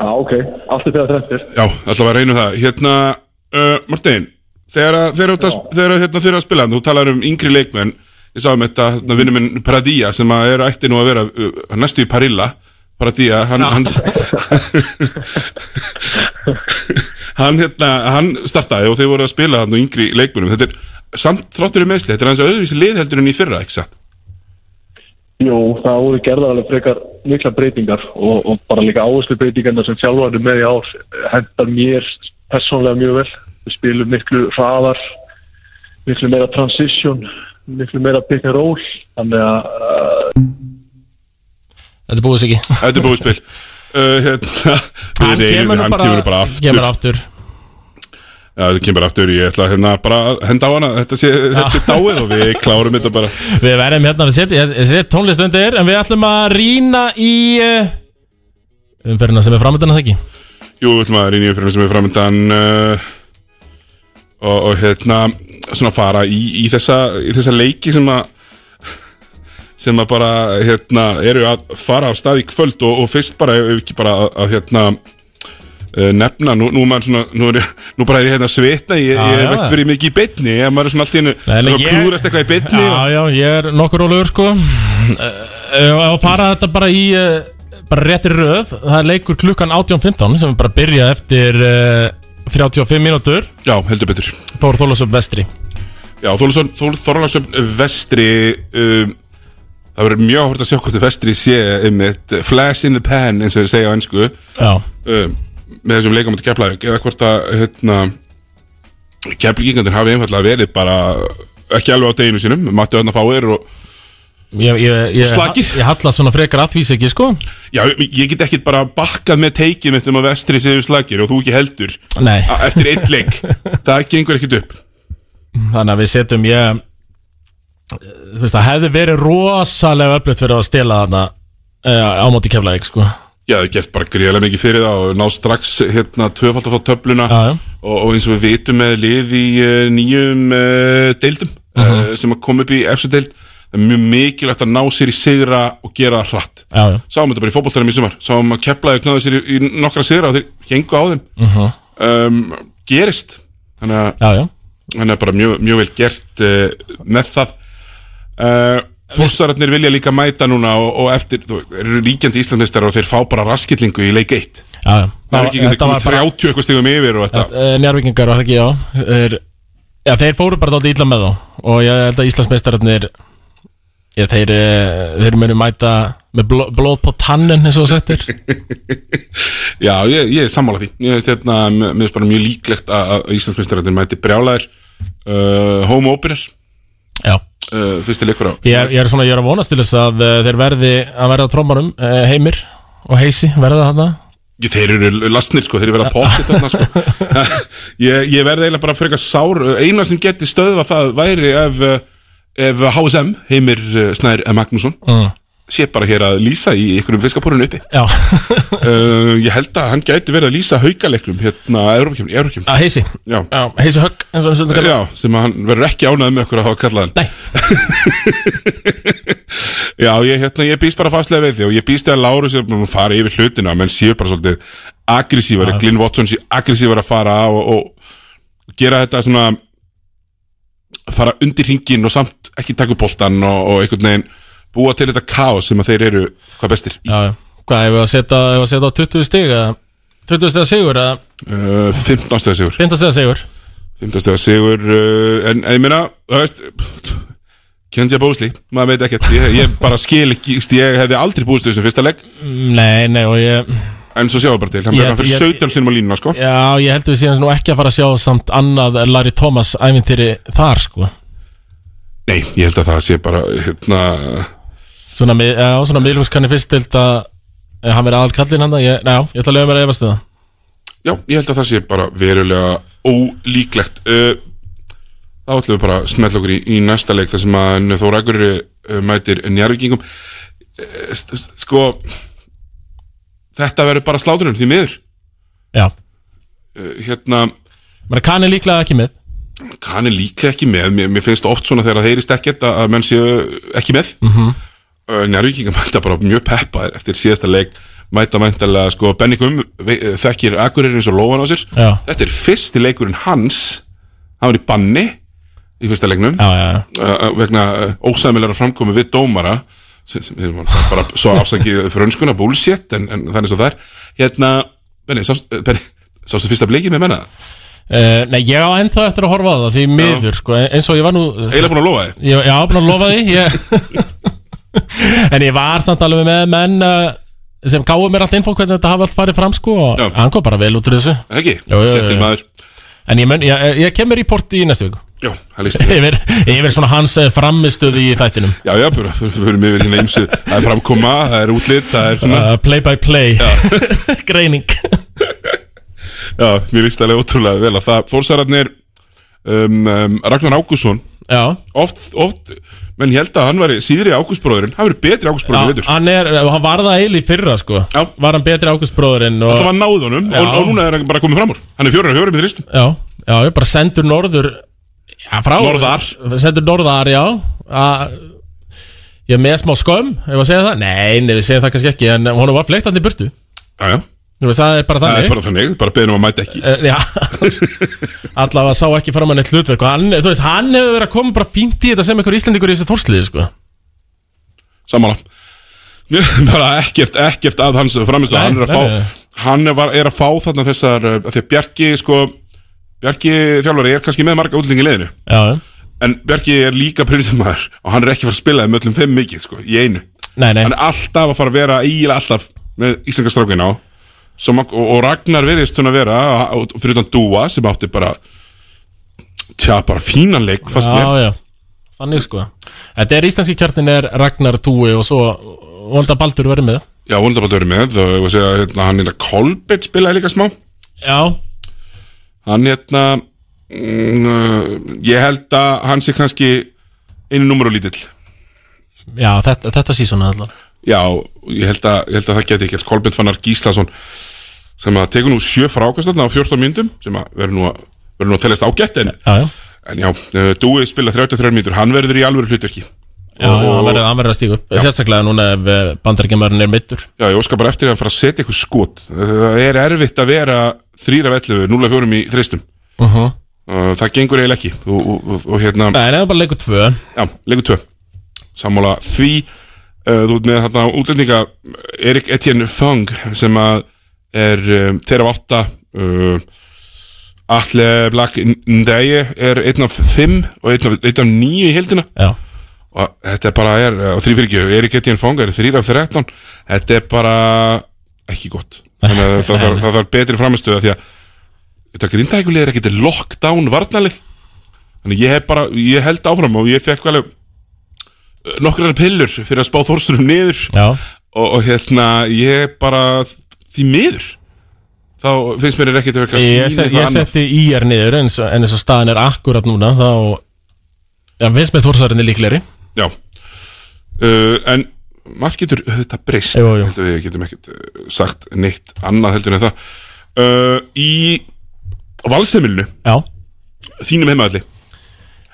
Já, ok, allt er þegar þrættir.
Já, allavega reynum það Hérna, uh, Martin Þegar að- þegar þú ert að- þegar að, hérna, þegar að spila Þú talar um yngri leikmenn Ég sá um þetta, hérna, vinnum minn Paradía Sem að er ætti nú að vera uh, næstu í Parilla Paradía, hann hans, Hann, hérna, hann startaði og þeir voru að spila Þannig yngri leikmennum Þetta er, samt þráttur í meðsli Þetta er hans öðruvísi lið heldur en í fyrra, ekki satt?
Jú, það voru gerðar alveg frekar mikla breytingar og, og bara líka áherslu breytingarna sem þjálfarnir með í ár hendar mér persónlega mjög vel. Við spilum miklu hraðar, miklu meira transition, miklu meira pick and roll, þannig að uh,
Þetta er búið sig ekki
Þetta er búið spil uh, hérna, við
Hann
reynum-
kemur nú
hann
bara-
kemur bara aftur
kemur aftur
Já, það kemur aftur, ég ætla hérna bara að henda á hana, þetta sé, þetta sé dáið og við klárum þetta bara
Við verðum hérna að setja set tónlist undir En við ætlum að rýna í uh, Umferðina sem er framöndan að það ekki
Jú, við ætlum að reyna í umfyrirna sem er framöndan uh, og, og hérna svona fara í, í, þessa, í þessa leiki sem að sem að bara hérna eru að fara af stað í kvöld og, og fyrst bara ef ef ekki bara að, að hérna uh, nefna, nú, nú, er maður svona, nú, er, ég- nú bara er ég hérna að svitna ég,
Já,
ég
já.
hef ekkert verið mikið í beinni ég maður er svona allt í hennu
nei,
og
ég-
klúrast eitthvað í beinni og,
Já, já, ég er nokkur ólegur sko Eh, Og að fara þetta bara í eh, Bara réttir röð Það er leikur klukkan 18.15 Sem er bara að byrja eftir eh, 35 mínútur
Já, heldur betur
Þór Þólasöf vestri
Já, Þorlásson, Þor, Þorlásson vestri um, Það verður mjög áhört að sjá hvort vestri sé um eitt flash in the pan eins og þeir segja á ennsku
Já.
um, með þessum leikum átti Keflavík eða hvort að hérna, Keflavíkingandir hafi einfallega verið bara ekki alveg á deginu sínum Matti Öðna Fáir og
Ég, ég, ég,
Slakir.
ég hallast svona frekar að því sig ekki sko
Já, ég get ekkit bara bakkað með teikið mitt um að vestri séu slagir og þú ekki heldur
Nei.
A- eftir einn leik það gengur ekkit upp
Þannig að við setjum ég eh, Þú veist, það hefði verið rosalega öflugt fyrir að stela þarna uh, á móti keflaðik, sko
Já, það er gert bara gríðarlega mikið fyrir það og ná strax hérna tvöfald að fá töfluna
Já, já.
og, og eins og við vitum með lið í uh, nýjum uh, deildum uh, sem að koma upp í efstu deild það er mjög mikilvægt að ná sér í sigra og gera það hratt
Já, já
Sáum þetta bara í fótboltanum í sumar Sáum að keplaði og knáði sér í, í nokkra sigra og þeir hengu á þeim
Mhm.
um, gerist þannig að
Já, já.
Þannig að bara mjög, mjög vel gert uh, með það uh, Þórsararnir vilja líka mæta núna og, og eftir, þú þeir eru ríkjandi íslensmestrar og þeir fá bara raskillingu í leik 1
Já, já
Það er ekki
Þetta var
komist
bara-
30 eitthvað stigum yfir og þetta
Eh, Njarvíkingar var það ekki, já er, Já, þeir fóru bara dálítið illa með þá Og ég held að Íslandsmeistararnir Já, þeir, eh, þeir munu mæta Með bló, blóð på tannen, eins og það settir
Já, ég, ég er sammála því Ég veist hérna, mér mér finnst bara mjög líklegt að, að íslensmestrar mæti brjálæðir uh, Home opener
Já
uh, Fyrsti leikur á
ég, er- ég er svona, ég er að vonast til þess að eh, þeir verði Að verða á trómarum, eh, heimir Og heisi, verða þarna
Ég, þeir eru lasnir sko, þeir eru verið að pocket þarna sko ég, ég verði eiginlega bara frekar sár Eina sem geti stöðva það væri ef, eh, ef HSM, Heimir eh, Snær Magnússon
Mm.
sé bara hér að lýsa í einhverjum fiskapúrun uppi
Já
uh, Ég held að hann gæti verið að lýsa haukaleklum hérna að Eurókjum, í Eurókjum
Að heisi
Já,
Já, heisi högg, eins og það settir
Já, sem að hann verður ekki ánægð með okkur að hafa kallað hann
Nei
Já, ég, hérna, ég býst bara fastlega við því og ég býst því að Lárus er búin að fara yfir hlutina menn séu bara svolítið agressívar Glyn Watson sé agressívar að fara á og, og gera þetta svona fara undir hringin og samt ekki taka upp boltan og, og einhvern veginn búa til þetta kaos sem að þeir eru hvað bestir í
Já, já. Hvað, ef við að setja, ef við að setja á 20 stig eða 20 stiga sigur eða
uh, 15 stegar sigur
15 stiga sigur
15 stegar sigur uh, en en ég meina, þú veist Kenja Bósli, maður veit ekkert ég, ég bara skil ekki, ég hefði aldrei búist við þessum fyrsta legg
Nei, nei, og ég
en svo sjáum við bara til, hann
Ég-
verður fyrir
ég-
17 sinum á línuna sko
Já, ég heldur við síðan nú ekki að fara að sjá samt annað Larry Thomas ævintýri þar, sko
Nei, ég held að það sé bara hérna,
Svona, mið- já, svona miðlungskanni fyrst til að eh, hann verið aðallkallin hann ég, Já, ég ætla að lega mér að efast við það
Já, ég held að það sé bara verulega ólíklegt uh, Þá ætlum við bara að smetla okkur í, í næsta leik þar sem að Þóra Akur uh, mætir njárvíkingum uh, Sko Þetta verður bara sláturinn því miður
Já.
uh, Hérna
Menn kann er líklega ekki með
Kann er líklega ekki með, mér, mér finnst oft svona þegar það heyrist ekkert að, að menn séu ekki með mm
Mhm.
Njárvíkingar mæta bara mjög peppaðir eftir síðasta leik mæta mæntalega sko Benny Gumm vei- þekkir Akureyri eins og lóan á sér
Já.
þetta er fyrsti leikurinn hans hann var í banni í fyrsta leiknum
já, já, já.
vegna ósæmilega framkomi við dómara sem, sem, sem bara, bara svo afsakið frönskuna bullshit en, en þannig svo þær hérna Benny, sást, Benny, sástu fyrsta bleikið með menna
Uh, nei, ég á ennþá eftir að horfa á það því miður, sko, eins og ég var nú
eiginlega búin að lofa þið
Ég, já, búin að lofa því ég, En ég var samt alveg með menn uh, sem gáði mér allt info hvernig þetta hafa allt farið fram sko og hann kom bara vel út úr þessu
En ekki,
Jú, jú, jú,
settir
jú.
maður
En ég, mun, ég, ég kemur í porti í næstu viku
Já, það líst mér.
Yfir, yfir svona hans eh, framistuð í þættinum
Já, já, bara fyrir mig yfir hérna ymsu Það er framkoma, það er útlit, það er svona
Uh, Play by play Greining
Já, mér líst alveg ótrúlega vel að það Þórsararnir um, um, Ragnar Ágússon
Já
Oft, oft, menn ég held að hann væri síðri ágústbróðurinn Hann verið betri ágústbróðurinn
Já,
veitur
hann, er, eh, hann var það eiginlega í fyrra sko Já. Var hann betri águstbróðurinn og...
Það var náð honum
Já.
og, og núna er hann bara komið fram úr Hann er fjórar og fjórar með listum
Já, já, ég bara sendur norður já, frá,
Norðar.
Sendur norðar, já að, Ég er með smá skömm Ef að segja það, nei, nei, við segjum það kannski ekki En hún var fleiktandi í burtu
Já, já
Þú veist, það er bara
Það
þannig
er bara þannig, bara beðin um að mæta ekki
Eh, Já, allavega sá ekki fram hann eitt hlutverk og hann, þú veist, hann hefur verið að koma bara fínt í þetta sem einhver Íslendingur í þessu þórsliði, sko
Samála bara ekkert, ekkert að hans framist
Nei,
hann er að
nei,
fá,
nei, nei.
hann var, er að fá þarna þessar, uh, af því að Bjarki sko, Bjarki þjálfari er kannski með marga útlengi leðinu,
Já,
en Bjarki er líka prinsumæður og hann er ekki að fara að spila með öllum fimm mikið, sko, í einu
nei, nei
hann er alltaf að fara að vera, eiginlega alltaf með Íslandastrákin á sem, og, og Ragnar verðist svona að vera og, og fyrir utan Dúa sem átti bara tja, bara fínan leik fast mér,
Já, já, þannig sko Þetta er íslenski kjarnin er Ragnar Túi og svo Volda Baldur verið með
já, vonandabaldur verið með og ég var að segja, hérna, hann hérna Kolbett spilaði líka smá
Já,
hann hérna mm, uh, ég held að hann sé kannski einu numur og lítill
já þetta, þetta sísona allavega
já, ég held að, ég held að það geti ekki Kolbind Fannar Gíslason sem að tekur nú sjö frákast þarna á 14 myndum sem að verður nú að verður nú að teljast ágætt en
Já, já,
en já, uh, Dúi spila 33 mínútur hann verður í alvöru hlutverki
já, já hann, verið, hann verið að stíga upp Sérstaklega núna ef bandaríkjumörn er mittur
já, ég óskar bara eftir að hann fara að setja eitthvað skot það er erfitt að vera þrýra vellu 0-4 í þristum
uh -huh.
uh, það gengur eiginlega ekki og, og, og, og hérna
Nei, nefnum bara leikur tvö
Já, leikur 2 Sammála því uh, Þú ert með þarna útlendinga Erik Etienne Fung sem að er um, þeirra af átta uh, Atle Black Ndeye er einn af fimm og einn af, einn af níu í heldina
Já.
og þetta bara er og þrý fyrir ekki, Erik Etienne Fung er þrýr af 13 þetta er bara ekki gott þannig að það, þarf, það þarf betri framistöða því að þetta grindækuleg er ekkert lockdown varnalið Þannig ég hef bara, ég held áfram og ég fekk alveg eh, nokkrar pillur fyrir að spá Þorsturum niður
Já.
og, og hérna, ég bara því miður þá finnst mér er ekkert að vera að sýna
Ég, se,
eitthvað
ég
annað.
setti IR niður en, en eins og staðan er akkurat núna þá já, finnst með þórsarinn er líklegri
Já uh, En margt getur þetta breyst
Jú, jú.
Heldur Við getum ekkert uh, sagt neitt annað heldur en það uh, Í valsheimilinu
Já
Þínum heimaðalli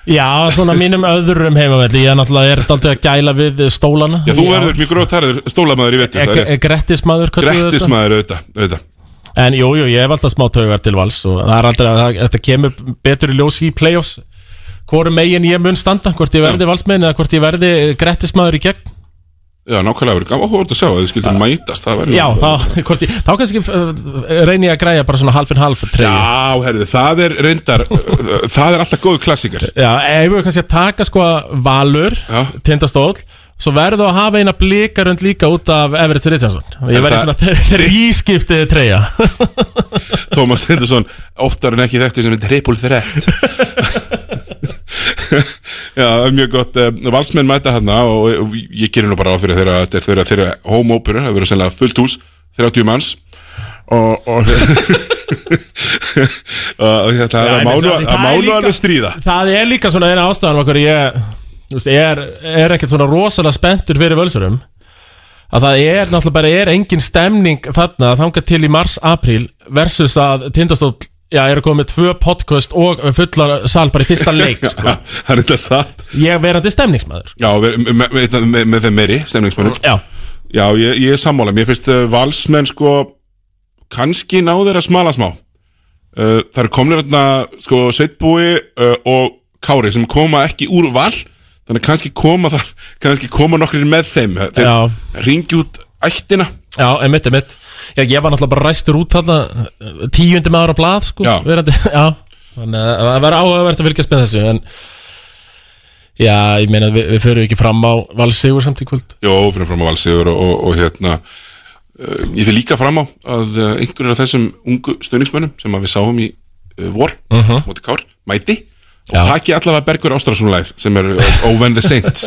Já, svona mínum öðrum heimavelli ég náttúrulega er alltaf að gæla við stólana
Já, þú verður mjög grótarður stólamaður í vetur það er rétt.
Grettismæður
Grettismaður auðvitað, auðvitað
En jú, jú, ég hef alltaf smá taugar til vals og það er aldrei að það- þetta kemur betur í ljós í play-offs Hvor megin ég mun standa, hvort ég verði valsmenn eða hvort ég verði grettismæður í gegn
Já, nákvæmlega verið gaman áhugavert að sjá að þið skildum mætast, það verður
Já, þá, hvort ég, þá kannski uh, reyni ég að græja bara svona halfin half treyju
Já, herðu, það er reyndar Það er alltaf góðu klassikar
Já, ef við kannski að taka sko Valur, Tindastóll Svo verðu að hafa eina blikarund líka út af Everett Richardson Ég
En
verði
það-
svona þrískiptið treyja
Tómas Tindarsson, oftar en ekki þekktu sem er triple threat Já, það er mjög gott um, Valsmenn mæta hérna og og ég gerir nú bara á fyrir þeirra þeirra, þeirra, þeirra home opener, það verður sennilega fullt hús 30 manns og, og, og hérna, þetta er
Já,
að
en
mánu
eins og því,
að
það er
mánu
líka-
alveg stríða
Það er líka svona eina ástæðan af okkur ég, þú veist, ég er, er ekkert svona rosalega spenntur fyrir völsurum að það er náttúrulega bara er engin stemning þarna þangað til í mars-april versus að tindastóll já, eru komið með tvö podcast og fullar sal bara í fyrsta leik sko.
Það er þetta satt
ég verandi stemningsmaður
Já, ver- me- me- me- með, með þeim meiri stemningsmönnum
Já,
Já, ég, ég er sammála, mér finnst uh, valsmenn sko kannski náður að smala smá uh, Það eru komnir þarna sko Sveitbúi uh, og Kári sem koma ekki úr val þannig að kannski koma þar kannski koma nokkrir með þeim þeir
Já.
ringi út ættina
já, emitt, emitt já, ég var náttúrulega bara ræstur út þarna eh, tíundi maður á blað sko,
Já.
verandi, já. þannig að það verður áhugavert að fylgjast með þessu en Já, ég meina við, við förum ekki fram á valsigur samt í kvöld
Jó, fyrir fram á valsigur og, og, og hérna uh, ég fyrir líka fram á að uh, einhverjur af þessum ungu stöðningsmönnum sem að við sáum í uh, vor, uh
Mhm.
móti kár, mæti og taki allavega Bergur Ástrásson-læð sem er eh, Oven the Saints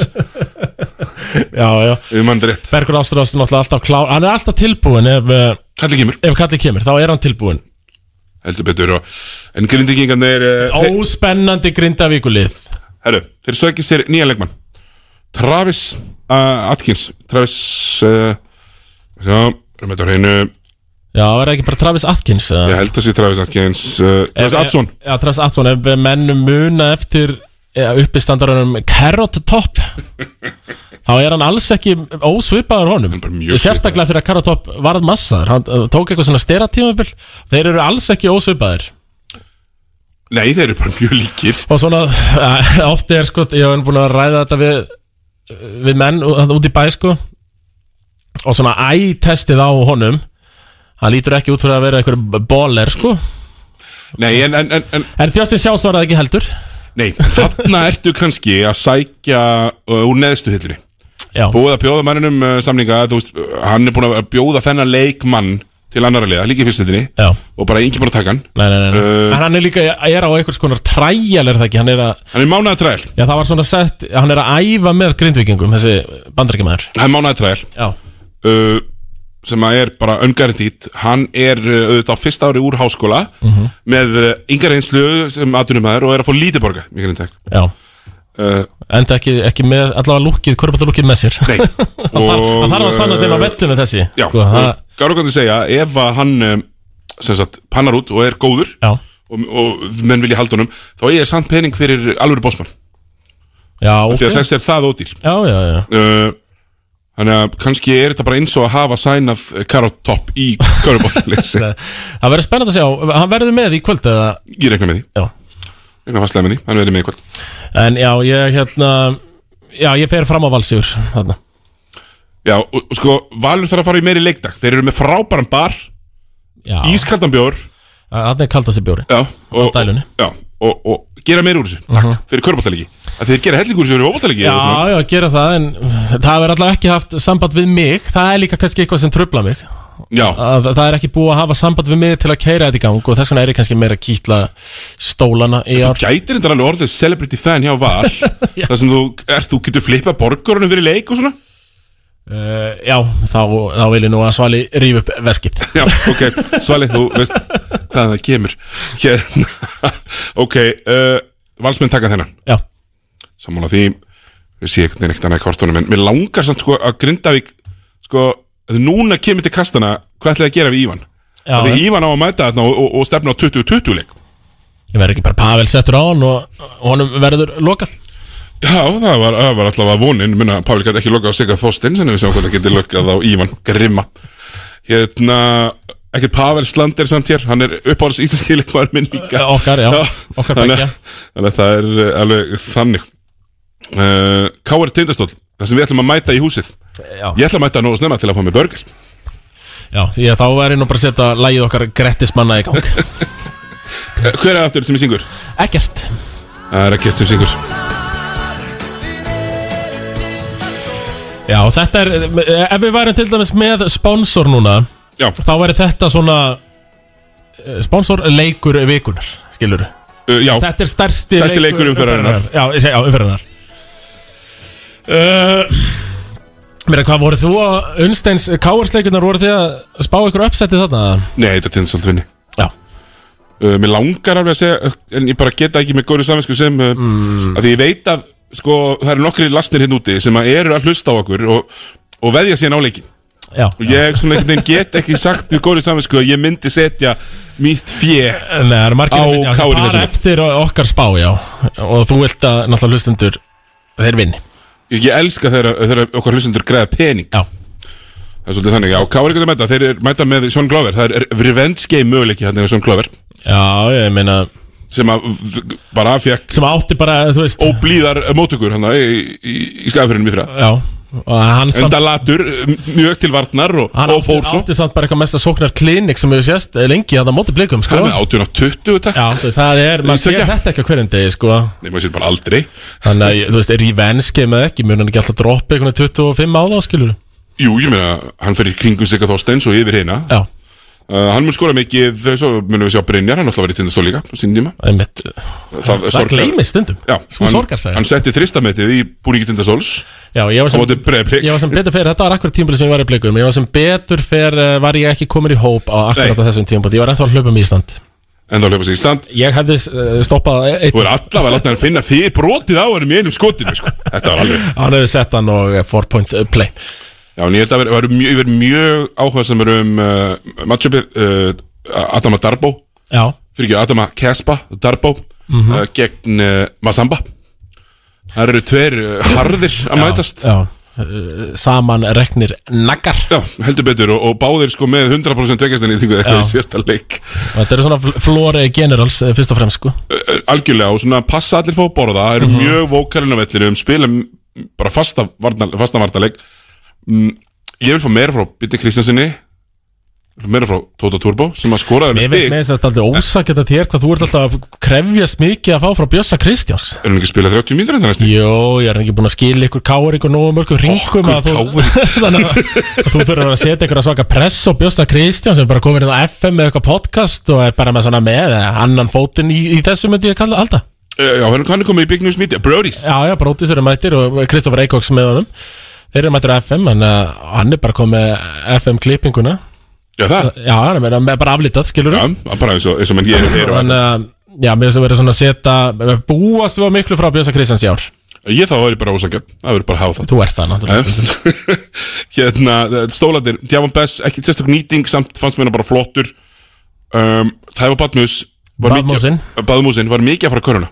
Já, já
Við mann rétt
Bergur Ásturástu náttúrulega alltaf klár Hann er alltaf tilbúin ef eh,
Kalli kemur
Ef Kalli kemur, þá er hann tilbúin
heldur betur og, en grindingingarnir uh,
Óspennandi grindavíkulið
Herru, þeir sökja sér nýja leikmann Travis uh, Atkins Travis uh, Já, erum þetta á hreinu
Já, er ekki bara Travis Atkins eða?
Ég held að sé Travis Atkins uh, Travis
Ef-
Atson
Já, Travis Atson, ef við mennum muna eftir ja, uppistandarunum Carrot Top þá er hann alls ekki ósvipaður honum sérstaklega þegar Carrot Top varð massar hann uh, tók eitthvað svona steratímabil þeir eru alls ekki ósvipaður
Nei, þeir eru bara mjög líkir
og svona, eh, oft er sko ég hef búin að ræða þetta við uh, við menn ú- þarna úti í bæ sko og svona æ-testið á honum hann lítur ekki út fyrir að vera einhver baller sko
Nei, en, en, en, en
en Justin Sjás var það ekki heldur
Nei, þarna ertu kannski að sækja uh, úr neðstu hillinni
Já.
Búið að bjóða manninum uh, samninga þú veist, uh, Hann er búin að bjóða þennan leikmann til annara liða, líka í fyrstu hildinni
Já.
Og bara engin búin að taka hann
Nei, nei, nei, nei.
Uh,
en hann er líka, er á einhvers konar træjal er það ekki, hann er að
Hann er mánaða træjal
Já, það var svona sett, hann er að æfa með grindvikingum, þessi bandarækjumæður
Hann er mánaða træjal uh, Sem að er bara ungarendít Hann er uh, auðvitað á fyrsta ári úr háskóla
Mhm.
Með uh, yngar einslu sem atvinnumæður Og er að fá lítið borga mikið inntæk.
Já,
uh,
enda ekki, ekki með allavega lúkið, korfatalúkið með sér
Nei uh,
Það þarf- það þarf að sanna sig inn á vellinu þessi
Já,
Sko, það-
Gárugandi segja ef að hann um, sem sagt, pannar út og er góður
Já.
og, og menn vilja halda honum þá er ég samt pening fyrir alvöru bósmann
Já,
af því
ok.
að þessi er það ódýr
Já, já, já
uh, Þannig að kannski er þetta bara eins og að hafa sænað Karot Topp í körubólleysi
Það verður spennandi að sjá, hann verður með í kvöld eða
Ég rekna með því
Já
Rekna fastlega með því, hann verður með í kvöld
En já, ég hérna, já, ég fer fram á valsjúr þarna
Já, og, og sko, Valur þarf að fara í meiri leikdag Þeir eru með frábæran bar
Já.
Ískaldan bjór
Þarna er kaldast í bjóri
Já, og, og, já, og, og gera meira úr þessu Takk, fyrir körbólleysi Þeir gera hellingur þessu fyrir óbólleysi
Mhm. Já, já, gera það, en það er allavega ekki haft samband við mig Það er líka kannski eitthvað sem tröfla mig
Já
að, Það er ekki búið að hafa samband við mig til að keira þetta í gang Og þess vegna er ég kannski meira að kýtla stólana í
Þú
ár
gætir þetta alveg orðið celebrity fan hjá Val þar sem þú, er, þú getur flippað borgarunum fyrir leik og svona
uh, Já, þá, þá vil ég nú að Svali rýfa upp veskið
Já, ok, Svali, þú veist hvaðan það kemur hérna, Ok, uh, valsmenn taka þennan
Já.
Sammála því, við sé einhvern veginn ekkert annað í kortunum en mér langar samt sko að Grindavík sko, að núna kemur til kastana hvað ætlaði að gera við Ívan
Já,
Af Því
eh.
Ívan á að mæta þarna og, og, og stefna á 20-20 leik
Ég verður ekki bara Pavel settur á hann og og honum verður lokað
Já, það var, það var alltaf að vonin minna, Pavli gæti ekki lokað á Sigga Þorstein en við sjáum hvað það getur lokað á Ívan Grimma hérna ekkert Pavel Slander samt hér, hann er uppáhalds íslenski leikmaður minn líka
Okkar, já, okkar
þannig,
beggja.
þannig að það er eh, alveg þannig uh, K.R. Tindastóll það sem við ætlum að mæta í húsið
Já.
ég ætla að mæta nógu snemma til að fá mig börgar
Já, ég, þá er ég nú bara að setja lagið okkar Grettismanna í gang
Eh, hver er aftur sem ég syngur?
Ekkert
það er ekkert sem syngur
Já, þetta er, ef við værum til dæmis með sponsor núna
Já.
Þá væri þetta svona eh, sponsor leikur vikunar, skilur
uh, Já
Þetta er stærsti,
Stærsti leikur umferðarinnar.
Já, ég segi, já, umferðarinnar uh, Mér hvað voru þú að Unnsteins káarsleikunar voru þið að spá ykkur uppsetti þarna?
Nei, þetta tindur svolítið vinni
Já
uh, Mér langar alveg að segja uh, En ég bara geta ekki með góru saminsku sem uh,
Mm.
Af því ég veit að sko, það eru nokkri lastnir hérna úti Sem að eru að hlusta á okkur Og, og veðja síðan á leikin
Já
Og ég svona einhvern veginn get ekki sagt við góru saminsku Að ég myndi setja mýtt fjö
Nei, það eru eh, margir
Á
sem- já, sem
Kári í
fara
þessum leik.
eftir okkar spá, já Og þú vilt að náttúrulega hlustendur Þeir vinni
Ég, ég elska þegar, þegar okkar hlustendur græða pening
Já
Það er svolítið þannig, já, hvað er ekki að mæta? Þeir eru mæta með Sjón Glover, það er revenge game möguleiki hérna með Sjón Glover
Já, ég meina
Sem að v- bara fekk
Sem átti bara, þú veist
Óblíðar móttökur hérna í, í, í skafurinn mér fyrir
Já, Hann samt-
Undalatur, um, mjög til varnar og,
Hann
og fór svo
átti samt bara eitthvað mesta sóknar klinik sem hefur sést eh, lengi að það móti blikum sko.
Hann er með 18 af 20 takk
Já, þú veist, það er, maður
Ísækja.
sér þetta ekki á hverjum degi sko.
Nei, maður sér bara aldrei
Þannig að, ég- þú veist, er í venski með ekki mun hann ekki alltaf droppa einhvern 25 á þá skilur
Jú, ég meina, hann fyrir kringum Sigga Þorsteins og yfir hérna
Já.
Uh, hann mun skora mikið, svo munum við sjá Brynjar, hann náttúrulega verið tindastól líka á sínum tíma.
Einmitt.
Það,
Það gleymist stundum.
Já,
Sko
hann-
sorgarsaga.
Hann setti þristametið í búningi tindastóls
Já, ég
á
var sem,
móti breyðblik
ég var sem betur fyrir, þetta var akkurat tímabili sem ég var í blikum Ég var sem betur fyrir, var ég ekki komin í hóp á akkurat á þessum tímabili Ég var ennþá að hlaupa um Ísland
En það hljópa sig í stand
Ég hefði eh, stoppað eitt
Þú er allavega látið hann finna fyrir brotið á hann í einum skotinu sko. Þetta var alveg
Hann hefði sett hann og 4 point eh, play
Já, en ég held að vera, vera mjög, vera mjög áhuga sem er um uh, matchupið uh, Adama Darbo
Já,
Fyrir ekki Adama Kespa Darbo
Mhm.
uh, Gegn uh, Masamba Það eru tveir uh, harðir að mætast
já Eh, Saman reknir naggar
Já, heldur betur og, og báðir sko með 100% vekkastinni í þingu
Já.
þegar sérsta leik
Þetta eru svona fl- Flore Generals eh, fyrst og fremst sko
Ö, Uh, algjörlega og svona passa allir fá að borða eru
Mhm.
mjög vókarinn á vellinum spila m- bara fasta, varna, fasta vartaleg mm, ég vil fá meira frá Bitti Kristjanssoni meira frá Tóta Turbo sem að skoraði með
Mér veist
stig
með þess að þetta er aldrei ósakett að þér hvað þú ert alltaf að krefjast mikið að fá frá Bjössa Kristjáns
Er hann ekki að spila 30 mínútur þetta næstu?
Jó, ég er ekki búin að skila ykkur káur ykkur nógu mörgum ringum að þú, þannig að að þú þurfur að setja ykkur að svaka press og Bjössa Kristjáns sem er bara komin inn á FM með eitthvað podcast og er bara með svona með eh, annan fótinn í, í þessu myndi ég kalla alltaf
Eh, Já, hann hann er komið í Big News Media Brodies
Já, já, Brótis eru mættir og Kristoffer Eikóks með honum Þeir eru mættir á FM, en uh, hann er bara komið FM-klippinguna
Já, það?
Já, hann er meira- með- bara aflitað, skilur
Já, bara eins og, eins og menn gerir er,
Þannig að, já, mér finnst að vera svona að setja eh, Búast við á miklu frá Björnsa Kristjáns í ár
Ég þá er bara ósangjarn, það verður bara að hafa það
Þú ert það,
Eh?
náttúrulega
Hérna, eh, stólarnir, Djavan Bess, ekki sérstök nýting samt fannst mér hann bara flottur um, Tæfa Badmus var mikið-
Badmúsin.
Badmúsin var mikið að fara að köruna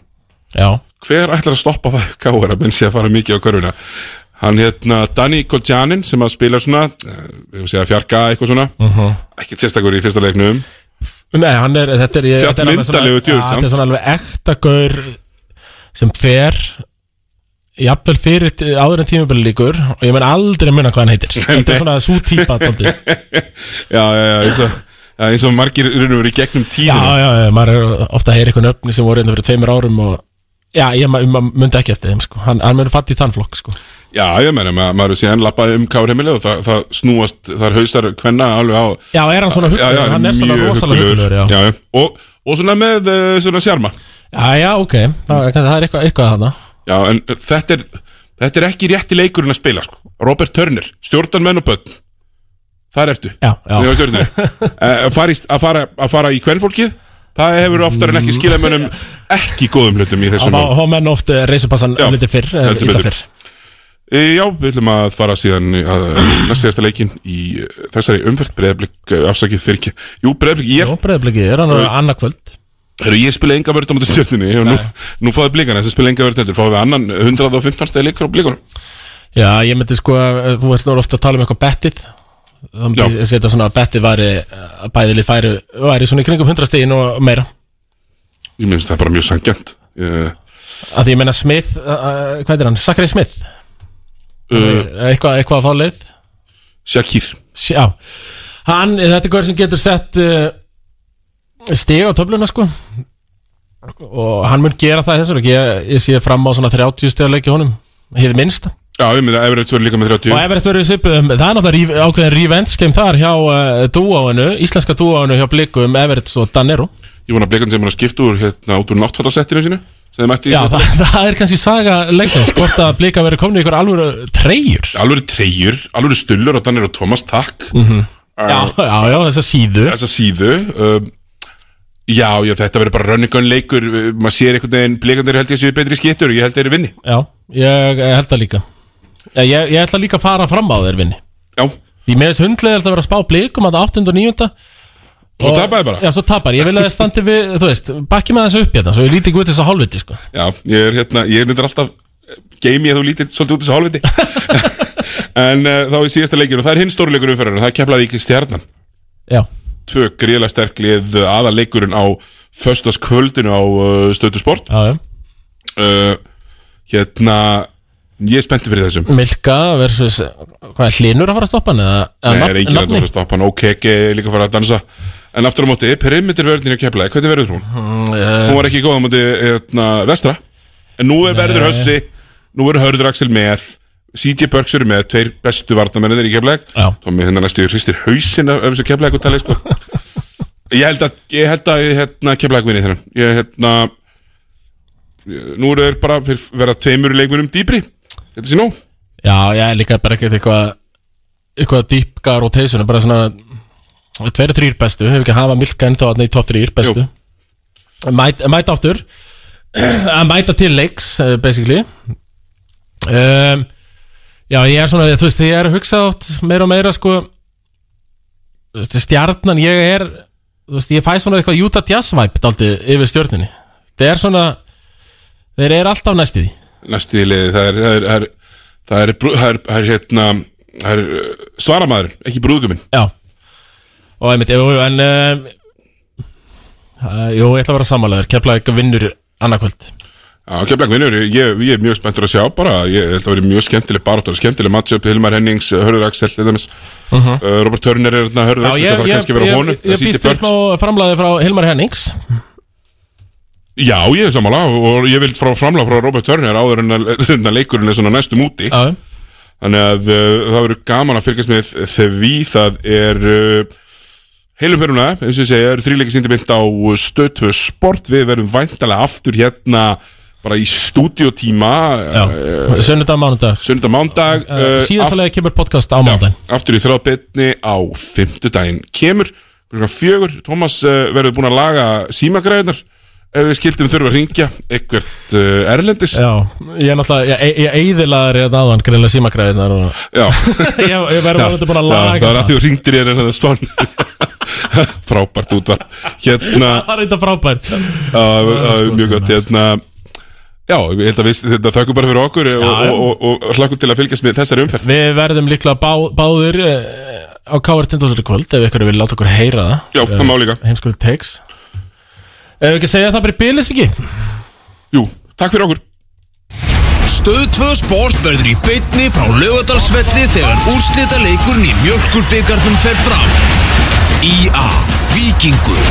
Já,
hver ætlar að stoppa það káur að menn sé að fara mikið á körfuna hann hérna Dani Koljanin sem að spila svona uh, segja, fjarka eitthvað svona uh
Mhm.
ekkert sérstakur í fyrsta leiknum
nei, hann er, þetta er ég- þetta er alveg svona-
Fjallmyndalegur djöfull
Já, Þetta
samt.
er svona alveg ekta gaur sem fer Jafnvel fyrir t- áður en tímabili líkur Og ég menn aldrei munna hvað hann heitir Þetta er svona sú típa, dálítið.
já, já, já, eins og, já, eins og margir runum verið í gegnum tíðina
já, já, já, maður er ofta að heyra einhvern öfni sem voru einnig fyrir tveimur árum og já, ég ma- ma- myndi ekki eftir þeim sko, hann, hann mjög fatt í þann flokk sko
já, ég meina, ma maður er síðan lappað um kárheimilega og það, það snúast, það er hausar hvenna alveg á
Já, er hann svona huggulegur, hann er svona
mjög
rosalega huggulegur já.
já, já. Og, og svona með uh, svona sjarma
já, já, ok, það, kannski það er eitthvað, eitthvað að það
Já, en þetta er, þetta er ekki rétti leikurinn að spila sko. Robert Turner, stjórnarmenn og börn Þar ertu
Já, já.
Þú veist, stjórninni. Eh, að, fara í, að, fara, að fara í kvenfólkið Það hefur oftar en ekki skilað mönnum ekki góðum hlutum í þessum
Há
málum.
há menn oft reysupassan lítið fyrr, eh,
heldur
illa
betur.
fyrr
Eh, Já, við ætlum að fara síðan í- að næstíðasta leikinn í eh, þessari umferð breyðblik afsakið fyrir ekki Jú, breyðblik ég
Jó, breyðbliki, er hann
Eh,
annað kvöld
Herru, ég spila enga vörð á móti stjórninni og nú, nú fáðu blikana þess að spila enga vörð heldur fáðu við annan 115. stig leik frá blikunum
Já, ég myndi sko, eh, þú ert nú ofta að tala um eitthvað bettið þá myndi
Já.
ég setja svona að bettið væri eh, að bæðilið færi, væri svona í kringum 100 stíðin og meira
Ég minnst það er bara mjög sangjant uh,
að því ég menna Smith, uh, hvað er hann, Sakri Smith
uh,
Eh, eitthvað, eitthvað að fá leið
Shakir
Já, hann, eh, þetta er gaur sem getur sett uh, stig á töfluna sko og hann mun gera það í þessu leik ég, ég sé fram á svona 30 stiga leik í honum hefði minnsta
Já, ég myndi að Everett verður líka með 30
og Everett verður svipuðum, það er náttúrulega ríf- ákveðin revenge game þar hjá uh, dúáinu íslenska dúáinu hjá blikum Everett og Danero
Ég vona að blikan sem er að skipta úr hérna út úr náttfattasettinu sínu sem þið mætti í
Já,
síðasta
það, það er kannski saga leiksins hvort að blika verður komin í ykkur alvöru treyjur
Alveg treyjur, alveg stullur og Danir og Thomas, takk Eh,
Mhm. Já, já, já, þessa síðu
Þessa síðu um, Já, já, þetta verður bara running gun leikur uh, maður sér einhvern veginn, blikandir held ég að séu betri skittur og ég held þeir vinni
Já, ég, ég held það líka ég, ég, ég ætla líka að fara fram á þeir vinni
Já
Því mér finnst hundlega að vera að spá blikum að það 8. og 9.
Og svo tapaði bara.
Já, svo tapar, ég vil að það standi við, þú veist, bakki með þessu upp hérna Svo ég líti gutt þess að hálfviti, sko
Já, ég er hérna, ég er nýttur alltaf game ég þú lítið svolítið út þessu hálfviti En uh, þá í síðasta leikinu, það er hinn stórleikur umferðinu, það kemlaði ekki stjarnan
Já,
tvö gríðlega sterklið aða leikurinn eh, á eh, föstas kvöldinu á uh, stöðtusport
já, já
uh, hérna Ég er spenntur fyrir þessum
Milka versus Hvað er hlinur að fara að stoppa hann? Eða, eða
Nei, það
nafn-
er engin að
nafni?
þú fyrir að stoppa hann OK, ekki líka að fara að dansa En aftur á móti, perimeter verðin í keflaði Hvernig verður hún?
Mm, eh,
Hún var ekki góð á móti hérna, vestra En nú er verður hössi Nú er Hörður Axel með CJ Burks eru með tveir bestu varnamennir í keflaði Tommy hérna næstu hristir hausinn af af þessu keflaði og talið sko Ég held að, ég held að hérna, keflaði vinni þennan Ég hérna Nú er þeir bara fyrir vera tveimur leikmunum dýpri Þetta sé nóg
Já, ég er líka bara ekkert eitthvað Eitthvað dýpka rotation Bara svona Tveir þrýr bestu Hefur ekki að hafa Milka ennþá þarna í top þrýr bestu Mæt, Mæta aftur Að mæta til leiks eh, Basically um, Já, ég er svona Þú veist, ég er að hugsa átt Meira og meira sko þú veist, Stjarnan, ég er Þú veist, ég fæ svona eitthvað Utah Jazz vibe Daldi yfir stjörninni Það er svona Þeir eru alltaf næstu því
næstu í liði það er, það er, það er, það er, brú- það er, það er hérna það er uh, svaramaður, ekki brúðguminn
Já Og einmitt, jú, jú, en uh, Jú, ég ætla að vera samanlegaður Keflavík vinnur annarkvöld
Já, Keflæk vinnur, ég, ég er mjög spenntur að sjá bara, ég held að vera mjög skemmtileg baráttur skemmtileg matchup, Hilmar Hennings, Hörður Axel uh -huh.
Mhm.
Robert Turner er hérna Hörður Axel, það þarf kannski að vera á honum
ég, ég
það sýttir
býst við
börns.
smá framlæði frá Hilmar Hennings
Já, ég er sammála og ég vil frá, framlega frá Robert Turner áður en að en að leikurinn er svona næstum úti
Já.
Þannig að uh, það verður gaman að fylgjast með því það er uh, heilum fyrir húnna, eins og ég segja, eru þrýleiki sýndi mynd á stöðtöð sport Við verðum væntalega aftur hérna bara í stúdíotíma uh,
Sönnudag, mánudag
Söndag, mándag
uh, Síðastalega kemur podcast á mánudag
eh, aftur í þráðbyrni á fimmtudaginn kemur klukkan fjögur, Tómas uh, verður búinn að laga símagræðinar ef við skildum þurfa að ringja eitthvert uh, erlendis
Já, ég er náttúrulega Ég, ég, hérna ég eiðilaður ég náðan Greinlega símakræðinar og...
Já.
Ég, ég verður
Já,
alveg búin að
já,
laga
það er að því þú ringdir ég en það spán frábært útvar hérna
Það er þetta frábært
að, að, mjög gott hérna já, ég held að við þetta þökkum bara fyrir okkur og,
já.
og, og, og hlakkum til að fylgjast með þessari umferð
Við verðum líklega bá, báðir uh, á KR Tindósir í kvöld ef ykkur vil láta okkur heyra það Eh,
Já, það má líka.
Heimskvöld takes Ef við ekki að segja það bara í bilis ekki
Jú, takk fyrir okkur
Stöð 2 Sport verður í beitni frá Laugardalsvelli þegar úrslita leikurinn í mjölkurbyggarnum fer fram. IA, Víkingur,